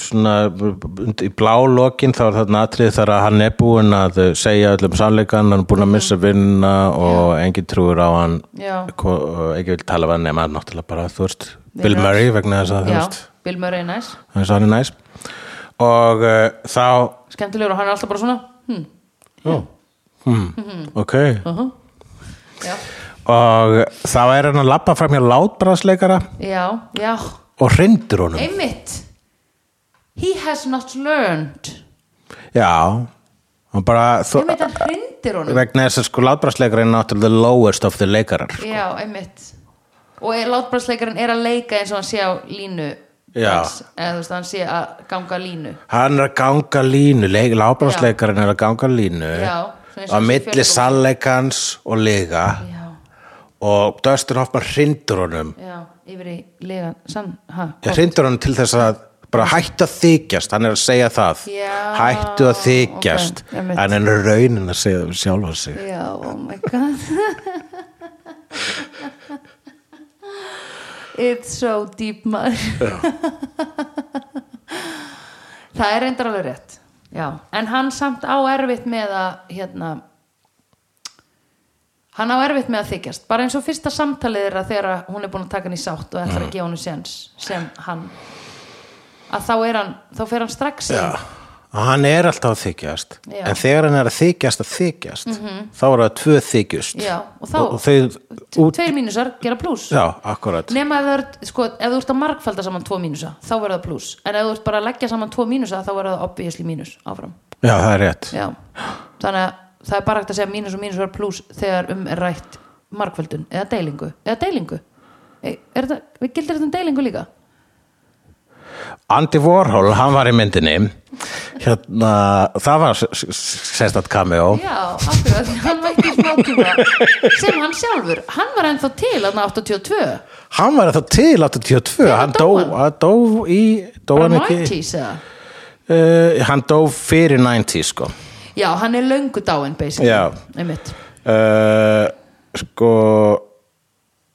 [SPEAKER 2] svona í blá lokin þá er þarna atrið þar að hann er búinn að segja öllum sannleikan, hann er búinn að missa vinna og engin trúur á hann
[SPEAKER 1] Mhm. Já.
[SPEAKER 2] ko- og ekki vil tala við hann nema náttúrulega bara þú veist Bill
[SPEAKER 1] Vinur hans.
[SPEAKER 2] Murray vegna þess að þú
[SPEAKER 1] já,
[SPEAKER 2] veist
[SPEAKER 1] Bill Murray er næs
[SPEAKER 2] þess að hann er næs og uh, þá
[SPEAKER 1] skemmtilegur og hann er alltaf bara svona hm,
[SPEAKER 2] oh, hmm, ok
[SPEAKER 1] uh já,
[SPEAKER 2] og þá er hann að labba fram hjá látbrasleikara
[SPEAKER 1] já, já
[SPEAKER 2] og hrindur honum
[SPEAKER 1] einmitt he has not learned
[SPEAKER 2] já, hann bara þú,
[SPEAKER 1] einmitt hann hrindir honum
[SPEAKER 2] vegna þess að sko látbrásleikar er náttúrulega the lowest of the leikarar
[SPEAKER 1] Já, einmitt og er- látbragðsleikarinn er að leika eins og hann sé á línu
[SPEAKER 2] Já.
[SPEAKER 1] hans, eða þú veist, hann sé að ganga línu
[SPEAKER 2] hann er að ganga línu látbrásleikarinn er að ganga línu
[SPEAKER 1] Já, svona eins
[SPEAKER 2] á
[SPEAKER 1] og sé
[SPEAKER 2] milli
[SPEAKER 1] fjölbrúm.
[SPEAKER 2] sannleikans og lega
[SPEAKER 1] Já,
[SPEAKER 2] og Dustin Hoffman hrindur honum
[SPEAKER 1] já, yfir í legan sann, ha,
[SPEAKER 2] ég hrindur honum til þess að bara hættu að þykjast, hann er að segja það
[SPEAKER 1] Já,
[SPEAKER 2] hættu að þykjast
[SPEAKER 1] ok, einmitt.
[SPEAKER 2] en hann er raunin að segja það um sjálfa sig
[SPEAKER 1] Já, oh my god It's so deep maður Það er reyndar alveg rétt Já, en hann samt á erfitt með að hérna hann á erfitt með að þykjast bara eins og fyrsta samtalið er að þegar að hún er búin að taka hann í sátt og ætlar að gefa hann séns sem hann að þá er hann, þá fer hann strax inn.
[SPEAKER 2] Já, hann er alltaf að þykjast
[SPEAKER 1] Já. Mhm.
[SPEAKER 2] en þegar hann er að þykjast að þykjast þá er það tvö þykjust
[SPEAKER 1] Já, og þá-
[SPEAKER 2] og þau út,
[SPEAKER 1] tveir mínusar gera pluss
[SPEAKER 2] já, akkurat
[SPEAKER 1] nema ef þú ert, sko, ef þú ert að margfalda saman tvo mínusa, þá verður það pluss en ef þú ert bara að leggja saman tvo mínusa, þá verður það obviously mínus áfram,
[SPEAKER 2] já, það er rétt
[SPEAKER 1] já þannig að það er bara hægt að segja mínus og mínus verður pluss þegar um er rætt margfaldun eða deilingu, eða deilingu er þetta, við gildir þetta um deilingu líka
[SPEAKER 2] Andy Warhol, hann var í myndinni hérna, það var s- s- sérstætt cameo
[SPEAKER 1] já, akkurat, hann var ekki smá tíma sem hann sjálfur, hann var ennþá til hann 82,
[SPEAKER 2] hann var það til 82 hann
[SPEAKER 1] dó
[SPEAKER 2] dó,
[SPEAKER 1] hann?
[SPEAKER 2] hann dó í dó
[SPEAKER 1] bara
[SPEAKER 2] hann, ekki,
[SPEAKER 1] 90s eða
[SPEAKER 2] uh, hann dó fyrir 90 sko
[SPEAKER 1] já, hann er löngu dáin basically,
[SPEAKER 2] Já.
[SPEAKER 1] einmitt
[SPEAKER 2] uh, sko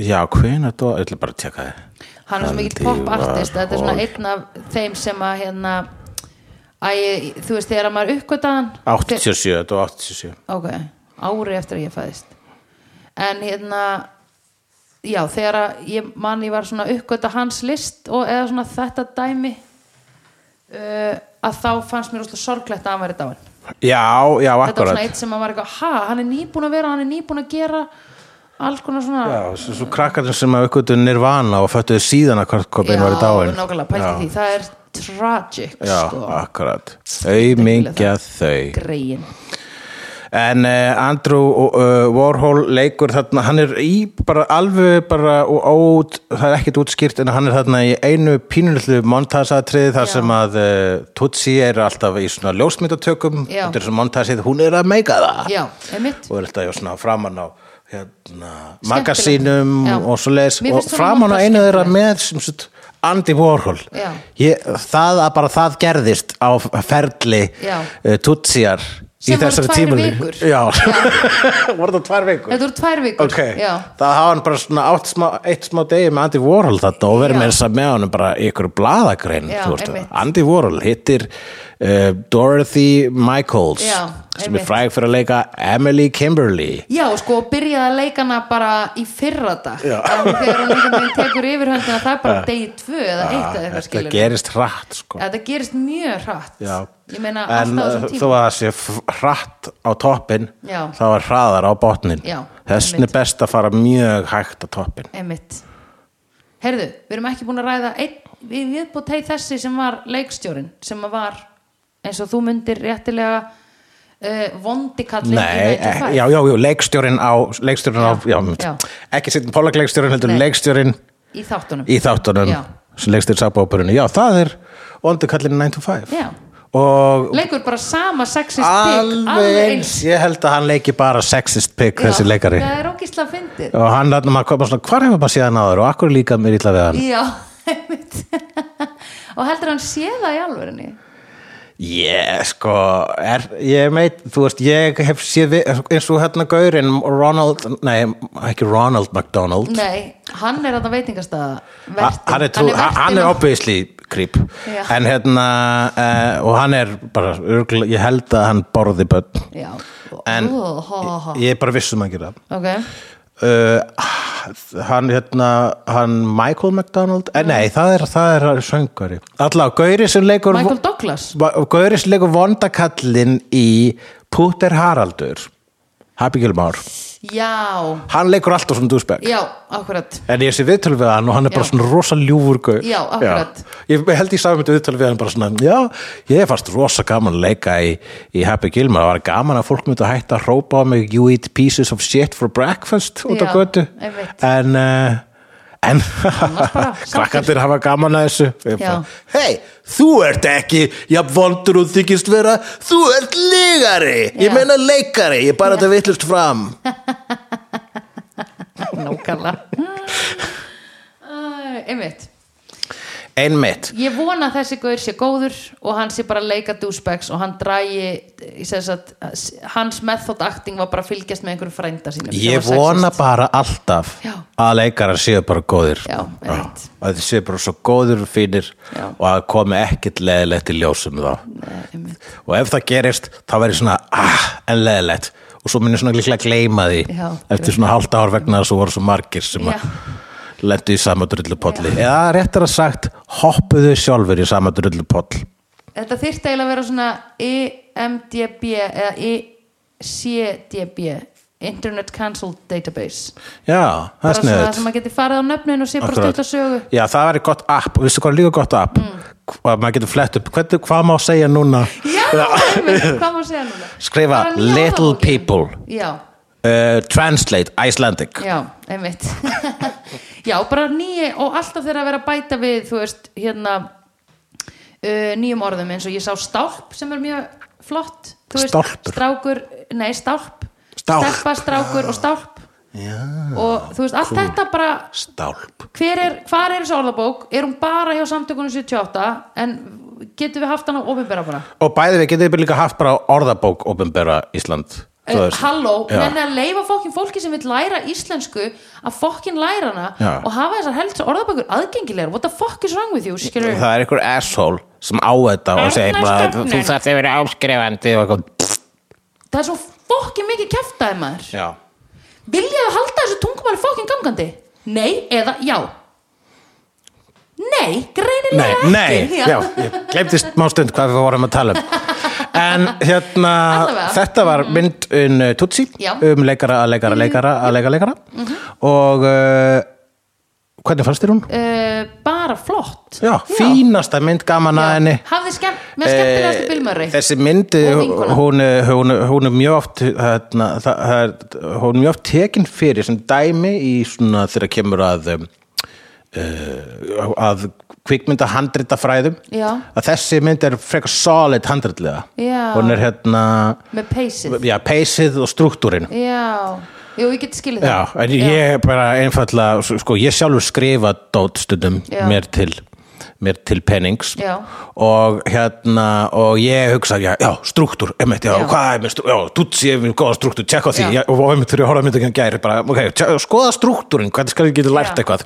[SPEAKER 2] já, hvenær dó ég ætla bara að tjekka þið
[SPEAKER 1] hann er svo mikið
[SPEAKER 2] Andy
[SPEAKER 1] pop artist þetta er svona
[SPEAKER 2] Warhol.
[SPEAKER 1] einn af þeim sem að hérna æ, þú veist þegar að maður uppgöta hann
[SPEAKER 2] 87, þetta var 87
[SPEAKER 1] ok, ári eftir að ég fæðist en hérna já, þegar að ég mann ég var svona að uppgöta hans list og eða svona þetta dæmi uh, að þá fannst mér úslega sorglegt að hann væri dáin
[SPEAKER 2] Já, já,
[SPEAKER 1] þetta var
[SPEAKER 2] akkurat
[SPEAKER 1] svona eitt sem að var eitthvað ha, hann er nýbúin að vera, hann er nýbúin að gera alls konar svona
[SPEAKER 2] Já, svo, svo krakkarnir sem að aukvöldu nirvana og föttuðu síðan að kvartkopin var í dáin
[SPEAKER 1] nákvæmlega, pælti því, það er tragic
[SPEAKER 2] Já,
[SPEAKER 1] sko.
[SPEAKER 2] akkurat Auðmingja þau
[SPEAKER 1] greyin
[SPEAKER 2] en uh, Andrew uh, Warhol leikur þarna, hann er í bara alveg bara og ót, það er ekkert útskýrt en hann er þarna í einu pínullu montasatriði þar
[SPEAKER 1] Já.
[SPEAKER 2] sem að uh, Tutsi er alltaf í svona ljósmyndatökum
[SPEAKER 1] Já.
[SPEAKER 2] þetta er svona montasið, hún er að meika það
[SPEAKER 1] já, einmitt
[SPEAKER 2] og er alltaf já, svona framan á hérna, magasínum
[SPEAKER 1] Já.
[SPEAKER 2] og svo leiðis
[SPEAKER 1] Mér
[SPEAKER 2] og
[SPEAKER 1] finnst svona
[SPEAKER 2] framan á
[SPEAKER 1] monta
[SPEAKER 2] einu þeirra
[SPEAKER 1] skemmtilegt.
[SPEAKER 2] með sem sagt, Andy Warhol
[SPEAKER 1] Já.
[SPEAKER 2] ég, það að bara það gerðist á ferli
[SPEAKER 1] Já.
[SPEAKER 2] uh, tutsijar í
[SPEAKER 1] Sem voru
[SPEAKER 2] þessari
[SPEAKER 1] tvær
[SPEAKER 2] tímulínu.
[SPEAKER 1] vikur.
[SPEAKER 2] já, *laughs* voru það tvær vikur
[SPEAKER 1] þetta voru tvær vikur
[SPEAKER 2] ok,
[SPEAKER 1] já,
[SPEAKER 2] það hafa hann bara svona átt smá, eitt smá degi með Andy Warhol þarna og verið
[SPEAKER 1] Já.
[SPEAKER 2] með þess að með honum bara í ykkur bladagrein
[SPEAKER 1] Já,
[SPEAKER 2] þú veist.
[SPEAKER 1] einmitt.
[SPEAKER 2] Andy Warhol hittir uh, Dorothy Michaels
[SPEAKER 1] Já,
[SPEAKER 2] sem
[SPEAKER 1] einmitt.
[SPEAKER 2] er fræg fyrir að leika Emily Kimberly
[SPEAKER 1] já, sko, og byrjaði að leika hana bara í fyrradag
[SPEAKER 2] Já.
[SPEAKER 1] en þegar hún einhvern veginn tekur yfirhöndina það er bara degi tvö eða eitt eða eitthvað
[SPEAKER 2] þetta
[SPEAKER 1] skilur
[SPEAKER 2] gerist hrætt sko.
[SPEAKER 1] þetta gerist mjög hratt
[SPEAKER 2] Já.
[SPEAKER 1] ég meina
[SPEAKER 2] en uh,
[SPEAKER 1] alltaf á þessum
[SPEAKER 2] þó
[SPEAKER 1] tíma
[SPEAKER 2] að það sé f- hratt á toppin
[SPEAKER 1] Já.
[SPEAKER 2] þá er hraðar á botnin
[SPEAKER 1] Já,
[SPEAKER 2] þessin er
[SPEAKER 1] einmitt.
[SPEAKER 2] best að fara mjög hægt á toppin
[SPEAKER 1] einmitt Herðu, við erum ekki búin að ræða einn, við viðbútt heið þessi sem var leikstjórin sem að var eins og þú myndir réttilega uh, vondikallin
[SPEAKER 2] Nei, e- já, já, já, leikstjórin á, leikstjórin á, já,
[SPEAKER 1] Já,
[SPEAKER 2] já,
[SPEAKER 1] já.
[SPEAKER 2] ekki sittin Pollock leikstjórin, heldur
[SPEAKER 1] Nei.
[SPEAKER 2] leikstjórin
[SPEAKER 1] í þáttunum
[SPEAKER 2] í þáttunum
[SPEAKER 1] Já.
[SPEAKER 2] sem leikstjórin sábápurinu, já, það er Ondukallin 9 to 5
[SPEAKER 1] Já.
[SPEAKER 2] og
[SPEAKER 1] leikur bara sama sexist pig
[SPEAKER 2] alveg eins, ég held að hann leiki bara sexist pig þessi
[SPEAKER 1] Já,
[SPEAKER 2] leikari
[SPEAKER 1] það er ógislega fyndið
[SPEAKER 2] og hann hann maður koma svona, hvar hefur maður séð hann áður og akkur líka mér illa við hann
[SPEAKER 1] já, einmitt *laughs* og heldur hann sé það í alvörinni
[SPEAKER 2] ég sko, er, ég meit þú veist, ég hef séð við, eins og hérna gaurinn Ronald, nei, ekki Ronald McDonald
[SPEAKER 1] nei, hann er að það veitingast að
[SPEAKER 2] Ha- hann er, trú, hann, hann er obviously creep
[SPEAKER 1] Já.
[SPEAKER 2] en hérna uh, og hann er bara, örgl, ég held að hann borði börn
[SPEAKER 1] já,
[SPEAKER 2] en
[SPEAKER 1] Ó, ha, ha, ha.
[SPEAKER 2] ég er bara vissum að gera
[SPEAKER 1] ok
[SPEAKER 2] uh, hann hérna hann Michael McDonald eh, nei, það er, það er söngari allá, Gauri sem leikur
[SPEAKER 1] Michael Douglas
[SPEAKER 2] Va- Gauri sem leikur vondakallin í Putter Haraldur Happy Gilmore
[SPEAKER 1] já,
[SPEAKER 2] hann leikur alltaf svona dúsbæk
[SPEAKER 1] já, akkurat *laughs*
[SPEAKER 2] En ég sé viðtölu við hann og hann er bara
[SPEAKER 1] Já.
[SPEAKER 2] svona rosa ljúfur gaur.
[SPEAKER 1] Já, akkurat.
[SPEAKER 2] Já. Ég held ég sagði mitt viðtölu við hann bara svona, já, ég fannst rosa gaman að leika í, í Happy Gilmore. Það var gaman að fólk myndi að hætta að hrópa á mig you eat pieces of shit for breakfast út á
[SPEAKER 1] Já,
[SPEAKER 2] götu.
[SPEAKER 1] einmitt.
[SPEAKER 2] En, uh, en *laughs*
[SPEAKER 1] bara,
[SPEAKER 2] krakkandir hafa gaman að þessu.
[SPEAKER 1] Já.
[SPEAKER 2] Hei, þú ert ekki, jafn vondur og þykist vera, þú ert lígari.
[SPEAKER 1] Já.
[SPEAKER 2] Ég meina leikari, ég er bara þetta vittlust fram.
[SPEAKER 1] *laughs* nákvæmlega Æ, einmitt
[SPEAKER 2] Einmitt.
[SPEAKER 1] ég vona að þessi gaur sé góður og hann sé bara að leika douchebags og hann drægi sagt, hans method acting var bara að fylgjast með einhverjum frænda sínum sem
[SPEAKER 2] Ég
[SPEAKER 1] var sexist.
[SPEAKER 2] vona bara alltaf
[SPEAKER 1] Já.
[SPEAKER 2] að leikarar séu bara góðir
[SPEAKER 1] Já, einmitt.
[SPEAKER 2] að þeir séu bara svo góðir og fínir
[SPEAKER 1] Já.
[SPEAKER 2] og að komi ekkert leðilegt í ljósum þá
[SPEAKER 1] Nei, einmitt.
[SPEAKER 2] og ef það gerist þá verður svona ah, en leðilegt og svo munir svona líklega gleyma því
[SPEAKER 1] Já, ég
[SPEAKER 2] eftir svona halda ár vegna þess að voru svo margir sem
[SPEAKER 1] Já.
[SPEAKER 2] að lendu í sama drullupolli eða réttar að sagt hoppuðu sjálfur í sama drullupoll
[SPEAKER 1] þetta þyrfti eiginlega að vera svona E IMDB eða E ICDB Internet Cancel Database
[SPEAKER 2] Já, það
[SPEAKER 1] bara
[SPEAKER 2] er
[SPEAKER 1] svona
[SPEAKER 2] sniðut
[SPEAKER 1] sem maður geti farið á nöfnin og sé bara
[SPEAKER 2] Akkurat.
[SPEAKER 1] stutt að sögu Mm.
[SPEAKER 2] Já, það væri gott app, og veistu hvað er líka gott app að maður getur flett upp, hvernig, hvað má segja núna
[SPEAKER 1] Já, einmitt, hvað má segja núna?
[SPEAKER 2] Skrifa
[SPEAKER 1] Bara ljóðabókin.
[SPEAKER 2] little people.
[SPEAKER 1] Já,
[SPEAKER 2] uh, Translate, Icelandic
[SPEAKER 1] já, einmitt *laughs* Já, bara nýja og alltaf þeirra að vera að bæta við þú veist, hérna uh, nýjum orðum eins og ég sá stálp sem er mjög flott þú veist,
[SPEAKER 2] Stálpur?
[SPEAKER 1] Strákur, nei, stálp
[SPEAKER 2] Stálp. Ah.
[SPEAKER 1] Stelpa, strákur og stálp
[SPEAKER 2] Já,
[SPEAKER 1] og þú veist, allt þetta bara
[SPEAKER 2] stálp
[SPEAKER 1] hver er, hvar er þessi orðabók? Er hún bara hjá samtökunum 78 en getum við haft hana ofinbera bara?
[SPEAKER 2] Og bæði við getum við líka haft bara orðabók opinbera Ísland þú
[SPEAKER 1] Uh,
[SPEAKER 2] veist.
[SPEAKER 1] halló,
[SPEAKER 2] Já.
[SPEAKER 1] menn að leifa fokkin fólki sem vil læra íslensku að fokkin læra hana
[SPEAKER 2] Já.
[SPEAKER 1] og hafa þessar helst orðabækur aðgengilegar what the fuck is wrong with you, skilur
[SPEAKER 2] Það er einhver asshole sem á þetta og segir bara,
[SPEAKER 1] Árnastofnun.
[SPEAKER 2] þú þarft að vera áskrifandi og eitthvað
[SPEAKER 1] það er svo fokkin mikið kjaftaði maður
[SPEAKER 2] Já,
[SPEAKER 1] viljaðu halda þessu tungumáli fokkin gangandi nei eða já nei, greinilega
[SPEAKER 2] nei,
[SPEAKER 1] ekki
[SPEAKER 2] nei, já,
[SPEAKER 1] *laughs*
[SPEAKER 2] ég glemdi smá stund hvað við vorum að tala um En hérna,
[SPEAKER 1] Allavega. Mhm.
[SPEAKER 2] þetta var mynd um uh, Tutsi,
[SPEAKER 1] Já. Mhm.
[SPEAKER 2] um leikara að leikara, leikara að leika leikara og uh, hvernig fannst þér hún?
[SPEAKER 1] uh, bara flott
[SPEAKER 2] Já, fínasta mynd gaman að henni
[SPEAKER 1] hafði skemmt, með skemmtilegast Bill Murray
[SPEAKER 2] Eh, Þessi myndi,
[SPEAKER 1] Og vinkona.
[SPEAKER 2] hún, er- hún, er- hún er mjög oft hérna, það, það er, hún er mjög oft tekin fyrir sem dæmi í svona þegar kemur að um, uh, að kvikmynda handrita fræðum
[SPEAKER 1] Já.
[SPEAKER 2] að þessi mynd er frekar solid handritlega
[SPEAKER 1] Já.
[SPEAKER 2] hún er hérna
[SPEAKER 1] með peysið
[SPEAKER 2] já, peysið og struktúrin
[SPEAKER 1] já, jú, ég get skilið
[SPEAKER 2] Já,
[SPEAKER 1] það
[SPEAKER 2] en ég bara einfallega, sko, ég sjálfur skrifa dót stundum
[SPEAKER 1] Já.
[SPEAKER 2] mér til mér til pennings
[SPEAKER 1] Já.
[SPEAKER 2] og hérna, og ég hugsa já, já struktúr, emmitt, já,
[SPEAKER 1] Já.
[SPEAKER 2] hvað er með strú, já, dúts ég er með góða struktúr, tjekka á því
[SPEAKER 1] Já.
[SPEAKER 2] já. og emmitt þegar ég horfði að mynda ekki að gæri bara, ok, tjekka, skoða struktúrin, hvernig skal ég geta lært
[SPEAKER 1] Já.
[SPEAKER 2] eitthvað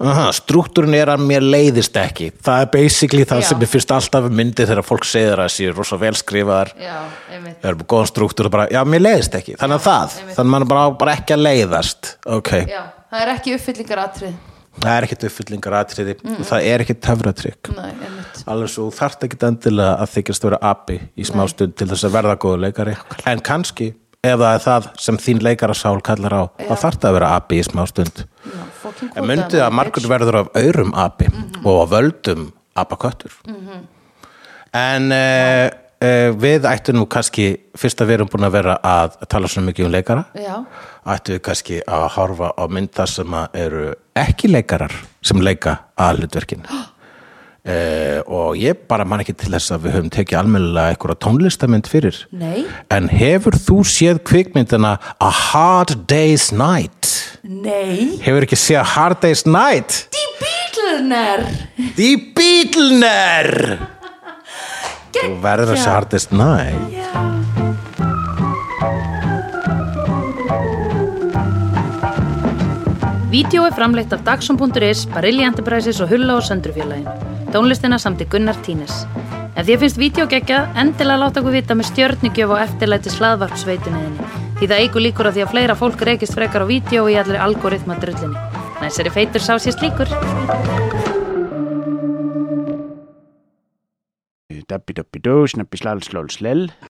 [SPEAKER 2] Aha, struktúrin er að mér leiðist ekki það er basically það
[SPEAKER 1] Já.
[SPEAKER 2] sem mér finnst alltaf um myndi þegar fólk segir að séu rosa vel skrifaðar
[SPEAKER 1] já, einmitt
[SPEAKER 2] við erum góðan struktúr og bara, já, mér leiðist ekki þannig að það,
[SPEAKER 1] einmitt.
[SPEAKER 2] þannig að mann bara, á bara ekki að leiðast ok,
[SPEAKER 1] já, það er ekki uppfyllingar atrið
[SPEAKER 2] það er ekkit uppfyllingar atriði það er ekkit töfratrykk
[SPEAKER 1] nei, einmitt
[SPEAKER 2] alveg svo þú þarft ekkit endilega að þykjast vera api í smástund til þess að verða góður leikari en kannski, ef það er það sem þín leikarasál kallar á þá þarft að vera api í smástund
[SPEAKER 1] Já, fucking
[SPEAKER 2] en
[SPEAKER 1] kvótaði
[SPEAKER 2] myndið að
[SPEAKER 1] maður,
[SPEAKER 2] margur
[SPEAKER 1] bitch.
[SPEAKER 2] verður af aurum api
[SPEAKER 1] Mm-hmm.
[SPEAKER 2] og af völdum apaköttur en uh, uh, við ættum nú kannski fyrst að við erum búin að vera að tala svo mikið um leikara
[SPEAKER 1] já,
[SPEAKER 2] ættum við kannski að horfa á mynd þar sem að eru ekki leikarar sem leika að hlutverkin uh, og ég bara man ekki til þess að við höfum tekið almennilega einhverja tónlistamynd fyrir
[SPEAKER 1] nei,
[SPEAKER 2] en hefur þú séð kvikmyndina A Hard Day's Night?
[SPEAKER 1] nei
[SPEAKER 2] Hefur ekki séð Hard Day's Night?
[SPEAKER 1] The Beatlener
[SPEAKER 2] The Beatlener! Þú verður að sjá Hard Day's Night.
[SPEAKER 3] Vídeó er framleitt af Dagsum.is, Barilli Enterprises og Hulla og Söndrufjörlægin. Tónlistina samt í Gunnar Tínes. Ef þér finnst vídeo geggja, endilega láta okkur vita með stjörnigjöf og eftirlæti slaðvarpsveituninni. Því það eigur líkur að því að fleira fólk reykist frekar á vídeo í allri algoritma drullinni. Næsari feitur sá sér slíkur.
[SPEAKER 4] Dabbi dabbi dó, snabbi slal slal slel